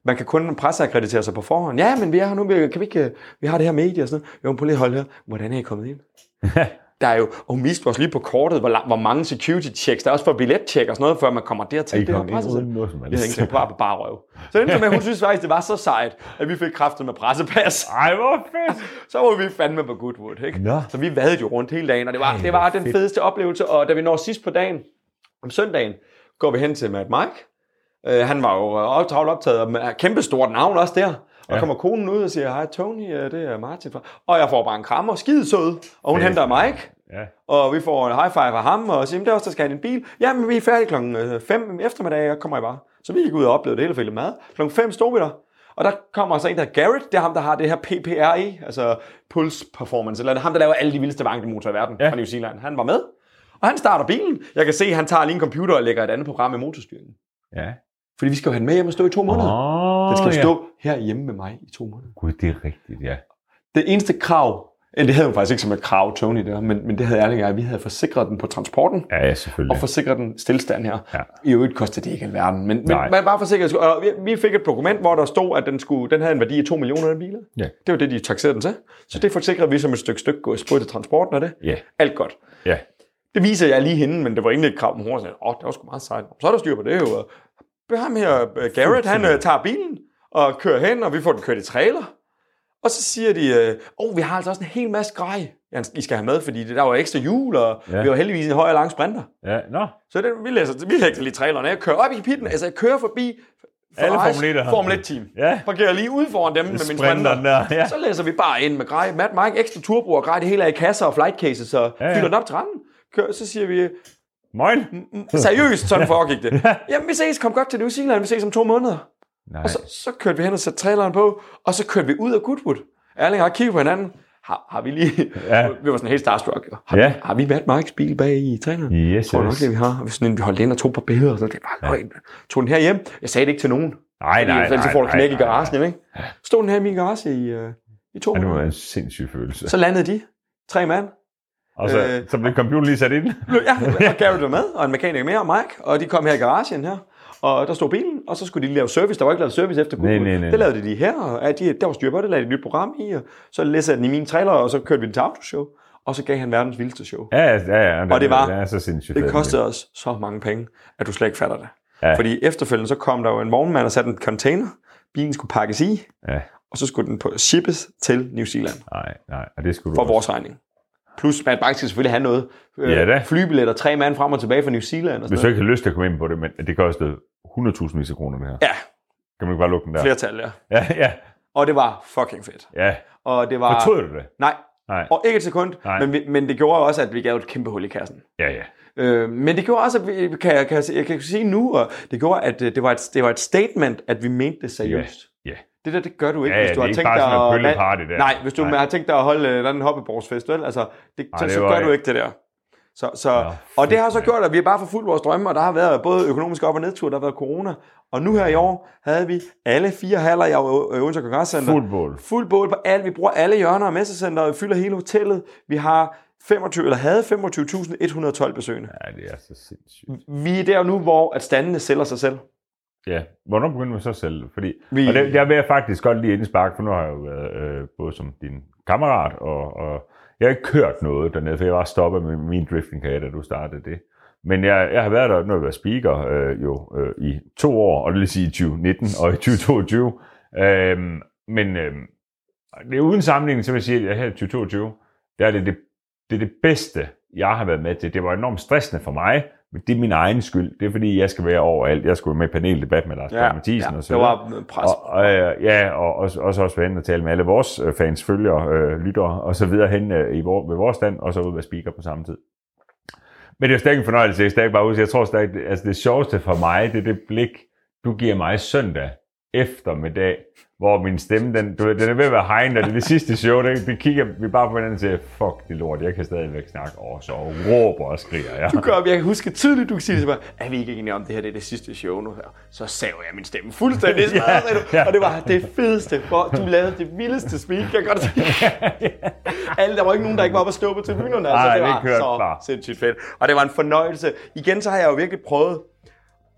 Speaker 2: Man kan kun presseakkreditere sig på forhånd. Ja, men vi er her nu, vi- kan vi ikke, øh, vi har det her medie og sådan noget. Jo, men prøv lige at holde her. Hvordan er I kommet ind? der er jo, og hun viste os lige på kortet, hvor, la- hvor mange security checks, der er også for billettjek og sådan noget, før man kommer dertil.
Speaker 1: I
Speaker 2: Det var
Speaker 1: kom ind
Speaker 2: pressecenter.
Speaker 1: uden noget som helst.
Speaker 2: Jeg havde ikke tænkt bare på bare røv. Så det endte med, at hun synes faktisk, det var så sejt, at vi fik kraftet med pressepas.
Speaker 1: Ej, hvor fedt!
Speaker 2: Så var vi fandme på Goodwood, ikke?
Speaker 1: Nå.
Speaker 2: Så vi vadede jo rundt hele dagen, og det var,
Speaker 1: Ej,
Speaker 2: det var
Speaker 1: hvor
Speaker 2: den
Speaker 1: fedt.
Speaker 2: fedeste oplevelse. Og da vi når sidst på dagen, om søndagen, går vi hen til Matt Mike. Øh, han var jo øh, op- travlt optaget og med et kæmpe stort navn også der.
Speaker 1: Ja.
Speaker 2: Og ja. kommer konen ud og siger, hej Tony, øh, det er Martin. fra-" Og jeg får bare en krammer, skide sød. Og hun
Speaker 1: Fedt.
Speaker 2: henter Mike.
Speaker 1: Ja.
Speaker 2: Og vi får en high five af ham, og siger, "Jamen, det er også, der skal han i en bil. Jamen, vi er færdige klokken 5 eftermiddag, og kommer I bare. Så vi gik ud og oplevede det hele fælde mad. Klokken 5 stod vi der, og der kommer så en, der hedder Garrett. Det er ham, der har det her PPRE, altså Pulse Performance, eller ham, der laver alle de vildeste vankelmotorer i verden
Speaker 1: Ja.
Speaker 2: ja. fra New Zealand. Han var med, og han starter bilen. Jeg kan se, at han tager lige en computer og lægger et andet program i motorstyringen.
Speaker 1: Ja.
Speaker 2: Fordi vi skal jo have den med hjem og stå i to måneder. Oh,
Speaker 1: Åh,
Speaker 2: den skal
Speaker 1: ja.
Speaker 2: jo stå herhjemme med mig i to måneder.
Speaker 1: Gud, det er rigtigt, ja.
Speaker 2: Det eneste krav, eller det havde hun faktisk ikke som et krav, Tony, der, men, men det havde Erling og jeg, vi havde forsikret den på transporten
Speaker 1: Ja, ja,
Speaker 2: og
Speaker 1: selvfølgelig.
Speaker 2: forsikre den stillstand her.
Speaker 1: Ja.
Speaker 2: Ja. I øvrigt kostede det ikke alverden, men, men
Speaker 1: Nej.
Speaker 2: man bare forsikret. Og vi, vi fik et dokument, hvor der stod, at den, skulle, den havde en værdi af 2 millioner den bil.
Speaker 1: Ja.
Speaker 2: Det var det, de takserede den til. Så det forsikrede vi som et stykke stykke gods, både til transporten og det.
Speaker 1: Ja,
Speaker 2: Alt godt.
Speaker 1: ja.
Speaker 2: Det viser jeg lige hende, men det var egentlig et krav, men hun sagde, åh, oh, det var sgu meget sejt. Så er der styr på det jo. Og Ham her, øh, Garrett, han øh, tager bilen og kører hen, og vi får den kørt i trailer. Og så siger de, øh, åh, oh, vi har altså også en hel masse grej, I skal have med, fordi det- der var ekstra hjul, og
Speaker 1: Ja.
Speaker 2: ja. vi var heldigvis en høj og lang sprinter.
Speaker 1: ja. Nå,
Speaker 2: Så det, vi, læser, vi læser lige traileren. Jeg kører op i pitten, altså jeg kører forbi
Speaker 1: Alle
Speaker 2: Ferraris
Speaker 1: Formel 1'ere.
Speaker 2: Formel 1 team.
Speaker 1: Ja.
Speaker 2: Parkerer lige ude foran dem med min sprinter.
Speaker 1: Sprinteren der, ja.
Speaker 2: Så læser vi bare ind med grej. Matt Mike, ekstra turbo og grej, det hele er i kasser og flight cases, så ja,
Speaker 1: ja.
Speaker 2: ja. fylder den op til randen. Kører, så siger vi,
Speaker 1: Moin.
Speaker 2: Mm, seriøst, sådan foregik det. Jamen, vi ses, kom godt til New Zealand, vi ses om to måneder.
Speaker 1: Nej.
Speaker 2: Og så, så kørte vi hen og satte traileren på, og så kørte vi ud af Goodwood. Erling har kigget på hinanden. Har, har vi lige...
Speaker 1: Ja.
Speaker 2: Ja. Vi var sådan helt starstruck. jo. Har,
Speaker 1: Ja.
Speaker 2: vi, har vi Matt Marks bil bag i traileren?
Speaker 1: Yes,
Speaker 2: tror nok,
Speaker 1: yes.
Speaker 2: det vi har. Og vi, sådan, vi holdt ind og tog på billeder, og så det var løgn. Tog den her hjem. Jeg sagde det ikke til nogen.
Speaker 1: Nej, nej, nej.
Speaker 2: Ellers så får du
Speaker 1: nej,
Speaker 2: knæk i
Speaker 1: nej, nej.
Speaker 2: garagen, jo, ikke? Stod den her i min garage i, øh, i to
Speaker 1: Ja, det må
Speaker 2: måneder.
Speaker 1: være en sindssyg følelse.
Speaker 2: Så landede de. Tre mand.
Speaker 1: Og så,
Speaker 2: øh,
Speaker 1: så blev computeren lige sat ind.
Speaker 2: Ja, og Gary var med, og en mekaniker mere, og Mike, og de kom her i garagen her. Og der stod bilen, og så skulle de lige lave service. Der var ikke lavet service efter Google.
Speaker 1: nej, nej.
Speaker 2: Det lavede de lige her, og ja, de, der var styr på det, lavede de et nyt program i, og så læste jeg den i min trailer, og så kørte vi den til autoshow, og så gav han verdens vildeste show.
Speaker 1: Ja, ja, ja. ja
Speaker 2: Og det var-
Speaker 1: Det er så sindssygt.
Speaker 2: Det kostede os så mange penge, at du slet ikke fatter det.
Speaker 1: Ja.
Speaker 2: Fordi efterfølgende så kom der jo en vognmand og satte en container, bilen skulle pakkes i,
Speaker 1: Ja,
Speaker 2: og så skulle den på shippes til New Zealand
Speaker 1: nej, nej. Og det skulle du
Speaker 2: for
Speaker 1: også.
Speaker 2: vores regning. Plus, man bare skal selvfølgelig have noget. Øh,
Speaker 1: Ja da.
Speaker 2: Flybilletter, tre mand frem og tilbage fra New Zealand. Og sådan
Speaker 1: Hvis du ikke har lyst til at komme ind på det, men det kostede 100.000 vis af kroner, det her.
Speaker 2: noget. Ja,
Speaker 1: Kan man ikke bare lukke den der?
Speaker 2: flertal, ja.
Speaker 1: Ja, ja,
Speaker 2: Og det var fucking fedt.
Speaker 1: ja.
Speaker 2: Og det var...
Speaker 1: Fortrød du det?
Speaker 2: Nej,
Speaker 1: Nej.
Speaker 2: Ah. og ikke et sekund,
Speaker 1: Nej.
Speaker 2: men, vi, men det gjorde også, at vi gav et kæmpe hul i kassen.
Speaker 1: Ja, ja.
Speaker 2: Øh, men det gjorde også, at vi, kan, jeg, kan, jeg, jeg kan sige nu, og det gjorde, at øh, det var, et, det var et statement, at vi mente det seriøst.
Speaker 1: Ja.
Speaker 2: Det der, det gør du ikke,
Speaker 1: Ja, ja,
Speaker 2: hvis
Speaker 1: det
Speaker 2: du
Speaker 1: er
Speaker 2: har
Speaker 1: ikke
Speaker 2: tænkt
Speaker 1: bare
Speaker 2: dig
Speaker 1: sådan en
Speaker 2: at...
Speaker 1: pølleparty der.
Speaker 2: Nej, hvis du
Speaker 1: Nej.
Speaker 2: har tænkt dig at holde øh, en eller anden hoppeborgsfest, vel? Altså, det,
Speaker 1: Nej,
Speaker 2: så,
Speaker 1: det
Speaker 2: så
Speaker 1: var
Speaker 2: gør
Speaker 1: ikke-
Speaker 2: du ikke det der. Så, så,
Speaker 1: Nå,
Speaker 2: og det har så
Speaker 1: fedt,
Speaker 2: gjort, at vi har bare forfulgt vores drømme, og der har været både økonomiske op- og nedtur, der har været corona. Og nu her i år havde vi alle fire haller i Ö- Ø- Odense Kongresscenter.
Speaker 1: Football.
Speaker 2: Fuld bål på alt. Vi bruger alle hjørner af messecenteret. Vi fylder hele hotellet. Vi har 25, eller havde 25.112 besøgende.
Speaker 1: Ja, det er så sindssygt.
Speaker 2: Vi er der nu, hvor at standene sælger sig selv.
Speaker 1: Ja, hvornår begyndte man så selv? Fordi, vi...
Speaker 2: Vi-
Speaker 1: Og det, jeg vil faktisk godt lige indspark, for nu har jeg jo været øh, både som din kammerat, og, og jeg har ikke kørt noget dernede, for jeg var stoppet med min drifting karriere, da du startede det. Men jeg, jeg har været der, nu har jeg været speaker øh, jo øh, i to år, og det vil sige i 2019 og i 2022. Øhm, men øhm, det er uden sammenligning, så vil jeg sige, at jeg her i 2022, der er det det, det er det bedste, jeg har været med til. Det var enormt stressende for mig, men det er min egen skyld. Det er fordi, jeg skal være overalt. Jeg skulle være med i paneldebat med Lars ja, Mathisen og så
Speaker 2: det
Speaker 1: videre.
Speaker 2: var pres.
Speaker 1: Og, og, øh, ja, og også, også, også være inde og tale med alle vores øh, fans, følgere, øh, lyttere og så videre hen øh, i vor, ved vores stand, og så ud være speaker på samme tid. Men det er jo stadig en fornøjelse, jeg er stadig bare ud. Jeg tror stadig, altså det sjoveste for mig, det er det blik, du giver mig søndag eftermiddag, hvor min stemme, den, du, ved, den er ved at være hegnet, og det er det sidste show, det, det kigger vi bare på hinanden og siger, fuck det lort, jeg kan stadigvæk snakke, og så råber og skriger jeg.
Speaker 2: Du gør, jeg kan huske tydeligt, du kan sige det til mig, er vi ikke enige om, det her det er det sidste show nu her? Så saver jeg min stemme fuldstændig
Speaker 1: Ja,
Speaker 2: smadret, sagde du.
Speaker 1: ja.
Speaker 2: og det var det fedeste, for du lavede det vildeste speak, kan jeg godt sige. Alle, der var ikke nogen, der ikke var på at stå på tribunerne,
Speaker 1: Nej,
Speaker 2: altså, det
Speaker 1: det
Speaker 2: var
Speaker 1: kørte
Speaker 2: så
Speaker 1: bare.
Speaker 2: sindssygt fedt. Og det var en fornøjelse. Igen, så har jeg jo virkelig prøvet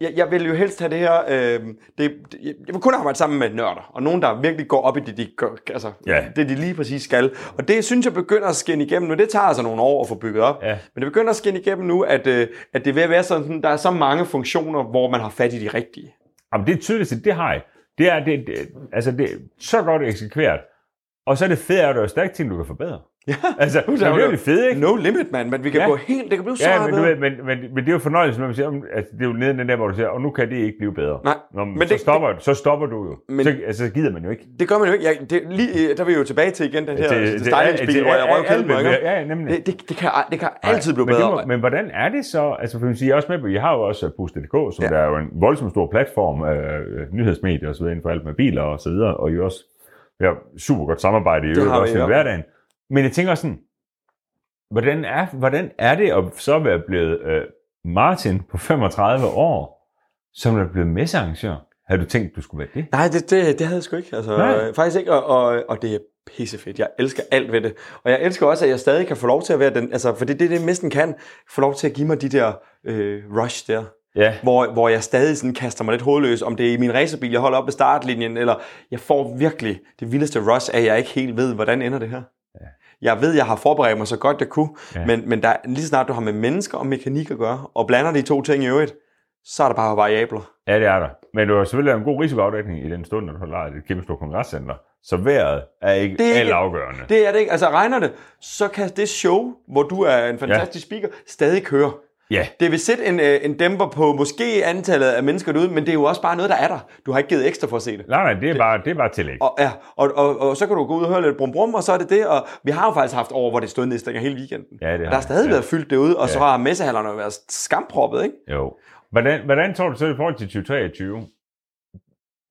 Speaker 2: jeg, jeg vil jo helst have det her... Øh, det, det, jeg vil kun arbejde sammen med nørder, og nogen, der virkelig går op i det, de, gør, altså,
Speaker 1: Ja.
Speaker 2: det, de lige præcis skal. Og det synes jeg begynder at skinne igennem nu. Det tager altså nogle år at få bygget op.
Speaker 1: Ja.
Speaker 2: Men det begynder at skinne igennem nu, at, øh, at det er ved at være sådan, der er så mange funktioner, hvor man har fat i de rigtige.
Speaker 1: Jamen, det tydeligste, det har jeg. Det er, det, det, altså, det er så godt eksekveret. Og så er det fedt, at der er stærkt ting, du kan forbedre. Ja, altså, det er virkelig fedt, ikke?
Speaker 2: No limit, man. Men vi kan
Speaker 1: Ja.
Speaker 2: gå helt... Det kan blive så
Speaker 1: Ja,
Speaker 2: meget
Speaker 1: men, du
Speaker 2: bedre.
Speaker 1: ved, men, men, men det er jo fornøjelsen, når man siger, "Om, altså, det er jo nede i den der, hvor du siger, og nu kan det ikke blive bedre.
Speaker 2: Nej,
Speaker 1: Nå, men
Speaker 2: men
Speaker 1: så,
Speaker 2: det-
Speaker 1: stopper, så stopper du jo. Men,
Speaker 2: Men-
Speaker 1: så, altså, så gider man jo ikke. Altså,
Speaker 2: Det gør man jo ikke. Jeg, det, lige, øh, der er vi jo tilbage til igen den her stylingsbil, hvor jeg røv
Speaker 1: alt
Speaker 2: kalde
Speaker 1: bliver-
Speaker 2: mig.
Speaker 1: Ja, ja, nemlig.
Speaker 2: Det, det, det, kan, ah, det kan altid blive
Speaker 1: men,
Speaker 2: bedre.
Speaker 1: det må, men hvordan er det så? Altså, for man siger, jeg er også med på, jeg har jo også øh, Bus.dk, som ja.
Speaker 2: Ja.
Speaker 1: der er jo en voldsomt stor platform, øh, øh, nyhedsmedier og så videre, inden for alt med biler og så videre, og I også vi har super godt samarbejde i øvrigt
Speaker 2: har vi,
Speaker 1: også i
Speaker 2: ja.
Speaker 1: hverdagen. Men jeg tænker sådan, hvordan er, hvordan er det at så være blevet øh, Martin på 35 år, som er blevet messearrangør? Havde du tænkt, du skulle være det?
Speaker 2: Nej, det, det, det havde jeg sgu ikke. Altså,
Speaker 1: Nej.
Speaker 2: øh, faktisk ikke, og, og, og det er pissefedt. Jeg elsker alt ved det. Og jeg elsker også, at jeg stadig kan få lov til at være den... Altså, for det er det, det mesten kan. Få lov til at give mig de der øh, rush der.
Speaker 1: Ja.
Speaker 2: Hvor, hvor jeg stadig sådan kaster mig lidt hovedløs, om det er i min racerbil, jeg holder op ved startlinjen, eller jeg får virkelig det vildeste rush af, at jeg ikke helt ved, hvordan ender det her. Jeg ved, jeg har forberedt mig så godt, jeg kunne,
Speaker 1: Ja.
Speaker 2: ja. men, men der, lige så snart du har med mennesker og mekanik at gøre, og blander de to ting i øvrigt, så er der bare variabler.
Speaker 1: Ja, det er der. Men du har selvfølgelig en god risikoafdækning i den stund, når du har lejet et kæmpe stort kongresscenter. Så vejret er ikke,
Speaker 2: Det er ikke-
Speaker 1: alt afgørende.
Speaker 2: Det er det ikke. Altså regner det, så kan det show, hvor du er en fantastisk speaker, stadig køre.
Speaker 1: Ja,
Speaker 2: Det vil sætte en, øh, en dæmper på måske antallet af mennesker derude, men det er jo også bare noget, der er der. Du har ikke givet ekstra for at se det.
Speaker 1: nej, nej, det er bare, det er bare tillæg.
Speaker 2: Og, ja, og, og, og, så kan du gå ud og høre lidt brum brum, og så er det det. Og vi har jo faktisk haft over, hvor det stod nedstænger hele weekenden.
Speaker 1: Ja, det har
Speaker 2: der har
Speaker 1: vi,
Speaker 2: stadig
Speaker 1: ja.
Speaker 2: været fyldt derude, og så
Speaker 1: Ja.
Speaker 2: har messehallerne jo været skamproppet, ikke?
Speaker 1: Jo. Hvordan, hvordan tror du så i forhold til 2023?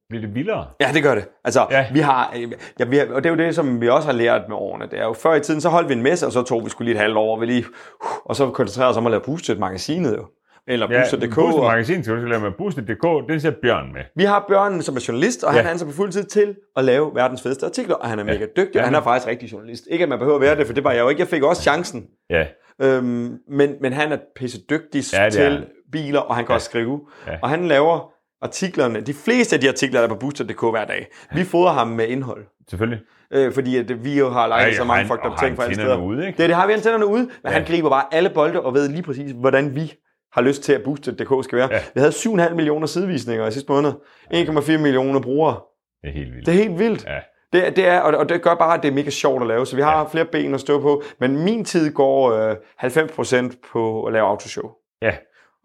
Speaker 1: Bliver det vildere?
Speaker 2: Ja, det gør det. Altså,
Speaker 1: Ja.
Speaker 2: ja. vi har, øh, ja, vi har, og det er jo det, som vi også har lært med årene. Det er jo før i tiden, så holdt vi en messe, og så tog vi skulle lige et halvt år, hvor vi lige, uh, og så koncentrerede os om at lave boostet magasinet jo. Eller ja, boostet.dk.
Speaker 1: Boosted
Speaker 2: Og,
Speaker 1: Magasin skal du så lave med. Boosted.dk, den ser Bjørn med.
Speaker 2: vi har Bjørn, som er journalist, og ja.
Speaker 1: Ja.
Speaker 2: han er ansat på fuld tid til at lave verdens fedeste artikler, og han er mega dygtig,
Speaker 1: Ja.
Speaker 2: og han er faktisk rigtig journalist. Ikke at man behøver at være det, for det var jeg jo ikke. Jeg fik også chancen.
Speaker 1: Ja,
Speaker 2: Øhm, men, men han er pisse dygtig
Speaker 1: Ja,
Speaker 2: ja,
Speaker 1: det er
Speaker 2: til
Speaker 1: han.
Speaker 2: biler, og han kan ja. også skrive.
Speaker 1: Ja.
Speaker 2: Ja. Og han laver artiklerne, de fleste af de artikler, der er på booster.dk hver dag. Vi fodrer ham med indhold.
Speaker 1: selvfølgelig.
Speaker 2: Øh, fordi at vi jo har
Speaker 1: Ej,
Speaker 2: lejret så
Speaker 1: og
Speaker 2: mange
Speaker 1: han-
Speaker 2: fucked
Speaker 1: og
Speaker 2: up
Speaker 1: har
Speaker 2: ting fra alle
Speaker 1: antennerne
Speaker 2: steder.
Speaker 1: ude, ikke?
Speaker 2: Det, det har vi antennerne ude, men ja.
Speaker 1: Ja.
Speaker 2: han griber bare alle bolde og ved lige præcis, hvordan vi har lyst til, at Boosted.dk skal være.
Speaker 1: Ja.
Speaker 2: Ja. Vi havde 7,5 millioner sidevisninger i sidste måned. 1,4 millioner brugere.
Speaker 1: Det er helt vildt.
Speaker 2: Det er helt vildt.
Speaker 1: Ja.
Speaker 2: Det, det er, og og det gør bare, at det er mega sjovt at lave, så vi har ja. flere ben at stå på. Men min tid går øh, 90% på at lave autoshow.
Speaker 1: ja.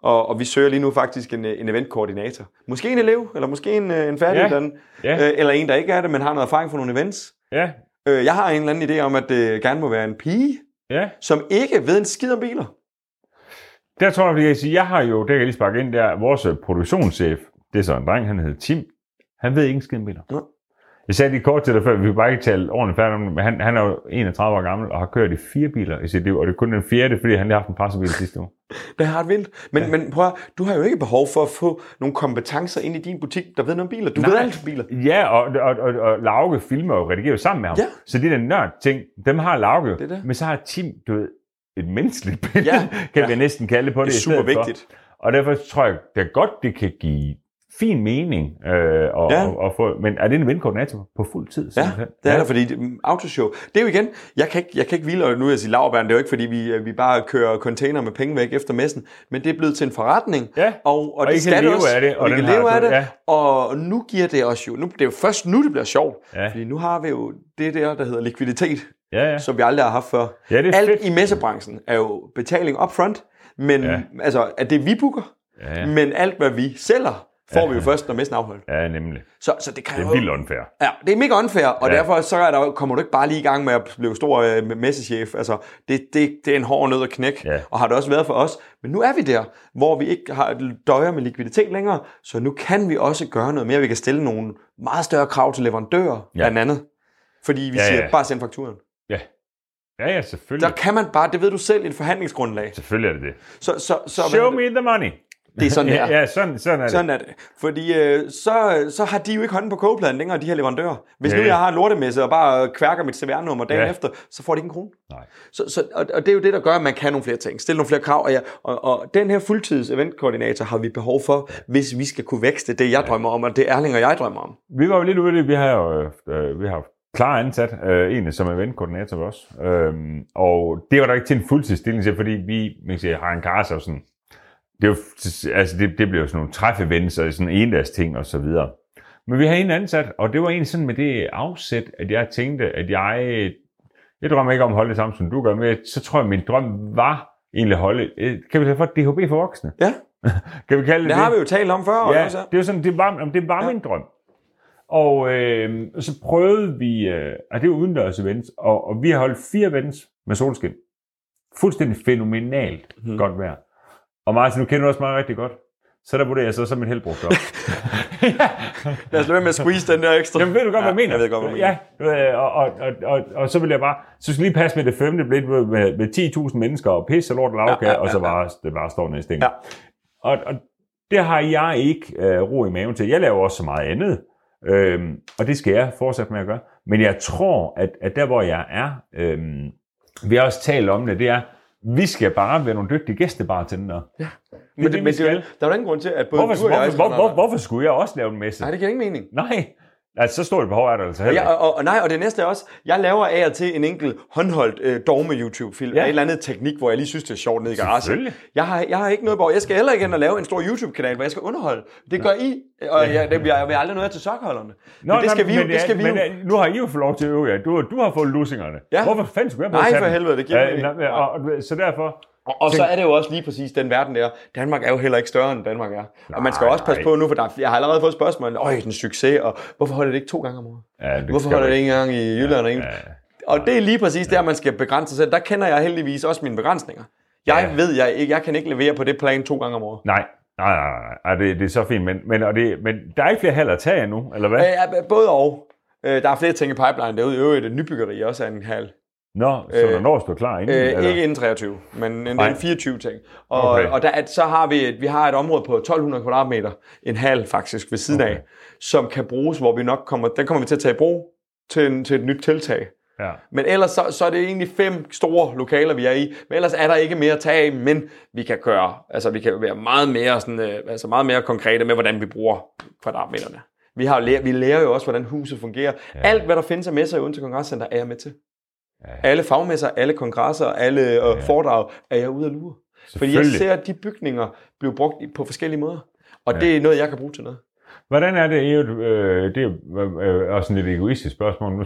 Speaker 2: Og, og vi søger lige nu faktisk en, øh, en eventkoordinator. Måske en elev, eller måske en, øh, en færdiguddannet,
Speaker 1: Ja.
Speaker 2: Øh, eller en, der ikke er det, men har noget erfaring fra nogle events.
Speaker 1: Ja,
Speaker 2: Øh, jeg har en eller anden idé om, at det gerne må være en pige,
Speaker 1: ja.
Speaker 2: som ikke ved en skid om biler.
Speaker 1: Der tror jeg, fordi jeg, siger, jeg har jo, det kan jeg lige sparke ind der, vores øh, produktionschef, det er så en dreng, han hedder Tim, han ved ikke en skid om biler.
Speaker 2: Nå.
Speaker 1: Jeg sagde det kort til dig før, vi kan bare ikke tale ordentligt færdigt om det, men han, han er jo 31 år gammel og har kørt i fire biler i sit liv, og det er kun den fjerde, fordi han lige har haft en pressebil sidste uge.
Speaker 2: Det er ret vildt. Men, ja. men prøv at, høre, du har jo ikke behov for at få nogle kompetencer ind i din butik, der ved noget om biler. Du Nej. ved alt om biler.
Speaker 1: Ja, og, og, og, og Lauke filmer og redigerer jo sammen med ham.
Speaker 2: Ja.
Speaker 1: Så de der nørd-ting, dem har Lauke.
Speaker 2: Det er det.
Speaker 1: Men så har Tim, du ved, et menneskeligt billede,
Speaker 2: Ja.
Speaker 1: kan
Speaker 2: Ja.
Speaker 1: vi næsten kalde det på det.
Speaker 2: Det
Speaker 1: i
Speaker 2: er super
Speaker 1: stedet for.
Speaker 2: vigtigt.
Speaker 1: Og derfor tror jeg da godt, det kan give fin mening. Øh, og,
Speaker 2: Ja.
Speaker 1: og, og få, men er det en vindkoordinator på fuld tid?
Speaker 2: Ja,
Speaker 1: simpelthen?
Speaker 2: det er der, fordi det- mm, autoshow, det er jo igen, jeg kan ikke, jeg kan ikke hvile, og nu vil jeg sige lavbæren, det er jo ikke, fordi vi, øh, vi bare kører container med penge væk efter messen, men det er blevet til en forretning,
Speaker 1: Ja,
Speaker 2: og, og,
Speaker 1: og
Speaker 2: det
Speaker 1: I kan
Speaker 2: skal det
Speaker 1: leve
Speaker 2: også,
Speaker 1: af det,
Speaker 2: og,
Speaker 1: og
Speaker 2: vi
Speaker 1: den
Speaker 2: kan
Speaker 1: har
Speaker 2: leve af
Speaker 1: du-
Speaker 2: det,
Speaker 1: ja.
Speaker 2: og nu giver det os jo, nu, det er jo først nu, det bliver sjovt,
Speaker 1: Ja.
Speaker 2: fordi nu har vi jo det der, der hedder likviditet,
Speaker 1: Ja, ja.
Speaker 2: som vi aldrig har haft før.
Speaker 1: Ja, det er
Speaker 2: Alt
Speaker 1: fedt.
Speaker 2: i messebranchen er jo betaling upfront, men
Speaker 1: Ja.
Speaker 2: altså, at det vi booker,
Speaker 1: Ja, ja.
Speaker 2: men alt, hvad vi sælger, får ja. vi jo først, når messen er afholdt.
Speaker 1: Ja, nemlig.
Speaker 2: Så, så det kan
Speaker 1: Det er
Speaker 2: jo...
Speaker 1: vildt unfair.
Speaker 2: Ja, det er mega unfair, og
Speaker 1: Ja.
Speaker 2: ja. derfor så er der, kommer du ikke bare lige i gang med at blive stor øh, messechef. Altså, det, det, det er en hård nød at knække,
Speaker 1: Ja.
Speaker 2: og har det også været for os. Men nu er vi der, hvor vi ikke har døjer med likviditet længere, så nu kan vi også gøre noget mere. Vi kan stille nogle meget større krav til leverandører,
Speaker 1: Ja.
Speaker 2: ja. blandt andet. Fordi vi
Speaker 1: Ja,
Speaker 2: ja,
Speaker 1: ja.
Speaker 2: siger, bare send fakturen.
Speaker 1: Ja. Ja, ja, selvfølgelig.
Speaker 2: Der kan man bare, det ved du selv, et forhandlingsgrundlag.
Speaker 1: Selvfølgelig er det det.
Speaker 2: Så, så, så,
Speaker 1: Show me the money.
Speaker 2: det er sådan, det er.
Speaker 1: Ja, ja sådan, sådan er
Speaker 2: Sådan er det. Fordi øh, så, så har de jo ikke hånden på kogepladen længere, de her leverandører. Hvis nu
Speaker 1: Nej.
Speaker 2: jeg har en lortemesse og bare kværker mit CVR-nummer dagen
Speaker 1: Ja.
Speaker 2: ja. efter, så får de ikke en krone.
Speaker 1: det. Nej.
Speaker 2: Så, så, og, og det er jo det, der gør, at man kan nogle flere ting. Stille nogle flere krav. Og, jeg, og, og den her fuldtids eventkoordinator har vi behov for, hvis vi skal kunne vækste det, jeg drømmer om, og det Erling og jeg drømmer om.
Speaker 1: Vi var jo lidt ude i det. Vi har jo øh, øh, vi har klar ansat øh, en, som er eventkoordinator også. Øhm, og det var der ikke til en fuldtidsstilling til, fordi vi man kan sige, har en kasse og sådan. Det, er jo, altså det, det bliver jo sådan nogle træfevents og sådan en dags ting og så videre. Men vi har en ansat, og det var egentlig sådan med det afsæt, at jeg tænkte, at jeg, jeg drømmer ikke om at holde det samme, som du gør, men jeg- så tror jeg, at min drøm var egentlig at holde, øh, kan vi tage for DHB for voksne?
Speaker 2: Ja,
Speaker 1: Kan vi kalde det
Speaker 2: det
Speaker 1: det?
Speaker 2: har vi jo talt om før.
Speaker 1: Ja,
Speaker 2: Ja.
Speaker 1: det
Speaker 2: Også.
Speaker 1: er jo sådan, det var, jamen, det var ja.
Speaker 2: Ja.
Speaker 1: min drøm. Og øh, så prøvede vi, øh, og det er udendørs events, og, og vi har holdt fire events med solskin. Fuldstændig fænomenalt hmm.
Speaker 2: Mhm.
Speaker 1: godt vejr. Og Martin, nu kender du også mig rigtig godt. Så der vurderer jeg så som en helbrugt op.
Speaker 2: Lad os lade være med at squeeze den der ekstra.
Speaker 1: Jamen ved du godt, ja, hvad jeg mener?
Speaker 2: Jeg ved godt, hvad du mener.
Speaker 1: ja, øh, og, og, og, og, og, så vil jeg bare, så skal jeg lige passe med det femte blev med, med, med 10.000 mennesker og pisse og lort og lavkage, ja, ja, ja, og så bare, det bare står nede i stængen.
Speaker 2: Ja.
Speaker 1: Og, og det har jeg ikke øh, ro i maven til. Jeg laver også så meget andet, øhm, og det skal jeg fortsætte med at gøre. Men jeg tror, at, at der hvor jeg er, øhm, vi har også talt om det, det er, vi skal bare være nogle dygtige gæstebartendere. Ja.
Speaker 2: Men, det, men det, er jo-
Speaker 1: skal.
Speaker 2: der er jo ingen grund til, at både
Speaker 1: Hvorfor,
Speaker 2: du og jeg...
Speaker 1: hvorfor, hvor, hvor, hvorfor skulle jeg også lave en messe?
Speaker 2: Nej, det giver ingen mening.
Speaker 1: Nej, altså så stort et behov er der altså heller
Speaker 2: Ja, og, og, og, nej, og det næste er også, jeg laver af og til en enkelt håndholdt øh, dogme YouTube-film,
Speaker 1: Ja.
Speaker 2: ja. en eller anden teknik, hvor jeg lige synes, det er sjovt nede i garagen. Altså,
Speaker 1: Selvfølgelig.
Speaker 2: Jeg har, jeg har ikke noget behov. Jeg skal heller ikke hen og lave en stor YouTube-kanal, hvor jeg skal underholde. Det gør I, og jeg, det, jeg vil aldrig noget til sokkeholderne.
Speaker 1: Nå,
Speaker 2: men det skal
Speaker 1: nej,
Speaker 2: vi jo,
Speaker 1: men,
Speaker 2: det skal vi
Speaker 1: men,
Speaker 2: jo.
Speaker 1: øh, Nu har I jo fået lov til at øve jer. Du, du har fået lussingerne.
Speaker 2: Ja.
Speaker 1: Hvorfor fanden skulle jeg bare
Speaker 2: Nej,
Speaker 1: tage
Speaker 2: for
Speaker 1: dem?
Speaker 2: helvede, det giver
Speaker 1: Øh,
Speaker 2: mening.
Speaker 1: nej, og, og, så derfor...
Speaker 2: Og, og så er det jo også lige præcis den verden der. Danmark er jo heller ikke større, end Danmark er. og man skal
Speaker 1: Nej,
Speaker 2: også passe
Speaker 1: nej.
Speaker 2: på nu, for der, er- jeg har allerede fået spørgsmål. Øj, den succes, og hvorfor holder det ikke to gange om året?
Speaker 1: Ja, det
Speaker 2: Hvorfor
Speaker 1: skal
Speaker 2: holder
Speaker 1: man
Speaker 2: det ikke engang i Jylland? og ikke?
Speaker 1: Ja.
Speaker 2: Og det er lige præcis der, man skal begrænse sig selv. Der kender jeg heldigvis også mine begrænsninger. Jeg
Speaker 1: Ja.
Speaker 2: ved, jeg, ikke, jeg kan ikke levere på det plan to gange om året.
Speaker 1: Nej, nej, nej, nej, nej. Det, det er så fint, men, men, og det, men der er ikke flere halv at tage endnu, eller hvad?
Speaker 2: Øh, øh, både og. Øh, der er flere ting i pipeline derude. I øvrigt, et nybyggeri også er en halv.
Speaker 1: Nå, så
Speaker 2: øh,
Speaker 1: der når at stå klar inden,
Speaker 2: Øh,
Speaker 1: eller?
Speaker 2: ikke inden 23, men en,
Speaker 1: Nej.
Speaker 2: en 24 ting. Og,
Speaker 1: Okay.
Speaker 2: okay. og der, er- så har vi et, vi har et område på 1200 kvadratmeter, en halv faktisk ved siden okay.
Speaker 1: Okay.
Speaker 2: af, som kan bruges, hvor vi nok kommer, den kommer vi til at tage i brug til, en, til et nyt tiltag.
Speaker 1: Ja.
Speaker 2: Men ellers så, så er det egentlig fem store lokaler, vi er i. Men ellers er der ikke mere at tage af, men vi kan gøre, altså vi kan være meget mere, sådan, øh, altså meget mere konkrete med, hvordan vi bruger kvadratmeterne. Vi, har jo lært, vi lærer jo også, hvordan huset fungerer. Ja. Alt, hvad der findes af messer i Odense Kongresscenter, er jeg med til.
Speaker 1: Ja.
Speaker 2: Ja. Alle fagmesser, alle kongresser, alle øh, foredrag, er jeg ude at lure. Fordi jeg
Speaker 1: Selvfølgelig.
Speaker 2: ser, at de bygninger bliver brugt i- på forskellige måder. Og ja. det er noget, jeg kan bruge til noget.
Speaker 1: Hvordan er det, i øvrigt, øh, det er øh, også en lidt egoistisk spørgsmål, nu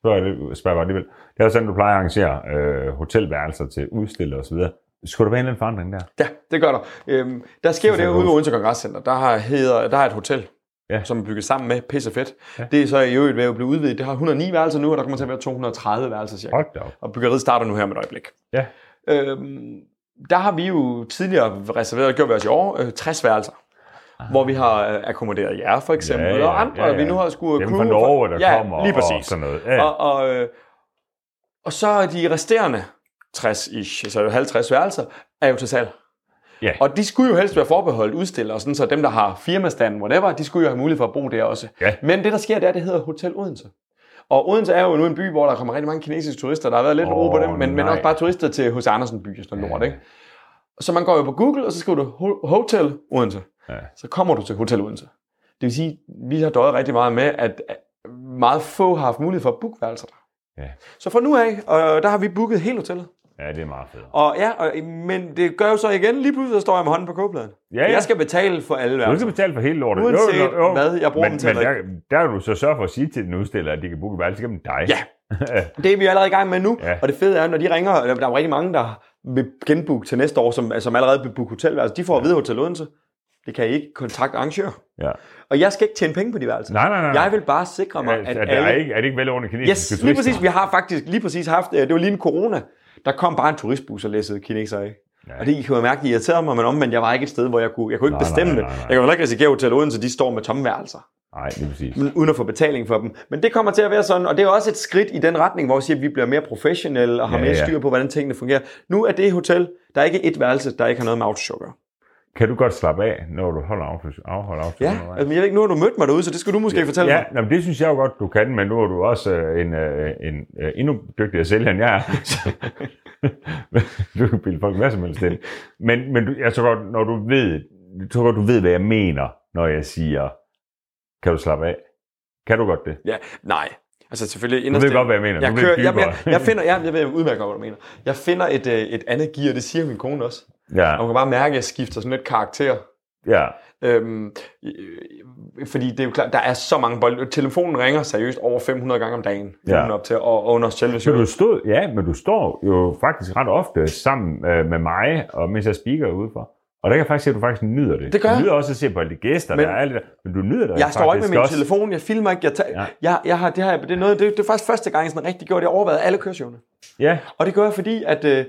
Speaker 1: spørger jeg, lidt- spørger jeg bare alligevel. Det er jo sådan, du plejer at arrangere øh, hotelværelser til udstillere osv. Skulle der være en eller anden forandring der?
Speaker 2: Ja, det gør der. Øhm, der sker jo
Speaker 1: Sådan
Speaker 2: det
Speaker 1: er
Speaker 2: ude
Speaker 1: det.
Speaker 2: ved Odense Kongresscenter. Der, har, hedder, der er et hotel,
Speaker 1: Ja.
Speaker 2: ja. som er bygget sammen med pisse fedt.
Speaker 1: Ja.
Speaker 2: Ja. Det er så i øvrigt ved at blive udvidet. Det har 109 værelser nu, og der kommer til at være 230 værelser cirka.
Speaker 1: Hold da op.
Speaker 2: Og byggeriet starter nu her med et øjeblik.
Speaker 1: Ja.
Speaker 2: Øhm, der har vi jo tidligere reserveret, det gjorde vi også i år, øh, 60 værelser. Hvor vi har øh, akkommoderet jer for eksempel,
Speaker 1: Ja, ja,
Speaker 2: og andre,
Speaker 1: ja, ja.
Speaker 2: vi nu har skulle
Speaker 1: Dem fra Norge, der
Speaker 2: ja,
Speaker 1: kommer
Speaker 2: lige præcis.
Speaker 1: og sådan noget. Ja,
Speaker 2: Og, og, øh, og så er de resterende 60-ish, altså 50 værelser, er jo til salg.
Speaker 1: Ja.
Speaker 2: Og de skulle jo helst være forbeholdt udstillere, sådan så dem, der har firmastanden, whatever, de skulle jo have mulighed for at bo der også.
Speaker 1: Ja.
Speaker 2: Men det, der sker, det er, det hedder Hotel Odense. Og Odense er jo nu en by, hvor der kommer rigtig mange kinesiske turister. Der har været lidt
Speaker 1: Åh,
Speaker 2: oh, ro på dem, men, men
Speaker 1: nej.
Speaker 2: også bare turister til hos Andersen by og sådan noget
Speaker 1: Ja.
Speaker 2: lort, ikke? Så man går jo på Google, og så skriver du Ho- Hotel Odense.
Speaker 1: Ja.
Speaker 2: Så kommer du til Hotel Odense. Det vil sige, vi har døjet rigtig meget med, at at meget få har haft mulighed for at booke værelser der.
Speaker 1: Ja.
Speaker 2: Så fra nu af, øh, der har vi booket hele hotellet.
Speaker 1: ja det er meget fedt.
Speaker 2: Og ja, og, men det gør jo så igen, lige pludselig så står jeg med hånden på kogepladen.
Speaker 1: Ja, ja.
Speaker 2: Jeg skal betale for alle
Speaker 1: Du skal
Speaker 2: værelser.
Speaker 1: betale for hele lortet.
Speaker 2: Uanset hvad, jeg bruger
Speaker 1: men,
Speaker 2: dem til
Speaker 1: Men
Speaker 2: at
Speaker 1: der, der kan du så sørge for at sige til den udstiller, at de kan booke værelse gennem dig.
Speaker 2: Ja. Det er vi allerede i gang med nu,
Speaker 1: ligesom- Ja.
Speaker 2: ja. og det fede er, når de ringer, og der er jo rigtig mange, der vil genbooke til næste år, som, som allerede vil booke hotelværelser, de får at vide Hotel Odense. Det Det kan I ikke kontakte arrangør.
Speaker 1: Ja.
Speaker 2: Og jeg skal ikke tjene penge på de værelser.
Speaker 1: Nej, nej, nej, nej.
Speaker 2: Jeg vil bare sikre mig,
Speaker 1: Ja,
Speaker 2: at
Speaker 1: er, det, er,
Speaker 2: alle...
Speaker 1: ikke, er det ikke velordnet kinesiske
Speaker 2: Yes, lige præcis. Vi har faktisk lige præcis haft... øh, Det var lige en corona. Der kom bare en turistbus og læssede kinesere af.
Speaker 1: Ja.
Speaker 2: Og det I kan jo mærke, det irriterede mig, men omvendt, jeg var ikke et sted, hvor jeg kunne, jeg kunne ikke
Speaker 1: Nej,
Speaker 2: bestemme
Speaker 1: nej,
Speaker 2: det.
Speaker 1: nej, nej.
Speaker 2: Jeg kan jo heller ikke risikere, at Hotel Odense, de står med tomme værelser
Speaker 1: Nej, lige præcis.
Speaker 2: men uden at få betaling for dem. Men det kommer til at være sådan, og det er også et skridt i den retning, hvor vi siger, at vi bliver mere professionelle og har
Speaker 1: Ja,
Speaker 2: ja, mere
Speaker 1: ja.
Speaker 2: styr på, hvordan tingene fungerer. Nu er det hotel, der er ikke et værelse, der ikke har noget med autoshow at gøre.
Speaker 1: Kan du godt slappe af, når du holder afholder, afholder afholder
Speaker 2: Ja, altså, jeg ved ikke, nu har du mødt mig derude, så det skal du måske ja, fortælle
Speaker 1: Ja,
Speaker 2: mig.
Speaker 1: nå, men det synes jeg jo godt, du kan, men nu er du også øh, en, øh, en øh, endnu dygtigere sælger, end jeg er. Så- du kan bilde folk hvad som helst ind. Men, men du, jeg tror godt, når du ved, jeg tror godt, du ved, hvad jeg mener, når jeg siger, kan du slappe af? Kan du godt det?
Speaker 2: Ja, nej. Altså selvfølgelig
Speaker 1: Du
Speaker 2: inderst
Speaker 1: ved
Speaker 2: inde-
Speaker 1: godt, hvad jeg mener.
Speaker 2: jeg,
Speaker 1: du ved
Speaker 2: kører, jeg,
Speaker 1: dybere.
Speaker 2: jeg, jeg, finder, jeg, jeg ved udmærket godt, hvad du mener. Jeg finder et, øh, et andet gear, det siger min kone også.
Speaker 1: ja,
Speaker 2: Og hun kan bare mærke, at jeg skifter sådan lidt karakter.
Speaker 1: ja,
Speaker 2: Øhm, øh, fordi det er jo klart, der er så mange bold. Telefonen ringer seriøst over 500 gange om dagen.
Speaker 1: Ja.
Speaker 2: Ja. Op til, og, og under selve
Speaker 1: Så
Speaker 2: showet.
Speaker 1: du stod, ja, men du står jo faktisk ret ofte sammen øh, med mig, og mens jeg speaker udefor. Og der kan jeg faktisk se, at du faktisk nyder det.
Speaker 2: Det gør
Speaker 1: Du
Speaker 2: jeg.
Speaker 1: nyder også at se på alle de gæster, men,
Speaker 2: Men-
Speaker 1: der er alle der. Men du nyder det
Speaker 2: Jeg står ikke med
Speaker 1: faktisk
Speaker 2: min
Speaker 1: også.
Speaker 2: telefon, jeg filmer ikke, jeg, tager,
Speaker 1: Ja.
Speaker 2: ja. jeg, jeg har, det, har jeg, det, er noget, det, det er faktisk første gang, jeg sådan rigtig gjorde det, jeg overvejede alle køreshowene.
Speaker 1: Ja,
Speaker 2: Og det gør jeg, fordi at, øh, jeg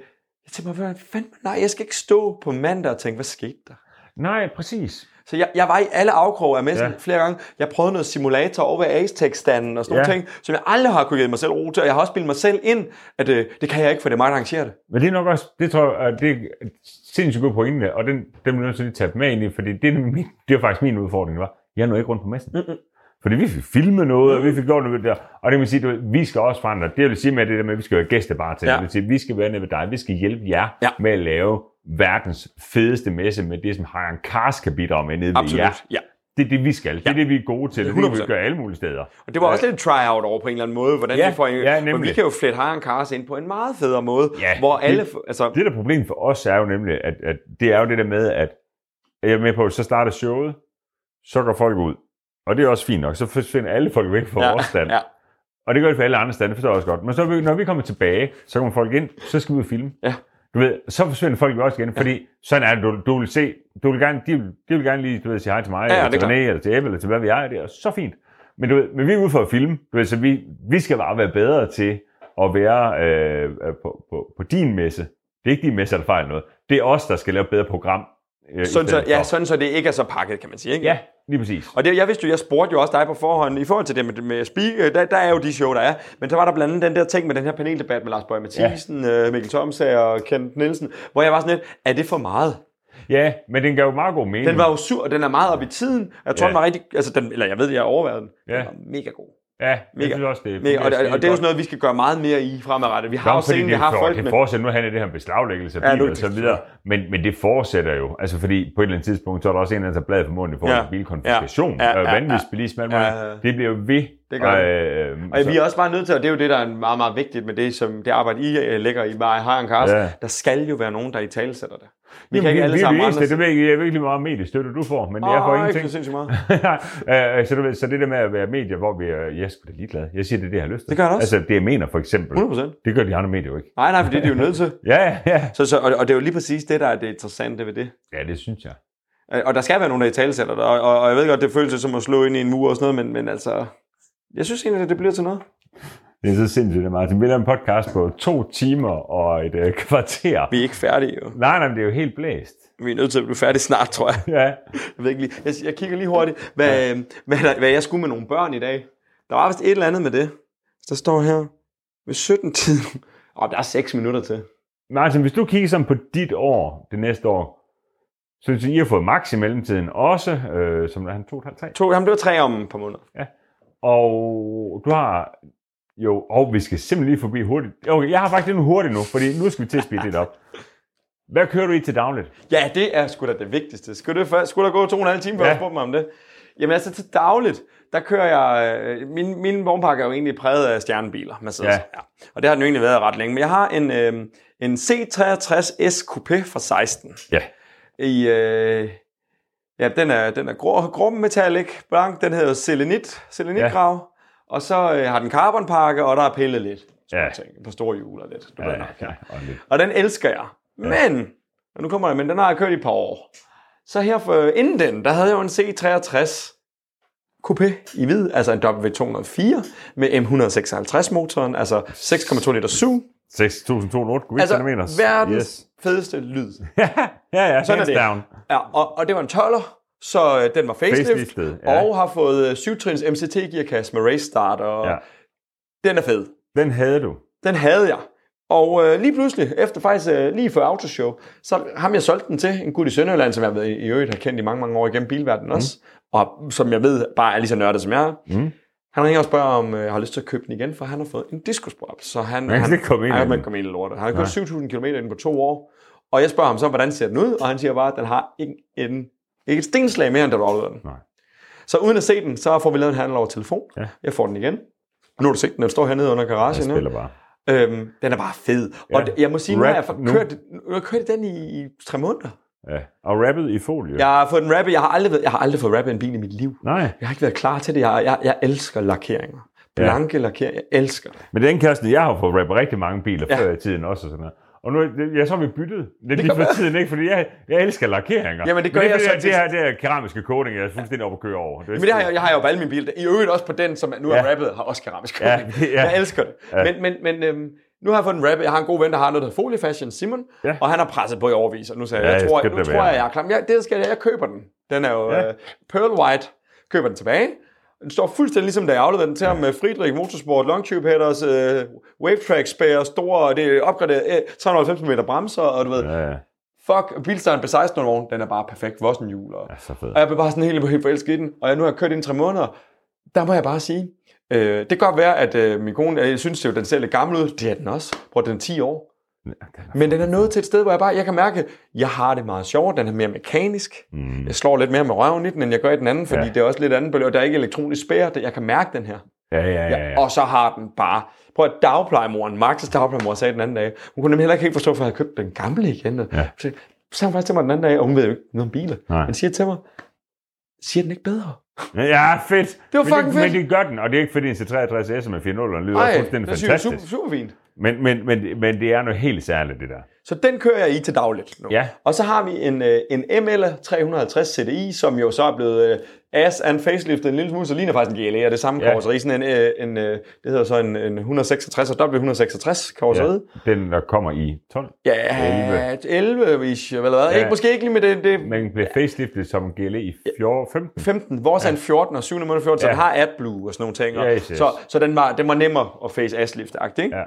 Speaker 2: tænkte mig, hvad fanden, nej, jeg skal ikke stå på mandag og tænke, hvad skete der?
Speaker 1: nej, præcis.
Speaker 2: Så jeg, jeg var i alle afkroge af messen
Speaker 1: Ja.
Speaker 2: ja. flere gange. Jeg prøvede noget simulator over ved Aztec-standen og sådan
Speaker 1: Ja.
Speaker 2: ja. nogle ting, som jeg aldrig har kunne give mig selv ro til. Og jeg har også bildet mig selv ind, at øh, det kan jeg ikke, for det er mig, der arrangerer det.
Speaker 1: Men det er nok også, det tror jeg, at det er sindssygt gode pointe, og den, den bliver jeg nødt til at lige tage med ind i, fordi det, er min, det var faktisk min udfordring, var, jeg nåede ikke rundt på messen. Mm-mm. Fordi vi fik filmet noget, og vi fik gjort noget der, og det vil sige, at vi skal også forandre. Det vil sige med det der med, at vi skal være gæstebar til.
Speaker 2: Ja.
Speaker 1: Det vil sige, at vi skal være nede ved dig, vi skal hjælpe jer
Speaker 2: Ja.
Speaker 1: med at lave verdens fedeste messe med det, som Haran Kars kan bidrage med nede ved
Speaker 2: Absolut,
Speaker 1: jer.
Speaker 2: ja.
Speaker 1: Det er det, vi skal. Det er det, vi er gode til. Det er det, vi
Speaker 2: 100%.
Speaker 1: gør alle mulige steder.
Speaker 2: Og det var også lidt et tryout over på en eller anden måde, hvordan
Speaker 1: Ja,
Speaker 2: vi får en,
Speaker 1: ja,
Speaker 2: men vi
Speaker 1: nemlig.
Speaker 2: kan jo flette Haran Kars ind på en meget federe måde,
Speaker 1: Ja,
Speaker 2: hvor
Speaker 1: det-
Speaker 2: alle, altså,
Speaker 1: Det der problem for os er jo nemlig, at, at det er jo det der med, at jeg er med på, at så starter showet, så går folk ud. Og det er også fint nok, så forsvinder alle folk væk fra ja, vores stand. Ja.
Speaker 2: ja,
Speaker 1: Og det gør det for alle andre stande, det forstår jeg også godt. Men så, er vi- når vi kommer tilbage, så kommer folk ind, så skal vi ud og filme.
Speaker 2: Ja.
Speaker 1: Du ved, så forsvinder folk jo også igen, fordi sådan er det, du, du vil se, du vil gerne, de, vil, de vil gerne lige du ved, sige hej til mig,
Speaker 2: Ja, ja,
Speaker 1: eller
Speaker 2: det
Speaker 1: til
Speaker 2: er
Speaker 1: René, eller til Ebbe, eller til hvad vi er, det er så fint. Men, du ved, men vi er ude for at filme, du ved, så vi, vi skal bare være bedre til at være øh, øh, på, på, på din messe. Det er ikke din messe, der fejler noget. Det er os, der skal lave et bedre program. Øh, i
Speaker 2: sådan så,
Speaker 1: stedet
Speaker 2: ja,
Speaker 1: for.
Speaker 2: sådan så det ikke er så pakket, kan man sige. Ikke?
Speaker 1: ja, lige præcis.
Speaker 2: Og det, jeg vidste jo, jeg spurgte jo også dig på forhånd, i forhold til det med, med speak, øh, der, der er jo de show, der er. Men så var der blandt andet den der ting med den her paneldebat med Lars Bøge Mathisen, ja. Mikkel Thomsager og Kent Nielsen, hvor jeg var sådan lidt, er det for meget?
Speaker 1: Ja, men den gav jo meget god mening.
Speaker 2: Den var jo sur, og den er meget op i tiden. Jeg
Speaker 1: Ja.
Speaker 2: tror, ja. den var rigtig, altså den, eller jeg ved, jeg overvejede den.
Speaker 1: Ja.
Speaker 2: Den var mega god.
Speaker 1: ja, jeg
Speaker 2: mega-
Speaker 1: synes også, det
Speaker 2: Mega,
Speaker 1: fungerer
Speaker 2: og, det,
Speaker 1: skide
Speaker 2: og det er jo
Speaker 1: godt.
Speaker 2: sådan noget, vi skal gøre meget mere i fremadrettet. Vi har
Speaker 1: Nå,
Speaker 2: jo
Speaker 1: fordi
Speaker 2: scenen, vi
Speaker 1: det
Speaker 2: har
Speaker 1: for-
Speaker 2: folk
Speaker 1: det
Speaker 2: med.
Speaker 1: fortsætter, nu handler det her om beslaglæggelse af
Speaker 2: Ja,
Speaker 1: biler
Speaker 2: nu-
Speaker 1: og så videre, men, men det fortsætter jo, altså fordi på et eller andet tidspunkt, så er der også en eller anden, der bladet for munden i forhold
Speaker 2: Ja.
Speaker 1: til bilkonfiskation,
Speaker 2: Ja, ja,
Speaker 1: øh,
Speaker 2: ja,
Speaker 1: vanvidsbilisme, alt
Speaker 2: ja.
Speaker 1: muligt.
Speaker 2: Ja, ja.
Speaker 1: det bliver jo ved.
Speaker 2: Det gør
Speaker 1: øh,
Speaker 2: Og
Speaker 1: så-
Speaker 2: vi er også bare nødt til, og det er jo det, der er meget, meget vigtigt med det, som det arbejde, I øh, lægger i bare har en kasse.
Speaker 1: Ja.
Speaker 2: Ja. Der skal jo være nogen, der i tale sætter det. Vi
Speaker 1: Jamen,
Speaker 2: kan ikke alle sammen
Speaker 1: vi,
Speaker 2: andre
Speaker 1: eneste, det ved jeg ikke, jeg ved ikke lige hvor meget mediestøtte du får, men jeg får
Speaker 2: Åh,
Speaker 1: ingenting.
Speaker 2: ikke så sindssygt meget.
Speaker 1: Øh, så, du ved, så det der med at være medier, hvor vi er, jeg er sgu da ligeglad. Jeg siger, det er det, jeg har lyst til.
Speaker 2: Det gør jeg også.
Speaker 1: Altså, det jeg mener for eksempel,
Speaker 2: 100%.
Speaker 1: det gør de andre medier jo ikke.
Speaker 2: Nej, nej, for det er de jo nødt til.
Speaker 1: Ja, ja.
Speaker 2: Så, så, og, og det er jo lige præcis det, der er det interessante ved det.
Speaker 1: Ja, det synes jeg.
Speaker 2: Øh, Og der skal være nogen, der i tale sætter det. Og, og, og jeg ved godt, det føles som at slå ind i en mur og sådan noget, men, men altså... Jeg synes egentlig, at det bliver til noget.
Speaker 1: Det er så sindssygt, at Martin. Vi laver en podcast på to timer og et øh, kvarter.
Speaker 2: Vi er ikke færdige jo.
Speaker 1: Nej, nej, men det er jo helt blæst.
Speaker 2: Vi er nødt til at blive færdige snart, tror jeg.
Speaker 1: Ja.
Speaker 2: Jeg, ved ikke lige. jeg, jeg kigger lige hurtigt, hvad, ja. hvad, der, hvad jeg skulle med nogle børn i dag. Der var vist et eller andet med det. Der står her ved 17-tiden. Åh, oh, der er 6 minutter til.
Speaker 1: Martin, hvis du kigger sådan på dit år, det næste år, så synes jeg, I har fået max i mellemtiden også, øh, som er han 2,5-3.
Speaker 2: To, jamen, det var tre om et par måneder.
Speaker 1: Og du har jo, og vi skal simpelthen lige forbi hurtigt. Okay, jeg har faktisk den hurtigt nu, fordi nu skal vi til at speede lidt op. Hvad kører du i til dagligt?
Speaker 2: Ja, det er sgu da det vigtigste. Skulle, det først, skulle der gå to og en halv time, før
Speaker 1: Ja.
Speaker 2: ja. jeg spurgte mig om det? Jamen altså til dagligt, der kører jeg... øh, Min, min vognpakke er jo egentlig præget af stjernebiler, Mercedes.
Speaker 1: Ja.
Speaker 2: Ja. Ja. Og det har den jo egentlig været ret længe. Men jeg har en, øh, en C63S Coupé fra 16.
Speaker 1: Ja.
Speaker 2: I, øh, ja, den er, den er grå, grå metallic blank. Den hedder selenit, selenitgrav. Ja. Og så øh, har den carbonpakke, og der er pillet lidt.
Speaker 1: Ja.
Speaker 2: Ja. Ting, på store hjul og lidt. Du ja, ved nok, ja.
Speaker 1: og lidt.
Speaker 2: Og den elsker jeg. Men, og nu kommer der, men den har jeg kørt i et par år. Så her for, øh, inden den, der havde jeg jo en C63 Coupé i hvid, altså en W204 med M156-motoren, altså 6,2 liter SU.
Speaker 1: 6.208
Speaker 2: Altså
Speaker 1: kubikcentimeter.
Speaker 2: verdens
Speaker 1: Yes.
Speaker 2: fedeste lyd.
Speaker 1: ja, ja, ja.
Speaker 2: Sådan er
Speaker 1: Hands
Speaker 2: det.
Speaker 1: down.
Speaker 2: Ja, og, og det var en 12'er, så øh, den var facelift,
Speaker 1: Faceliftet, ja.
Speaker 2: og har fået øh, 7-trins MCT-gearkasse med race starter. Og
Speaker 1: Ja.
Speaker 2: Den er fed.
Speaker 1: Den havde du.
Speaker 2: Den havde jeg. Og øh, lige pludselig, efter faktisk øh, lige før Autoshow, så ham jeg solgte den til, en gut i Sønderjylland, som jeg ved, i øvrigt har kendt i mange, mange år igennem bilverdenen også, og som jeg ved bare er lige så nørdet som jeg er.
Speaker 1: Mm.
Speaker 2: Han ringer og spørger, om øh, jeg har lyst til at købe den igen, for han har fået en diskosprop. Så han,
Speaker 1: Man kan slet ikke komme ind i
Speaker 2: han,
Speaker 1: den.
Speaker 2: man komme ind i lortet. Han har kørt 7.000 km inden på to år. Og jeg spørger ham så, hvordan ser den ud? Og han siger bare, at den har ikke, en, ikke et stenslag mere, end da du afleverede den.
Speaker 1: Nej.
Speaker 2: Så uden at se den, så får vi lavet en handel over telefon.
Speaker 1: Ja.
Speaker 2: Jeg får den igen. Nu har du set den, den står hernede under
Speaker 1: Jeg
Speaker 2: garagen. nu.
Speaker 1: spiller bare.
Speaker 2: Øhm, den er bare fed. Ja.
Speaker 1: Ja.
Speaker 2: Og det- jeg må sige, nu har jeg
Speaker 1: Rap
Speaker 2: fa-
Speaker 1: nu.
Speaker 2: kørt, nu har jeg kørt den i, i tre måneder.
Speaker 1: Ja. Og rappet i folie.
Speaker 2: Jeg har fået den rappet. Jeg har aldrig, været- jeg har aldrig fået rappet en bil i mit liv.
Speaker 1: Nej,
Speaker 2: Jeg har ikke været klar til det. Jeg, har- jeg, jeg elsker lakeringer.
Speaker 1: Ja.
Speaker 2: Blanke ja. lakeringer. Jeg elsker det.
Speaker 1: men den Kirsten, jeg har fået rappet rigtig mange biler
Speaker 2: Ja.
Speaker 1: ja. før i tiden også og sådan noget. Og nu, er det- ja, så har vi byttet. Det er lige for tiden, ikke? Fordi jeg, jeg elsker lakeringer.
Speaker 2: Jamen, det gør
Speaker 1: men det,
Speaker 2: jeg
Speaker 1: er
Speaker 2: så
Speaker 1: fordi,
Speaker 2: tit.
Speaker 1: at Det her, det her keramiske coating, jeg er fuldstændig oppe at køre over. Det er
Speaker 2: Men det har jeg, jeg har jo på alle mine biler. I øvrigt også på den, som nu er
Speaker 1: Ja.
Speaker 2: rappet, har også keramisk
Speaker 1: Ja,
Speaker 2: coating.
Speaker 1: ja.
Speaker 2: Jeg elsker det.
Speaker 1: Ja.
Speaker 2: Men, men, men øhm, nu har jeg fået en rappet. Jeg har en god ven, der har noget, der hedder Folie Fashion, Simon.
Speaker 1: Ja.
Speaker 2: Og han har presset på i overvis, og nu sagde jeg,
Speaker 1: Ja,
Speaker 2: jeg tror,
Speaker 1: skal
Speaker 2: nu
Speaker 1: det
Speaker 2: tror
Speaker 1: være.
Speaker 2: jeg, jeg er klar. Men Jeg, det skal jeg, jeg køber den. Den er jo
Speaker 1: Ja.
Speaker 2: ja. øh, pearl white. Køber den tilbage. Den står fuldstændig ligesom, da jeg afleverede den til ham med Friedrich Motorsport, long tube headers, øh, wave track spærer, store, det er opgraderet øh, 390 mm bremser, og du ved,
Speaker 1: Ja, ja.
Speaker 2: fuck, bilstaren på 16 vogn, den er bare perfekt, vossenhjul og
Speaker 1: ja, så fedt.
Speaker 2: og jeg blev bare sådan helt, helt forelsket i den. Og jeg nu har jeg kørt ind i tre måneder. Der må jeg bare sige, øh, det kan godt være, at øh, min kone, jeg synes jo, den ser lidt gammel ud. Det er den også. Prøv, den er 10 år. Men den er nået til et sted, hvor jeg bare, jeg kan mærke, jeg har det meget sjovt. Den er mere mekanisk.
Speaker 1: Mm.
Speaker 2: Jeg slår lidt mere med røven i den, end jeg gør i den anden, fordi
Speaker 1: Ja.
Speaker 2: ja. det er også lidt anden bølge, og der er ikke elektronisk spær. Jeg kan mærke den her.
Speaker 1: Ja, ja, ja. ja.
Speaker 2: Og så har den bare... Prøv at dagplejemoren, Max' dagplejemor, sagde den anden dag, hun kunne nemlig heller ikke helt forstå, hvorfor jeg havde købt den gamle igen.
Speaker 1: Ja.
Speaker 2: Ja. Så sagde hun faktisk til mig den anden dag, og hun ved jo ikke noget om biler.
Speaker 1: Nej.
Speaker 2: Men siger til mig, siger den ikke bedre?
Speaker 1: Ja, fedt.
Speaker 2: Det var
Speaker 1: men
Speaker 2: fucking
Speaker 1: det,
Speaker 2: fedt.
Speaker 1: Men det gør den, og det er ikke fordi en C63S med 4.0'eren lyder
Speaker 2: Ej,
Speaker 1: fuldstændig
Speaker 2: det synes jeg er super,
Speaker 1: fantastisk.
Speaker 2: super fint.
Speaker 1: Men, men, men, men det er noget helt særligt, det der.
Speaker 2: Så den kører jeg i til dagligt nu.
Speaker 1: Ja.
Speaker 2: Og så har vi en, øh, en ML 350 CDI, som jo så er blevet øh, ass and faceliftet en lille smule, så ligner faktisk en GLA, og det samme
Speaker 1: Ja.
Speaker 2: ja. karosseri, sådan en, øh, en, øh, det hedder så en, en 166 og W166 karosseriet.
Speaker 1: Den, der kommer i 12.
Speaker 2: Ja, 11 ish, eller hvad?
Speaker 1: Ja.
Speaker 2: Ja. Ikke, måske ikke lige med det, det
Speaker 1: Men blev faceliftet som GLA E i 14, 15.
Speaker 2: 15. Vores ja. er en 14 og 7. måned 14, så
Speaker 1: Ja.
Speaker 2: den har AdBlue og sådan nogle ting. og-
Speaker 1: Yes, yes.
Speaker 2: Så, så den, var, den var nemmere at face aslift ikke?
Speaker 1: Ja.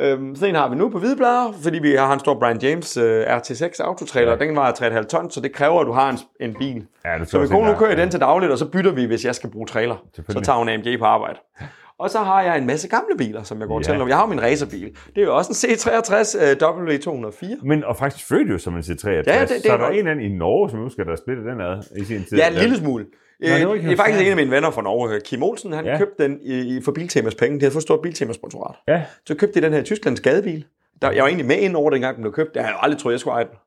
Speaker 2: Øhm, sådan en har vi nu på hvideblader, fordi vi har en stor Brian James øh, RT6 autotrailer. Ja. Den vejer 3,5 ton, så det kræver, at du har en, en bil.
Speaker 1: Ja, det
Speaker 2: så
Speaker 1: tror
Speaker 2: vi
Speaker 1: jeg
Speaker 2: kunne nu
Speaker 1: også,
Speaker 2: køre i
Speaker 1: ja.
Speaker 2: den til dagligt, og så bytter vi, hvis jeg skal bruge trailer. Så
Speaker 1: Selvfølgelig.
Speaker 2: tager hun AMG på arbejde. Og så har jeg en masse gamle biler, som jeg går
Speaker 1: Ja.
Speaker 2: ja. til. Jeg har jo min racerbil. Det er jo også en C63 øh, W204.
Speaker 1: Men og faktisk fødte jo som en C63.
Speaker 2: Ja, det- det
Speaker 1: så
Speaker 2: er
Speaker 1: er der
Speaker 2: godt.
Speaker 1: en eller anden i Norge, som husker, der splittede den ad i sin tid.
Speaker 2: Ja, en lille smule.
Speaker 1: det var
Speaker 2: Øh,
Speaker 1: ikke
Speaker 2: det er
Speaker 1: hans
Speaker 2: faktisk
Speaker 1: fejl.
Speaker 2: en af mine venner fra Norge, øh, Kim Olsen, han
Speaker 1: Ja.
Speaker 2: ja. købte den i, i- for Biltemas penge. De havde fået et stort Biltemas-sponsorat.
Speaker 1: Ja,
Speaker 2: Så købte de den her Tysklands gadebil. Der, jeg var egentlig med ind over dengang, den blev købt. Jeg havde jo aldrig troet, jeg skulle eje den.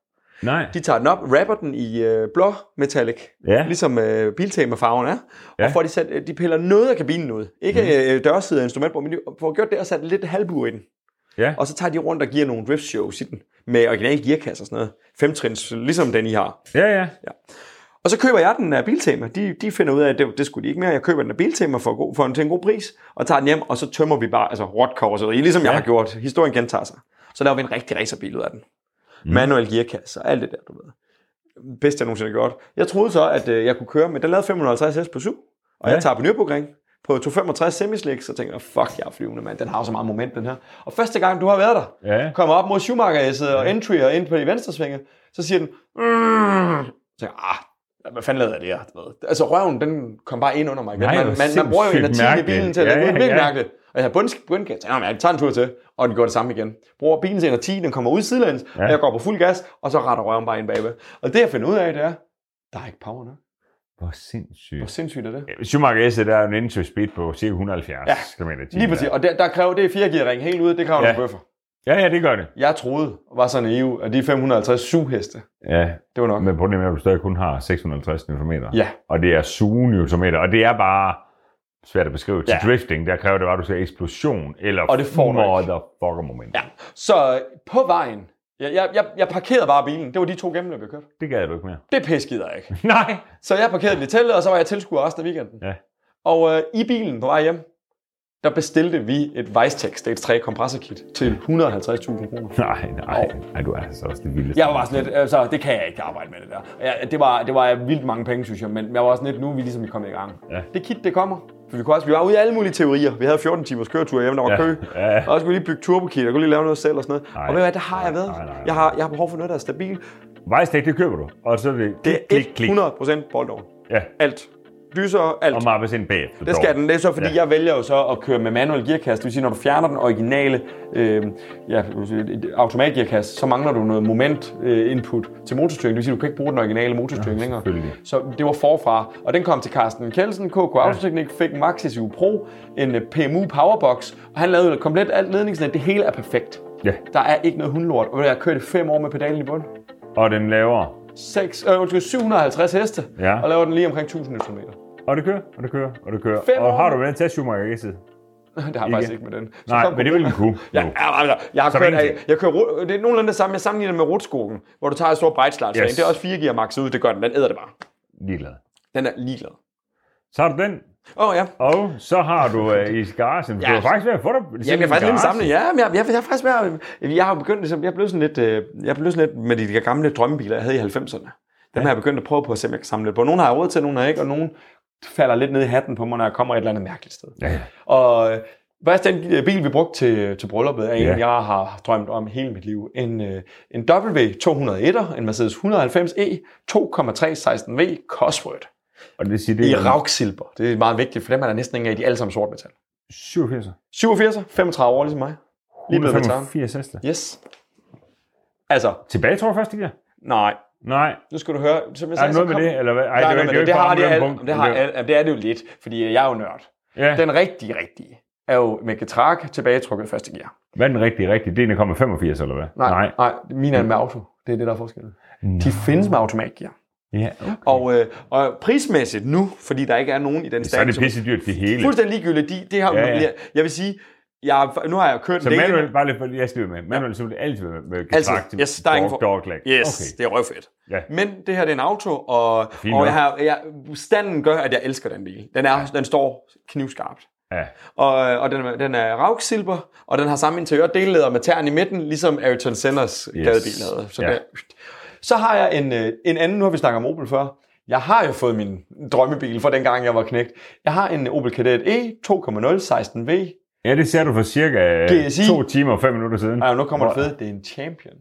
Speaker 1: nej.
Speaker 2: De tager den op, rapper den i øh, blå metallic,
Speaker 1: Ja.
Speaker 2: ligesom øh, Biltema-farven er. Ja.
Speaker 1: Ja. Mhm.
Speaker 2: Og får de, sat, øh, de piller noget af kabinen ud. Ikke mm. øh, dørsider og instrumentbord, men de får gjort det og sat lidt halvbue i den.
Speaker 1: Ja.
Speaker 2: Og så tager de rundt og giver nogle drift shows i den, med originale gearkasser og sådan noget. Femtrins, ligesom den, I har.
Speaker 1: Ja, ja.
Speaker 2: Og så køber jeg den af Biltema. De, de finder ud af, at det, det skulle de ikke mere. Jeg køber den af Biltema for, god, for en, til en god pris, og tager den hjem, og så tømmer vi bare altså rotkorseriet, ligesom ja. jeg har gjort. Historien gentager sig. Så laver vi en rigtig racerbil ud af den. Mm. Manuel gearkasse og alt det der, du ved. Bedst jeg nogensinde har gjort. Jeg troede så, at øh, jeg kunne køre, men den lavede 550 hest på 7, og
Speaker 1: Ja.
Speaker 2: ja. jeg tager på Nürburgring på 265 semislick, så tænker jeg, fuck, jeg er flyvende, mand. Den har jo så meget moment, den her. Og første gang, du har været der,
Speaker 1: Ja.
Speaker 2: kommer op mod Schumacher og entry og ind på de venstre svinge, så siger den, mm. så tænker jeg, ah, hvad fanden lavede jeg det her? Du ved. Altså røven, den kom bare ind under mig.
Speaker 1: Nej,
Speaker 2: man,
Speaker 1: hvor
Speaker 2: man, man, bruger jo
Speaker 1: sindssygt
Speaker 2: energi i
Speaker 1: mærkeligt.
Speaker 2: bilen til at
Speaker 1: Ja,
Speaker 2: ja,
Speaker 1: ja,
Speaker 2: ja, virkelig
Speaker 1: ja.
Speaker 2: mærke det. Og jeg har bundsk- bundgas, ja, men jeg tager en tur til, og den gør det samme igen. Bruger bilen til energi, den kommer ud sidelæns,
Speaker 1: Ja.
Speaker 2: ja. og jeg går på fuld gas, og så retter røven bare ind bagved. Og det jeg finder ud af, det er, der er ikke power nok.
Speaker 1: Hvor
Speaker 2: Hvor
Speaker 1: sindssygt.
Speaker 2: sindssygt er det?
Speaker 1: Schumacher S, der er jo en entry speed på cirka 170
Speaker 2: Ja,
Speaker 1: km
Speaker 2: Lige præcis, og der, der kræver det 4 gear ring helt ud, det kræver
Speaker 1: Ja.
Speaker 2: ja. nogle bøffer.
Speaker 1: Ja, ja, det gør det.
Speaker 2: Jeg troede, var så naiv, at de 550 sugheste,
Speaker 1: Ja,
Speaker 2: det var nok.
Speaker 1: men problemet er, at du stadig kun har 650 Nm.
Speaker 2: Ja,
Speaker 1: Og det er sugenewtonmeter, og det er bare svært at beskrive. Til
Speaker 2: Ja.
Speaker 1: drifting, der kræver det bare, at du ser eksplosion, eller
Speaker 2: Og det får du ikke.
Speaker 1: motherfucker moment.
Speaker 2: Ja, så på vejen Jeg, jeg, jeg, jeg parkerede bare bilen. Det var de to gennemløb, jeg kørte.
Speaker 1: Det gad du ikke mere.
Speaker 2: Det pæskider jeg ikke.
Speaker 1: Nej.
Speaker 2: Så jeg parkerede den i teltet, og så var jeg tilskuer resten af weekenden.
Speaker 1: Ja.
Speaker 2: Og øh, i bilen på vej hjem, der bestilte vi et Vicetek Stage 3 kompressorkit til 150.000 kroner.
Speaker 1: Nej, nej. Ej, du er altså også det vildeste.
Speaker 2: Jeg var bare sådan lidt, altså, det kan jeg ikke arbejde med det der. Jeg, det, var, det var vildt mange penge, synes jeg, men jeg var også sådan lidt, nu er vi ligesom kommet i gang.
Speaker 1: Ja.
Speaker 2: Det kit, det kommer. For vi, kunne også, vi var ude i alle mulige teorier. Vi havde 14 timers køretur hjemme, der var
Speaker 1: Ja,
Speaker 2: kø.
Speaker 1: ja, ja.
Speaker 2: Og jeg skulle lige bygge turbokit, og kunne lige lave noget selv og sådan noget.
Speaker 1: Nej,
Speaker 2: og ved du hvad, det har jeg været.
Speaker 1: nej, nej, nej.
Speaker 2: Jeg, har, jeg har behov for noget, der er stabilt.
Speaker 1: Vejstik, det køber du. Og så er det,
Speaker 2: Det er 100 procent boldover.
Speaker 1: Ja,
Speaker 2: Alt. Dyser, alt.
Speaker 1: og mappes ind bagefter.
Speaker 2: Det skal den. Det er så, fordi ja.
Speaker 1: Ja.
Speaker 2: jeg vælger jo så at køre med manuel gearkasse. Det vil sige, når du fjerner den originale øh, ja, hvad skal jeg sige, et automatgearkasse, så mangler du noget moment øh, input til motorstyring. Det vil sige, du kan ikke bruge den originale motorstyring ja, længere.
Speaker 1: selvfølgelig.
Speaker 2: Så det var forfra. Og den kom til Carsten Kelsen, KK Autoteknik, fik en Maxis U Pro, en øh, PMU Powerbox, og han lavede komplet alt ledningsnet. Det hele er perfekt.
Speaker 1: Ja,
Speaker 2: Der er ikke noget hundlort, og ved du, jeg har kørt i fem år med pedalen i bunden.
Speaker 1: og den laver.
Speaker 2: 6, øh, undskyld, 750 heste,
Speaker 1: Ja.
Speaker 2: og laver den lige omkring 1000 km.
Speaker 1: Og det kører, og det kører, og det kører.
Speaker 2: Fem
Speaker 1: og
Speaker 2: år.
Speaker 1: har du med den til Schumacher ikke sidde?
Speaker 2: Det har jeg faktisk ikke med den. Så
Speaker 1: Nej,
Speaker 2: kom
Speaker 1: men det vil den kunne.
Speaker 2: Ja,
Speaker 1: jo.
Speaker 2: ja, altså, jeg har
Speaker 1: Så
Speaker 2: kørt,
Speaker 1: ingenting.
Speaker 2: jeg, jeg kører, ru- det er nogenlunde det samme. Jeg sammenligner det med rutskogen, hvor du tager et stort bejtslart yes.
Speaker 1: Yes.
Speaker 2: Det er også 4 gear max ud, det gør den. Den æder det bare.
Speaker 1: Ligeglad.
Speaker 2: Den er ligeglad.
Speaker 1: Så har du den,
Speaker 2: Åh oh, ja.
Speaker 1: og så har du øh, i garagen. Du
Speaker 2: Ja.
Speaker 1: er faktisk ved at få dig.
Speaker 2: Jamen,
Speaker 1: selv
Speaker 2: jeg er
Speaker 1: en
Speaker 2: faktisk lidt en
Speaker 1: garage.
Speaker 2: samling. Ja, men jeg, jeg, jeg, er faktisk ved at, jeg har jo begyndt, ligesom, jeg blev sådan lidt, øh, jeg blev sådan lidt med de der gamle drømmebiler, jeg havde i 90'erne. Dem har jeg begyndt at prøve på at se, om jeg kan samle lidt på. Nogle har jeg råd til, nogle har jeg ikke, og nogle falder lidt ned i hatten på mig, når jeg kommer et eller andet mærkeligt sted.
Speaker 1: Ja, ja.
Speaker 2: Og øh, faktisk den øh, bil, vi brugte til, til brylluppet, er en,
Speaker 1: Ja.
Speaker 2: jeg har drømt om hele mit liv. En, øh, en W201'er, en Mercedes 190E 2,316V Cosworth
Speaker 1: Og det vil sige, det
Speaker 2: i
Speaker 1: er
Speaker 2: rauksilver. Det er meget vigtigt, for dem er der næsten ingen af, de er alle sammen sort metal.
Speaker 1: 87.
Speaker 2: 87, 35 år ligesom mig. Lige blevet veteran.
Speaker 1: 185 heste.
Speaker 2: Yes. Altså,
Speaker 1: Tilbage tror jeg først, ikke?
Speaker 2: nej.
Speaker 1: Nej,
Speaker 2: Nu skal du høre, som jeg
Speaker 1: er
Speaker 2: sagde,
Speaker 1: der
Speaker 2: så
Speaker 1: noget med
Speaker 2: kom-
Speaker 1: det? Eller hvad? Ej,
Speaker 2: der er noget
Speaker 1: det,
Speaker 2: med
Speaker 1: er jo
Speaker 2: det.
Speaker 1: ikke
Speaker 2: Det har
Speaker 1: bare
Speaker 2: de
Speaker 1: om
Speaker 2: alle,
Speaker 1: punkten.
Speaker 2: det har
Speaker 1: Det er jo-
Speaker 2: alle, jamen, det er det jo lidt, fordi jeg er jo nørd.
Speaker 1: Ja.
Speaker 2: Den rigtige, rigtige er jo med getrak tilbagetrukket i første gear.
Speaker 1: Hvad er den rigtige, rigtige? Det er 1,85 eller hvad?
Speaker 2: Nej, nej. min er med auto. Det er det, der er forskellen. De findes med automatgear.
Speaker 1: Ja, okay.
Speaker 2: Og, øh, og prismæssigt nu, fordi der ikke er nogen i den
Speaker 1: Så er
Speaker 2: stand,
Speaker 1: det
Speaker 2: som
Speaker 1: pisse dyrt det hele.
Speaker 2: fuldstændig ligegyldigt. De, det har, ja,
Speaker 1: Ja, ja.
Speaker 2: ja. Jeg vil sige, jeg, nu har jeg kørt
Speaker 1: Så
Speaker 2: en del-
Speaker 1: manuel, bare lige for, jeg skal med. Manuel ja. vil altid være med
Speaker 2: Altid.
Speaker 1: kontrakt.
Speaker 2: Yes, der er ingen for-
Speaker 1: dog, dog
Speaker 2: Yes, okay.
Speaker 1: Okay.
Speaker 2: det er røvfedt.
Speaker 1: Ja.
Speaker 2: Men det her det er en auto, og,
Speaker 1: Fint
Speaker 2: og
Speaker 1: nok.
Speaker 2: jeg har, jeg, standen gør, at jeg elsker den bil. Den, er, ja. den står knivskarpt.
Speaker 1: Ja.
Speaker 2: Og, og den, er- den er rauksilver, og den har samme interiør, delleder med tern i midten, ligesom Ayrton Senners yes. gadebil havde. Så,
Speaker 1: Ja.
Speaker 2: ja. så har jeg en, øh, en anden, nu har vi snakket om Opel før. Jeg har jo fået min drømmebil fra dengang, jeg var knægt. Jeg har en Opel Kadett E 2.0 16V.
Speaker 1: ja, det ser du for cirka
Speaker 2: GSI.
Speaker 1: 2 timer og 5 minutter siden.
Speaker 2: Ej, nu kommer det
Speaker 1: Hvor-
Speaker 2: fede, det er en Champion.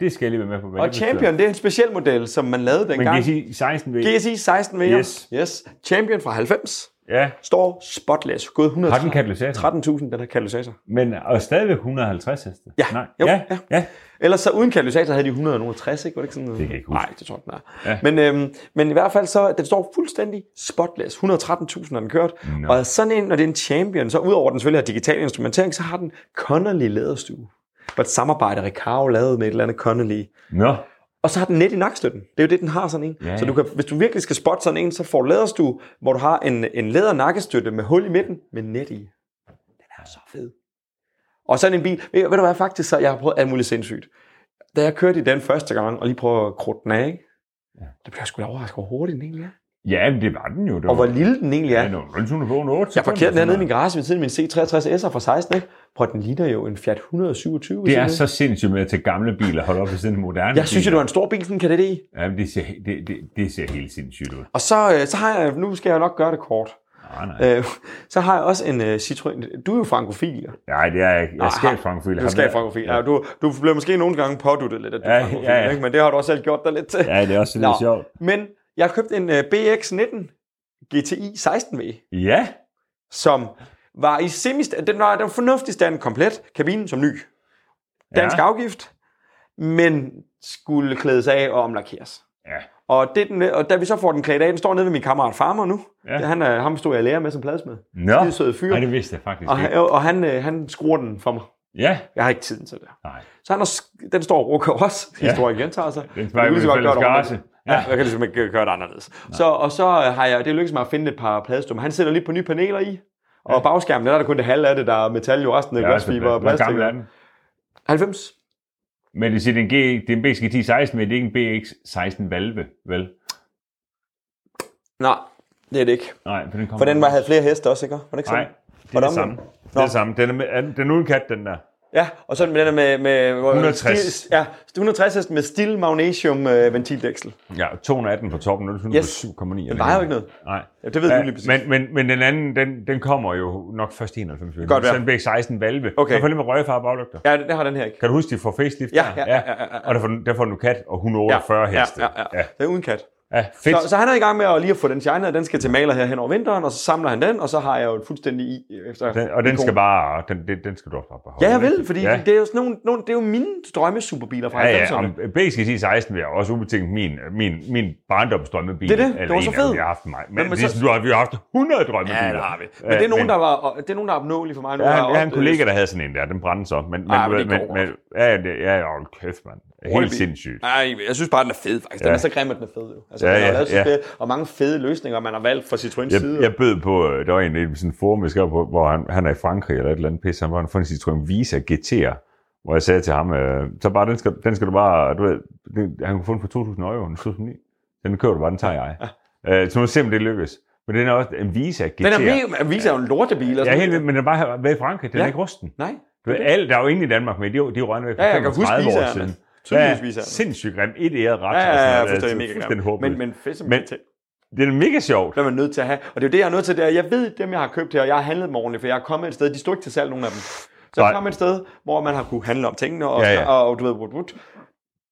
Speaker 1: Det skal jeg lige være med på. hvad
Speaker 2: Og
Speaker 1: det betyder.
Speaker 2: Champion, det er en speciel model, som man lavede
Speaker 1: Men
Speaker 2: dengang.
Speaker 1: GSI 16 V.
Speaker 2: GSI 16 VM.
Speaker 1: Yes.
Speaker 2: yes. Champion fra 90.
Speaker 1: Ja,
Speaker 2: Står spotless. Gået 100.
Speaker 1: har den katalysator.
Speaker 2: 13.000, den her katalysator.
Speaker 1: Men og stadigvæk 150 heste.
Speaker 2: Ja.
Speaker 1: Nej.
Speaker 2: Jo,
Speaker 1: ja.
Speaker 2: ja.
Speaker 1: ja.
Speaker 2: Ellers så uden katalysator havde de 160, ikke? Var det ikke sådan noget?
Speaker 1: Det kan jeg ikke huske.
Speaker 2: Nej, det tror jeg, den er.
Speaker 1: Ja.
Speaker 2: Ja. Men, øhm, men i hvert fald så, den står fuldstændig spotless. 113.000 har den kørt.
Speaker 1: Nå.
Speaker 2: Og sådan en, når det er en champion, så udover den selvfølgelig har digital instrumentering, så har den Connolly læderstue. Det var et samarbejde, Recaro lavede med et eller andet Connolly.
Speaker 1: Nå.
Speaker 2: Og så har den net i nakstøtten. Det er jo det, den har sådan en.
Speaker 1: Ja, ja.
Speaker 2: Ja, Så du kan, hvis du virkelig skal spotte sådan en, så får du læderstue, hvor du har en, en læder nakkestøtte med hul i midten med net i. Den er så fed. Og sådan en bil. Ved, ved du hvad, faktisk så, jeg har prøvet alt muligt sindssygt. Da jeg kørte i den første gang, og lige prøvede at krudte den af, ikke? Ja. det blev jeg sgu da overrasket, hvor hurtig den egentlig er.
Speaker 1: Ja, men det var den jo. Det
Speaker 2: Og hvor
Speaker 1: var,
Speaker 2: lille den egentlig
Speaker 1: ja.
Speaker 2: er. Jeg parkerede den hernede i min garage ved siden af min C63S'er fra 16, ikke? Prøv, den ligner jo en Fiat 127. ved
Speaker 1: Det
Speaker 2: siden
Speaker 1: er
Speaker 2: af.
Speaker 1: så sindssygt med at tage gamle biler og holde op ved siden af moderne
Speaker 2: Jeg synes jo, det
Speaker 1: biler.
Speaker 2: var en stor bil, sådan en Kadett E.
Speaker 1: Ja, men det ser, det, det, det ser helt sindssygt ud. Ah,
Speaker 2: Og så, øh, så har jeg, nu skal jeg nok gøre det kort.
Speaker 1: Nej, nej.
Speaker 2: Øh, så har jeg også en uh, Citroën. Du er jo frankofil.
Speaker 1: Nej, det er jeg ikke. Jeg
Speaker 2: Ah,
Speaker 1: skal frankofil.
Speaker 2: Du skal frankofil. Ja. Du, du bliver måske nogle gange påduttet lidt, at du
Speaker 1: Ja,
Speaker 2: er frankofil,
Speaker 1: ja, ja.
Speaker 2: Ikke? men det har du også selv gjort dig lidt til.
Speaker 1: Ja, det er også lidt
Speaker 2: Nå.
Speaker 1: sjovt.
Speaker 2: Men jeg har købt en uh, BX19 GTI 16V,
Speaker 1: Ja,
Speaker 2: som var i semist- den var den fornuftige stand komplet, kabinen som ny. Dansk
Speaker 1: Ja.
Speaker 2: ja. afgift, men skulle klædes af og omlakeres.
Speaker 1: ja.
Speaker 2: Og, det, er den, øh, og da vi så får den klædt af, den står nede ved min kammerat Farmer nu.
Speaker 1: Ja.
Speaker 2: Ja. Han, er, ham stod jeg lærer med som pladsmed.
Speaker 1: Nå,
Speaker 2: Skide sød fyr.
Speaker 1: Nej, det vidste jeg faktisk
Speaker 2: Og,
Speaker 1: ikke.
Speaker 2: han- og han, øh, han skruer den for mig.
Speaker 1: Ja,
Speaker 2: Jeg har ikke tiden til det.
Speaker 1: nej.
Speaker 2: Så han har, sk- den står og rukker også.
Speaker 1: Ja.
Speaker 2: Historien gentager sig.
Speaker 1: Den
Speaker 2: Jeg
Speaker 1: smager
Speaker 2: kan
Speaker 1: med
Speaker 2: lige så godt
Speaker 1: fælles
Speaker 2: gøre det
Speaker 1: garage.
Speaker 2: ordentligt. Ja, jeg kan ligesom ikke gøre det anderledes. Så, og så har jeg, det er lykkedes mig at finde et par pladestummer. Han sætter lige på nye paneler i. Og
Speaker 1: altså,
Speaker 2: bagskærmen, der er der kun det halve af det, der er metal, jo resten er
Speaker 1: Ja,
Speaker 2: glasfiber og
Speaker 1: Hvor
Speaker 2: plastik.
Speaker 1: gammel er den?
Speaker 2: 90.
Speaker 1: Men det siger, det er en, G, det er en BXG1016, men det er ikke en BX16 valve, vel?
Speaker 2: Nej, det er det ikke.
Speaker 1: Nej, for den kommer...
Speaker 2: For den var, havde flere heste også, ikke? Var det ikke
Speaker 1: Nej,
Speaker 2: sådan?
Speaker 1: det er det
Speaker 2: Hvordan?
Speaker 1: samme. Det er
Speaker 2: Nå.
Speaker 1: det samme. Den er, med, er- den er uden kat, den der.
Speaker 2: Ja, og sådan med den der med... med hvor-
Speaker 1: 160.
Speaker 2: Stil, ja, 160 hest med steel magnesium øh, ventildæksel.
Speaker 1: Ja, 218 på toppen, nu er det
Speaker 2: Yes.
Speaker 1: 7,9.
Speaker 2: Den vejer jo ikke noget.
Speaker 1: Nej.
Speaker 2: Ja, det ved du lige præcis.
Speaker 1: men, men, men den anden, den, den kommer jo nok først i 91.
Speaker 2: Godt være.
Speaker 1: Så den bliver 16 valve.
Speaker 2: Okay.
Speaker 1: Den får lidt med røgefarve baglygter.
Speaker 2: Ja, det, det har den her ikke.
Speaker 1: Kan du huske, de får facelift
Speaker 2: Ja,
Speaker 1: der?
Speaker 2: ja, ja, ja, ja.
Speaker 1: Og der får, den- der får nu kat og 148
Speaker 2: ja,
Speaker 1: heste.
Speaker 2: ja, ja, ja. Det er uden kat.
Speaker 1: ja. fedt.
Speaker 2: Så, så han er i gang med at lige at få den shiner, den skal til maler her hen over vinteren, og så samler han den, og så har jeg jo et fuldstændig i efter...
Speaker 1: Den, og den
Speaker 2: ikon.
Speaker 1: skal bare, den, den, den skal du også bare beholde.
Speaker 2: Ja, jeg
Speaker 1: ikke?
Speaker 2: vil, fordi ja.
Speaker 1: Ja.
Speaker 2: det er jo sådan nogle, nogle, det er jo mine drømme superbiler fra
Speaker 1: Ja, ja,
Speaker 2: 90'erne.
Speaker 1: om BSG 16 vil jeg også ubetinget min, min, min barndomsdrømmebil.
Speaker 2: Det er det. Det
Speaker 1: Eller
Speaker 2: var så
Speaker 1: en af dem,
Speaker 2: fed.
Speaker 1: Jeg har haft mig. Men,
Speaker 2: Men-
Speaker 1: men,
Speaker 2: men
Speaker 1: men
Speaker 2: så-
Speaker 1: ligesom, du har, vi har haft 100 drømmebiler.
Speaker 2: Ja, det har vi. Men det er nogen, der var, og det er nogen, der er opnåelige for mig. Nu
Speaker 1: Ja,
Speaker 2: har
Speaker 1: jeg, jeg har en
Speaker 2: oplevet-
Speaker 1: kollega, der havde sådan en der. Den brændte så. Men, men,
Speaker 2: Ej, men
Speaker 1: men,
Speaker 2: det
Speaker 1: men,
Speaker 2: går
Speaker 1: men ja, det, ja, ja, hold kæft, mand. Helt
Speaker 2: Hurtigbil.
Speaker 1: sindssygt.
Speaker 2: Nej, jeg synes bare, den er fed faktisk. Den
Speaker 1: Ja.
Speaker 2: er så grim, at den er fed jo. Altså,
Speaker 1: Ja,
Speaker 2: den har
Speaker 1: ja,
Speaker 2: lavet så
Speaker 1: ja.
Speaker 2: fede, og mange fede løsninger, man har valgt fra Citroën side.
Speaker 1: Jeg, jeg bød på, øh, der var en i sådan en forum, jeg skrev på, hvor han, han er i Frankrig eller et eller andet pis, han var en fundet Citroën Visa GT'er, hvor jeg sagde til ham, øh, så bare, den skal, den skal du bare, du ved, den, han kunne få den for 2.000 euro, den 2.009, den køber du bare, den tager jeg. Øh, så nu ser vi, om det lykkes. Men den er også en Visa GT'er.
Speaker 2: Den Ah. er mega, viser jo en lortebil. og
Speaker 1: Ja,
Speaker 2: sådan
Speaker 1: helt
Speaker 2: noget.
Speaker 1: vildt, men den er bare været i Frankrig, den
Speaker 2: Ja.
Speaker 1: er ikke rusten.
Speaker 2: Nej.
Speaker 1: Du ved, alle, der er jo ingen i Danmark med, de, de er røgnet væk for
Speaker 2: Ja, jeg kan huske
Speaker 1: 35 år
Speaker 2: Visa'erne.
Speaker 1: siden.
Speaker 2: Tydeligvis Visa'erne.
Speaker 1: sindssygt grim. Et æret ret.
Speaker 2: Ja,
Speaker 1: og sådan
Speaker 2: ja, ja,
Speaker 1: noget.
Speaker 2: forstår jeg
Speaker 1: Det er
Speaker 2: mega
Speaker 1: fuldstændig
Speaker 2: grimt. Men,
Speaker 1: håbløst.
Speaker 2: men fedt som
Speaker 1: Men-
Speaker 2: men, til.
Speaker 1: Det er mega sjovt.
Speaker 2: Det er man nødt til at have. Og det er jo det, jeg er nødt til. Det er, jeg ved, dem jeg har købt her, og jeg har handlet dem ordentligt, for jeg er kommet et sted, de stod ikke til salg, nogen af dem. Så jeg
Speaker 1: Nej.
Speaker 2: er kommet et sted, hvor man har kunne handle om tingene, og,
Speaker 1: Ja, ja.
Speaker 2: og, og du ved, wut, wut.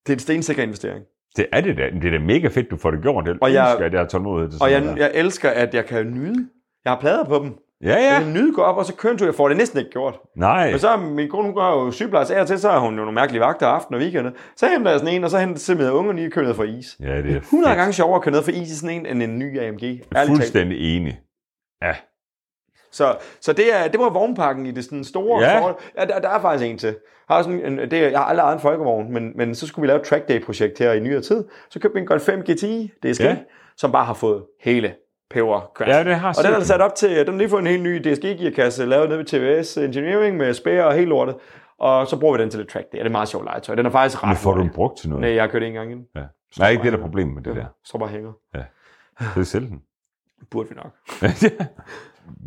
Speaker 2: det er en stensikker investering.
Speaker 1: Det er det da. Men Det er da mega fedt, du får det gjort. Jeg
Speaker 2: Og
Speaker 1: og
Speaker 2: jeg-
Speaker 1: jeg, ønsker, at jeg har tålmodighed til
Speaker 2: Og
Speaker 1: sådan
Speaker 2: jeg,
Speaker 1: noget.
Speaker 2: jeg elsker, at jeg kan nyde. Jeg har plader på dem.
Speaker 1: Ja, ja.
Speaker 2: Jeg kan nyde gå op, og så kører en tur. Jeg får det næsten ikke gjort.
Speaker 1: Nej.
Speaker 2: Men så er min kone, hun gør jo sygeplejerske af og til, så er hun jo nogle mærkelige vagter aften og weekender. Så henter jeg sådan en, og så henter simpelthen ungerne i at køre ned for is.
Speaker 1: Ja, det er
Speaker 2: 100
Speaker 1: fedt.
Speaker 2: gange sjovere at køre ned for is i sådan en, end en ny AMG. ærligt
Speaker 1: Jeg er
Speaker 2: talt.
Speaker 1: fuldstændig enig. Ja.
Speaker 2: Så, så det, er, det var vognpakken i det sådan store
Speaker 1: Ja.
Speaker 2: forhold. Ja, der, der, er faktisk en til. Jeg Har sådan en, det, er- jeg har aldrig ejet en folkevogn, men, men så skulle vi lave et track day projekt her i nyere tid. Så købte vi en Golf 5 GTI, DSG, ja.
Speaker 1: Ja.
Speaker 2: som bare har fået hele peber
Speaker 1: Ja, det har
Speaker 2: Og den er altså
Speaker 1: set
Speaker 2: sat op til, den har lige fået en helt ny DSG-gearkasse, lavet nede ved TVS Engineering med spære og helt lortet. Og så bruger vi den til lidt track day. Ja, det er meget sjovt legetøj. Den er faktisk ret
Speaker 1: Men får du
Speaker 2: hurtig.
Speaker 1: den brugt til noget?
Speaker 2: Nej, jeg har kørt en gang inden.
Speaker 1: Ja. Nej, ikke det, der er problemet med det der.
Speaker 2: Så bare hænger.
Speaker 1: Det er selv den.
Speaker 2: Burde vi nok.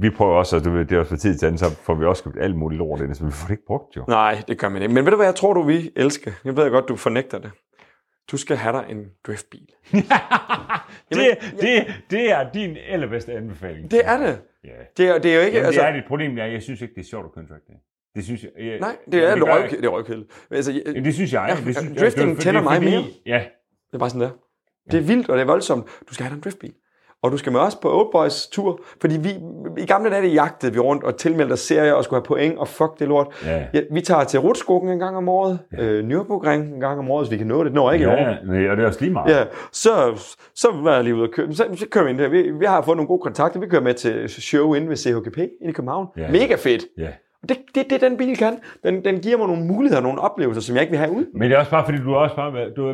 Speaker 1: vi prøver også, og du ved, det er også for tid til anden, så får vi også købt alt muligt lort ind, men vi får det ikke brugt, jo.
Speaker 2: Nej, det gør man ikke. Men ved du hvad, jeg tror, du vi elsker. Jeg ved jeg godt, du fornægter det. Du skal have dig en driftbil.
Speaker 1: det, det, det er din allerbedste anbefaling.
Speaker 2: Det er det.
Speaker 1: Ja.
Speaker 2: Det er, det er jo ikke...
Speaker 1: Jamen,
Speaker 2: altså,
Speaker 1: det er dit problem, jeg, jeg synes ikke, det er sjovt at køre en track day. Det synes jeg... jeg
Speaker 2: Nej, det er,
Speaker 1: gør jeg
Speaker 2: røv,
Speaker 1: ikke.
Speaker 2: det er røvkedeligt. Men Altså, jeg-
Speaker 1: Ja, det synes jeg.
Speaker 2: Ja,
Speaker 1: det synes,
Speaker 2: drifting
Speaker 1: det er-
Speaker 2: tænder
Speaker 1: det er
Speaker 2: mig mere.
Speaker 1: Ja,
Speaker 2: det er bare sådan der. Det er vildt, og det er voldsomt. Du skal have dig en driftbil. Og du skal med os på Old Boys tur, fordi vi, i gamle dage jagtede vi rundt og tilmeldte os serier og skulle have point, og fuck det lort.
Speaker 1: Ja.
Speaker 2: Ja, vi tager til Rutskogen en gang om året, ja. øh, Nürburgring en gang om året, hvis vi kan nå det. Det når ikke i år.
Speaker 1: ja, nej, og det er også lige meget.
Speaker 2: Ja, så, så var jeg lige ude og køre. Så, så kører vi ind der. Vi, vi har fået nogle gode kontakter. Vi kører med til show inde ved CHKP inde i København.
Speaker 1: Ja.
Speaker 2: Mega fedt.
Speaker 1: ja.
Speaker 2: Og Det, det, det den bil kan. Den, den giver mig nogle muligheder, nogle oplevelser, som jeg ikke vil have ude.
Speaker 1: Men det er også bare, fordi du har også bare været, du er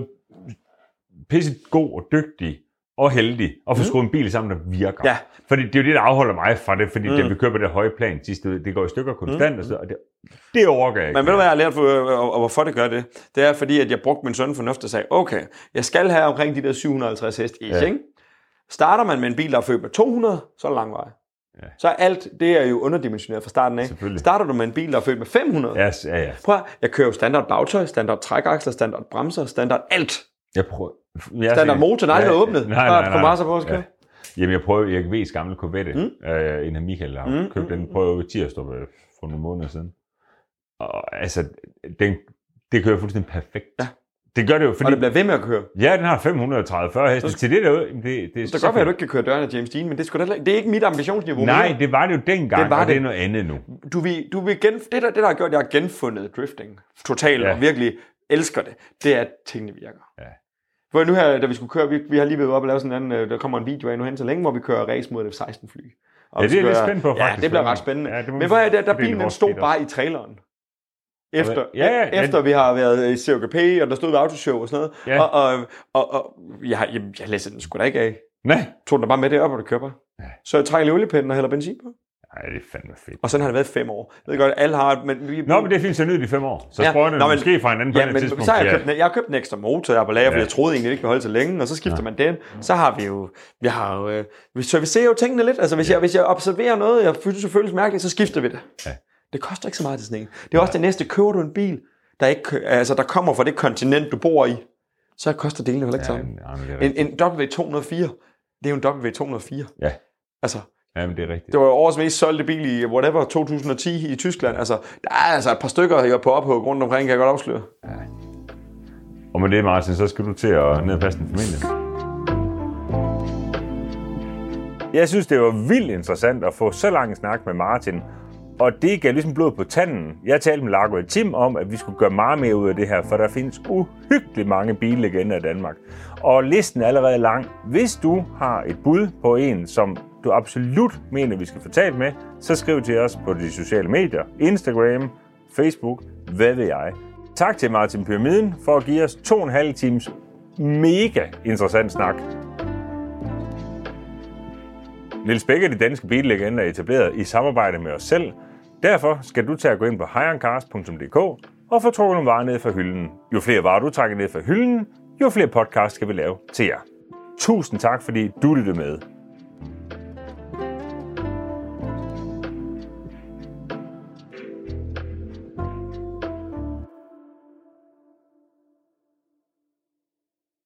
Speaker 1: pisse god og dygtig og heldig og få skruet en bil sammen, der virker.
Speaker 2: Mm. Ja.
Speaker 1: Fordi det er jo det, der afholder mig fra det, fordi mm. det, vi køber det høje plan sidste ud, det går i stykker konstant, mm. og, så, og det, det overgår jeg ikke.
Speaker 2: Men ved du, hvad jeg har lært, for, og, og hvorfor det gør det? Det er fordi, at jeg brugte min søn fornuft og sagde, okay, jeg skal have omkring de der 750 hest i, ja.
Speaker 1: Ja.
Speaker 2: ikke? Starter man med en bil, der er født med 200, så er det lang vej. Ja. Så er alt, det er jo underdimensioneret fra starten af.
Speaker 1: Selvfølgelig.
Speaker 2: Starter du med en bil, der er født med 500,
Speaker 1: Ja, s- ja, ja.
Speaker 2: Prøv at, jeg kører jo standard bagtøj, standard trækaksler, standard bremser, standard alt.
Speaker 1: Jeg prøver... Jeg
Speaker 2: Standard motor, der aldrig er åbnet.
Speaker 1: Nej,
Speaker 2: Bare
Speaker 1: nej, nej.
Speaker 2: kompresser på, så kører.
Speaker 1: Jamen, jeg prøver Erik V's gamle Corvette, mm. øh, en af Michael, der har mm. købt den, prøver i tirsdag øh, for nogle måneder siden. Og altså, den, det kører fuldstændig perfekt. Ja. Det gør det jo, fordi...
Speaker 2: Og det bliver ved med at køre.
Speaker 1: Ja, den har 530 heste. Til det derude, jamen, det, det er
Speaker 2: Det kan
Speaker 1: så
Speaker 2: godt være,
Speaker 1: fedt.
Speaker 2: at du ikke kan køre døren af James Dean, men det er, sgu da, heller ikke- det er ikke mit ambitionsniveau.
Speaker 1: Nej, det var det jo dengang,
Speaker 2: Det var
Speaker 1: og det er
Speaker 2: det.
Speaker 1: noget andet nu.
Speaker 2: Du vil, du vil gen, det, der, det, der har gjort, at jeg har genfundet drifting totalt ja.
Speaker 1: Ja.
Speaker 2: og virkelig elsker det, det er, at tingene virker.
Speaker 1: Ja.
Speaker 2: Hvor nu her, da vi skulle køre, vi, vi har lige været op og lave sådan en anden, øh, der kommer en video af nu hen så længe, hvor vi kører race mod et F-16 fly. Og
Speaker 1: Ja,
Speaker 2: vi
Speaker 1: det er jeg lidt
Speaker 2: kører-
Speaker 1: spændt på,
Speaker 2: Ja,
Speaker 1: faktisk.
Speaker 2: det bliver ret spændende.
Speaker 1: Ja, det må
Speaker 2: Men
Speaker 1: vi-
Speaker 2: hvor er det, der
Speaker 1: fordele
Speaker 2: bilen den
Speaker 1: vores
Speaker 2: stod
Speaker 1: fedt
Speaker 2: bare i traileren. Efter,
Speaker 1: Ja, ja, ja.
Speaker 2: efter vi har været i COKP, og der stod ved autoshow og sådan noget.
Speaker 1: Ja.
Speaker 2: Og, og, og, og jeg, har- jeg, jeg læste den sgu da ikke af.
Speaker 1: Nej,
Speaker 2: Tog den da bare med det op, og det køber. Ja. Så jeg trækker lige oliepinden og hælder benzin på.
Speaker 1: Ej, det er fandme fedt.
Speaker 2: Og sådan har det været i fem år. Jeg ved godt, alle har... Men vi,
Speaker 1: Nå, men det er fint så nyt i fem år. Så ja. sprøjterne
Speaker 2: men-
Speaker 1: måske fra hinanden på
Speaker 2: ja,
Speaker 1: et eller
Speaker 2: men
Speaker 1: andet tidspunkt.
Speaker 2: så har jeg,
Speaker 1: ja.
Speaker 2: købt, en- jeg har købt en ekstra motor, jeg har på lager, ja. fordi
Speaker 1: Ja.
Speaker 2: jeg troede egentlig, det ikke ville holde så længe, og så skifter ja. man den. Så har vi jo, vi har jo, øh, vi servicerer jo tingene lidt. Altså, hvis, ja. jeg, hvis jeg observerer noget, jeg synes, det føles mærkeligt, så skifter vi det.
Speaker 1: Ja.
Speaker 2: Det koster ikke så meget til sådan en. Det er også det næste. Køber du en bil, der, ikke, kø- altså, der kommer fra det kontinent, du bor i, så koster delene heller ikke
Speaker 1: Ja,
Speaker 2: sammen.
Speaker 1: jamen, det er
Speaker 2: En,
Speaker 1: rigtigt.
Speaker 2: en W204, det er jo en W204.
Speaker 1: Ja.
Speaker 2: Altså,
Speaker 1: Jamen, det er rigtigt.
Speaker 2: det var jo årets mest solgte bil i whatever, 2010 i Tyskland. Altså, der er altså et par stykker, jeg er på ophug rundt omkring, kan jeg godt afsløre.
Speaker 1: Og med det, Martin, så skal du til at ned og passe din familie. Jeg synes, det var vildt interessant at få så lang en snak med Martin. Og det gav ligesom blod på tanden. Jeg talte med Largo og Tim om, at vi skulle gøre meget mere ud af det her, for der findes uhyggeligt mange billegender i Danmark. Og listen er allerede lang. Hvis du har et bud på en, som du absolut mener, vi skal få talt med, så skriv til os på de sociale medier. Instagram, Facebook, hvad ved jeg. Tak til Martin Pyramiden for at give os to og en halv times mega interessant snak. Niels Bæk og de danske billegender er etableret i samarbejde med os selv. Derfor skal du til at gå ind på hirencast.dk og få trukket nogle varer ned fra hylden. Jo flere varer du trækker ned fra hylden, jo flere podcasts skal vi lave til jer. Tusind tak, fordi du lyttede med.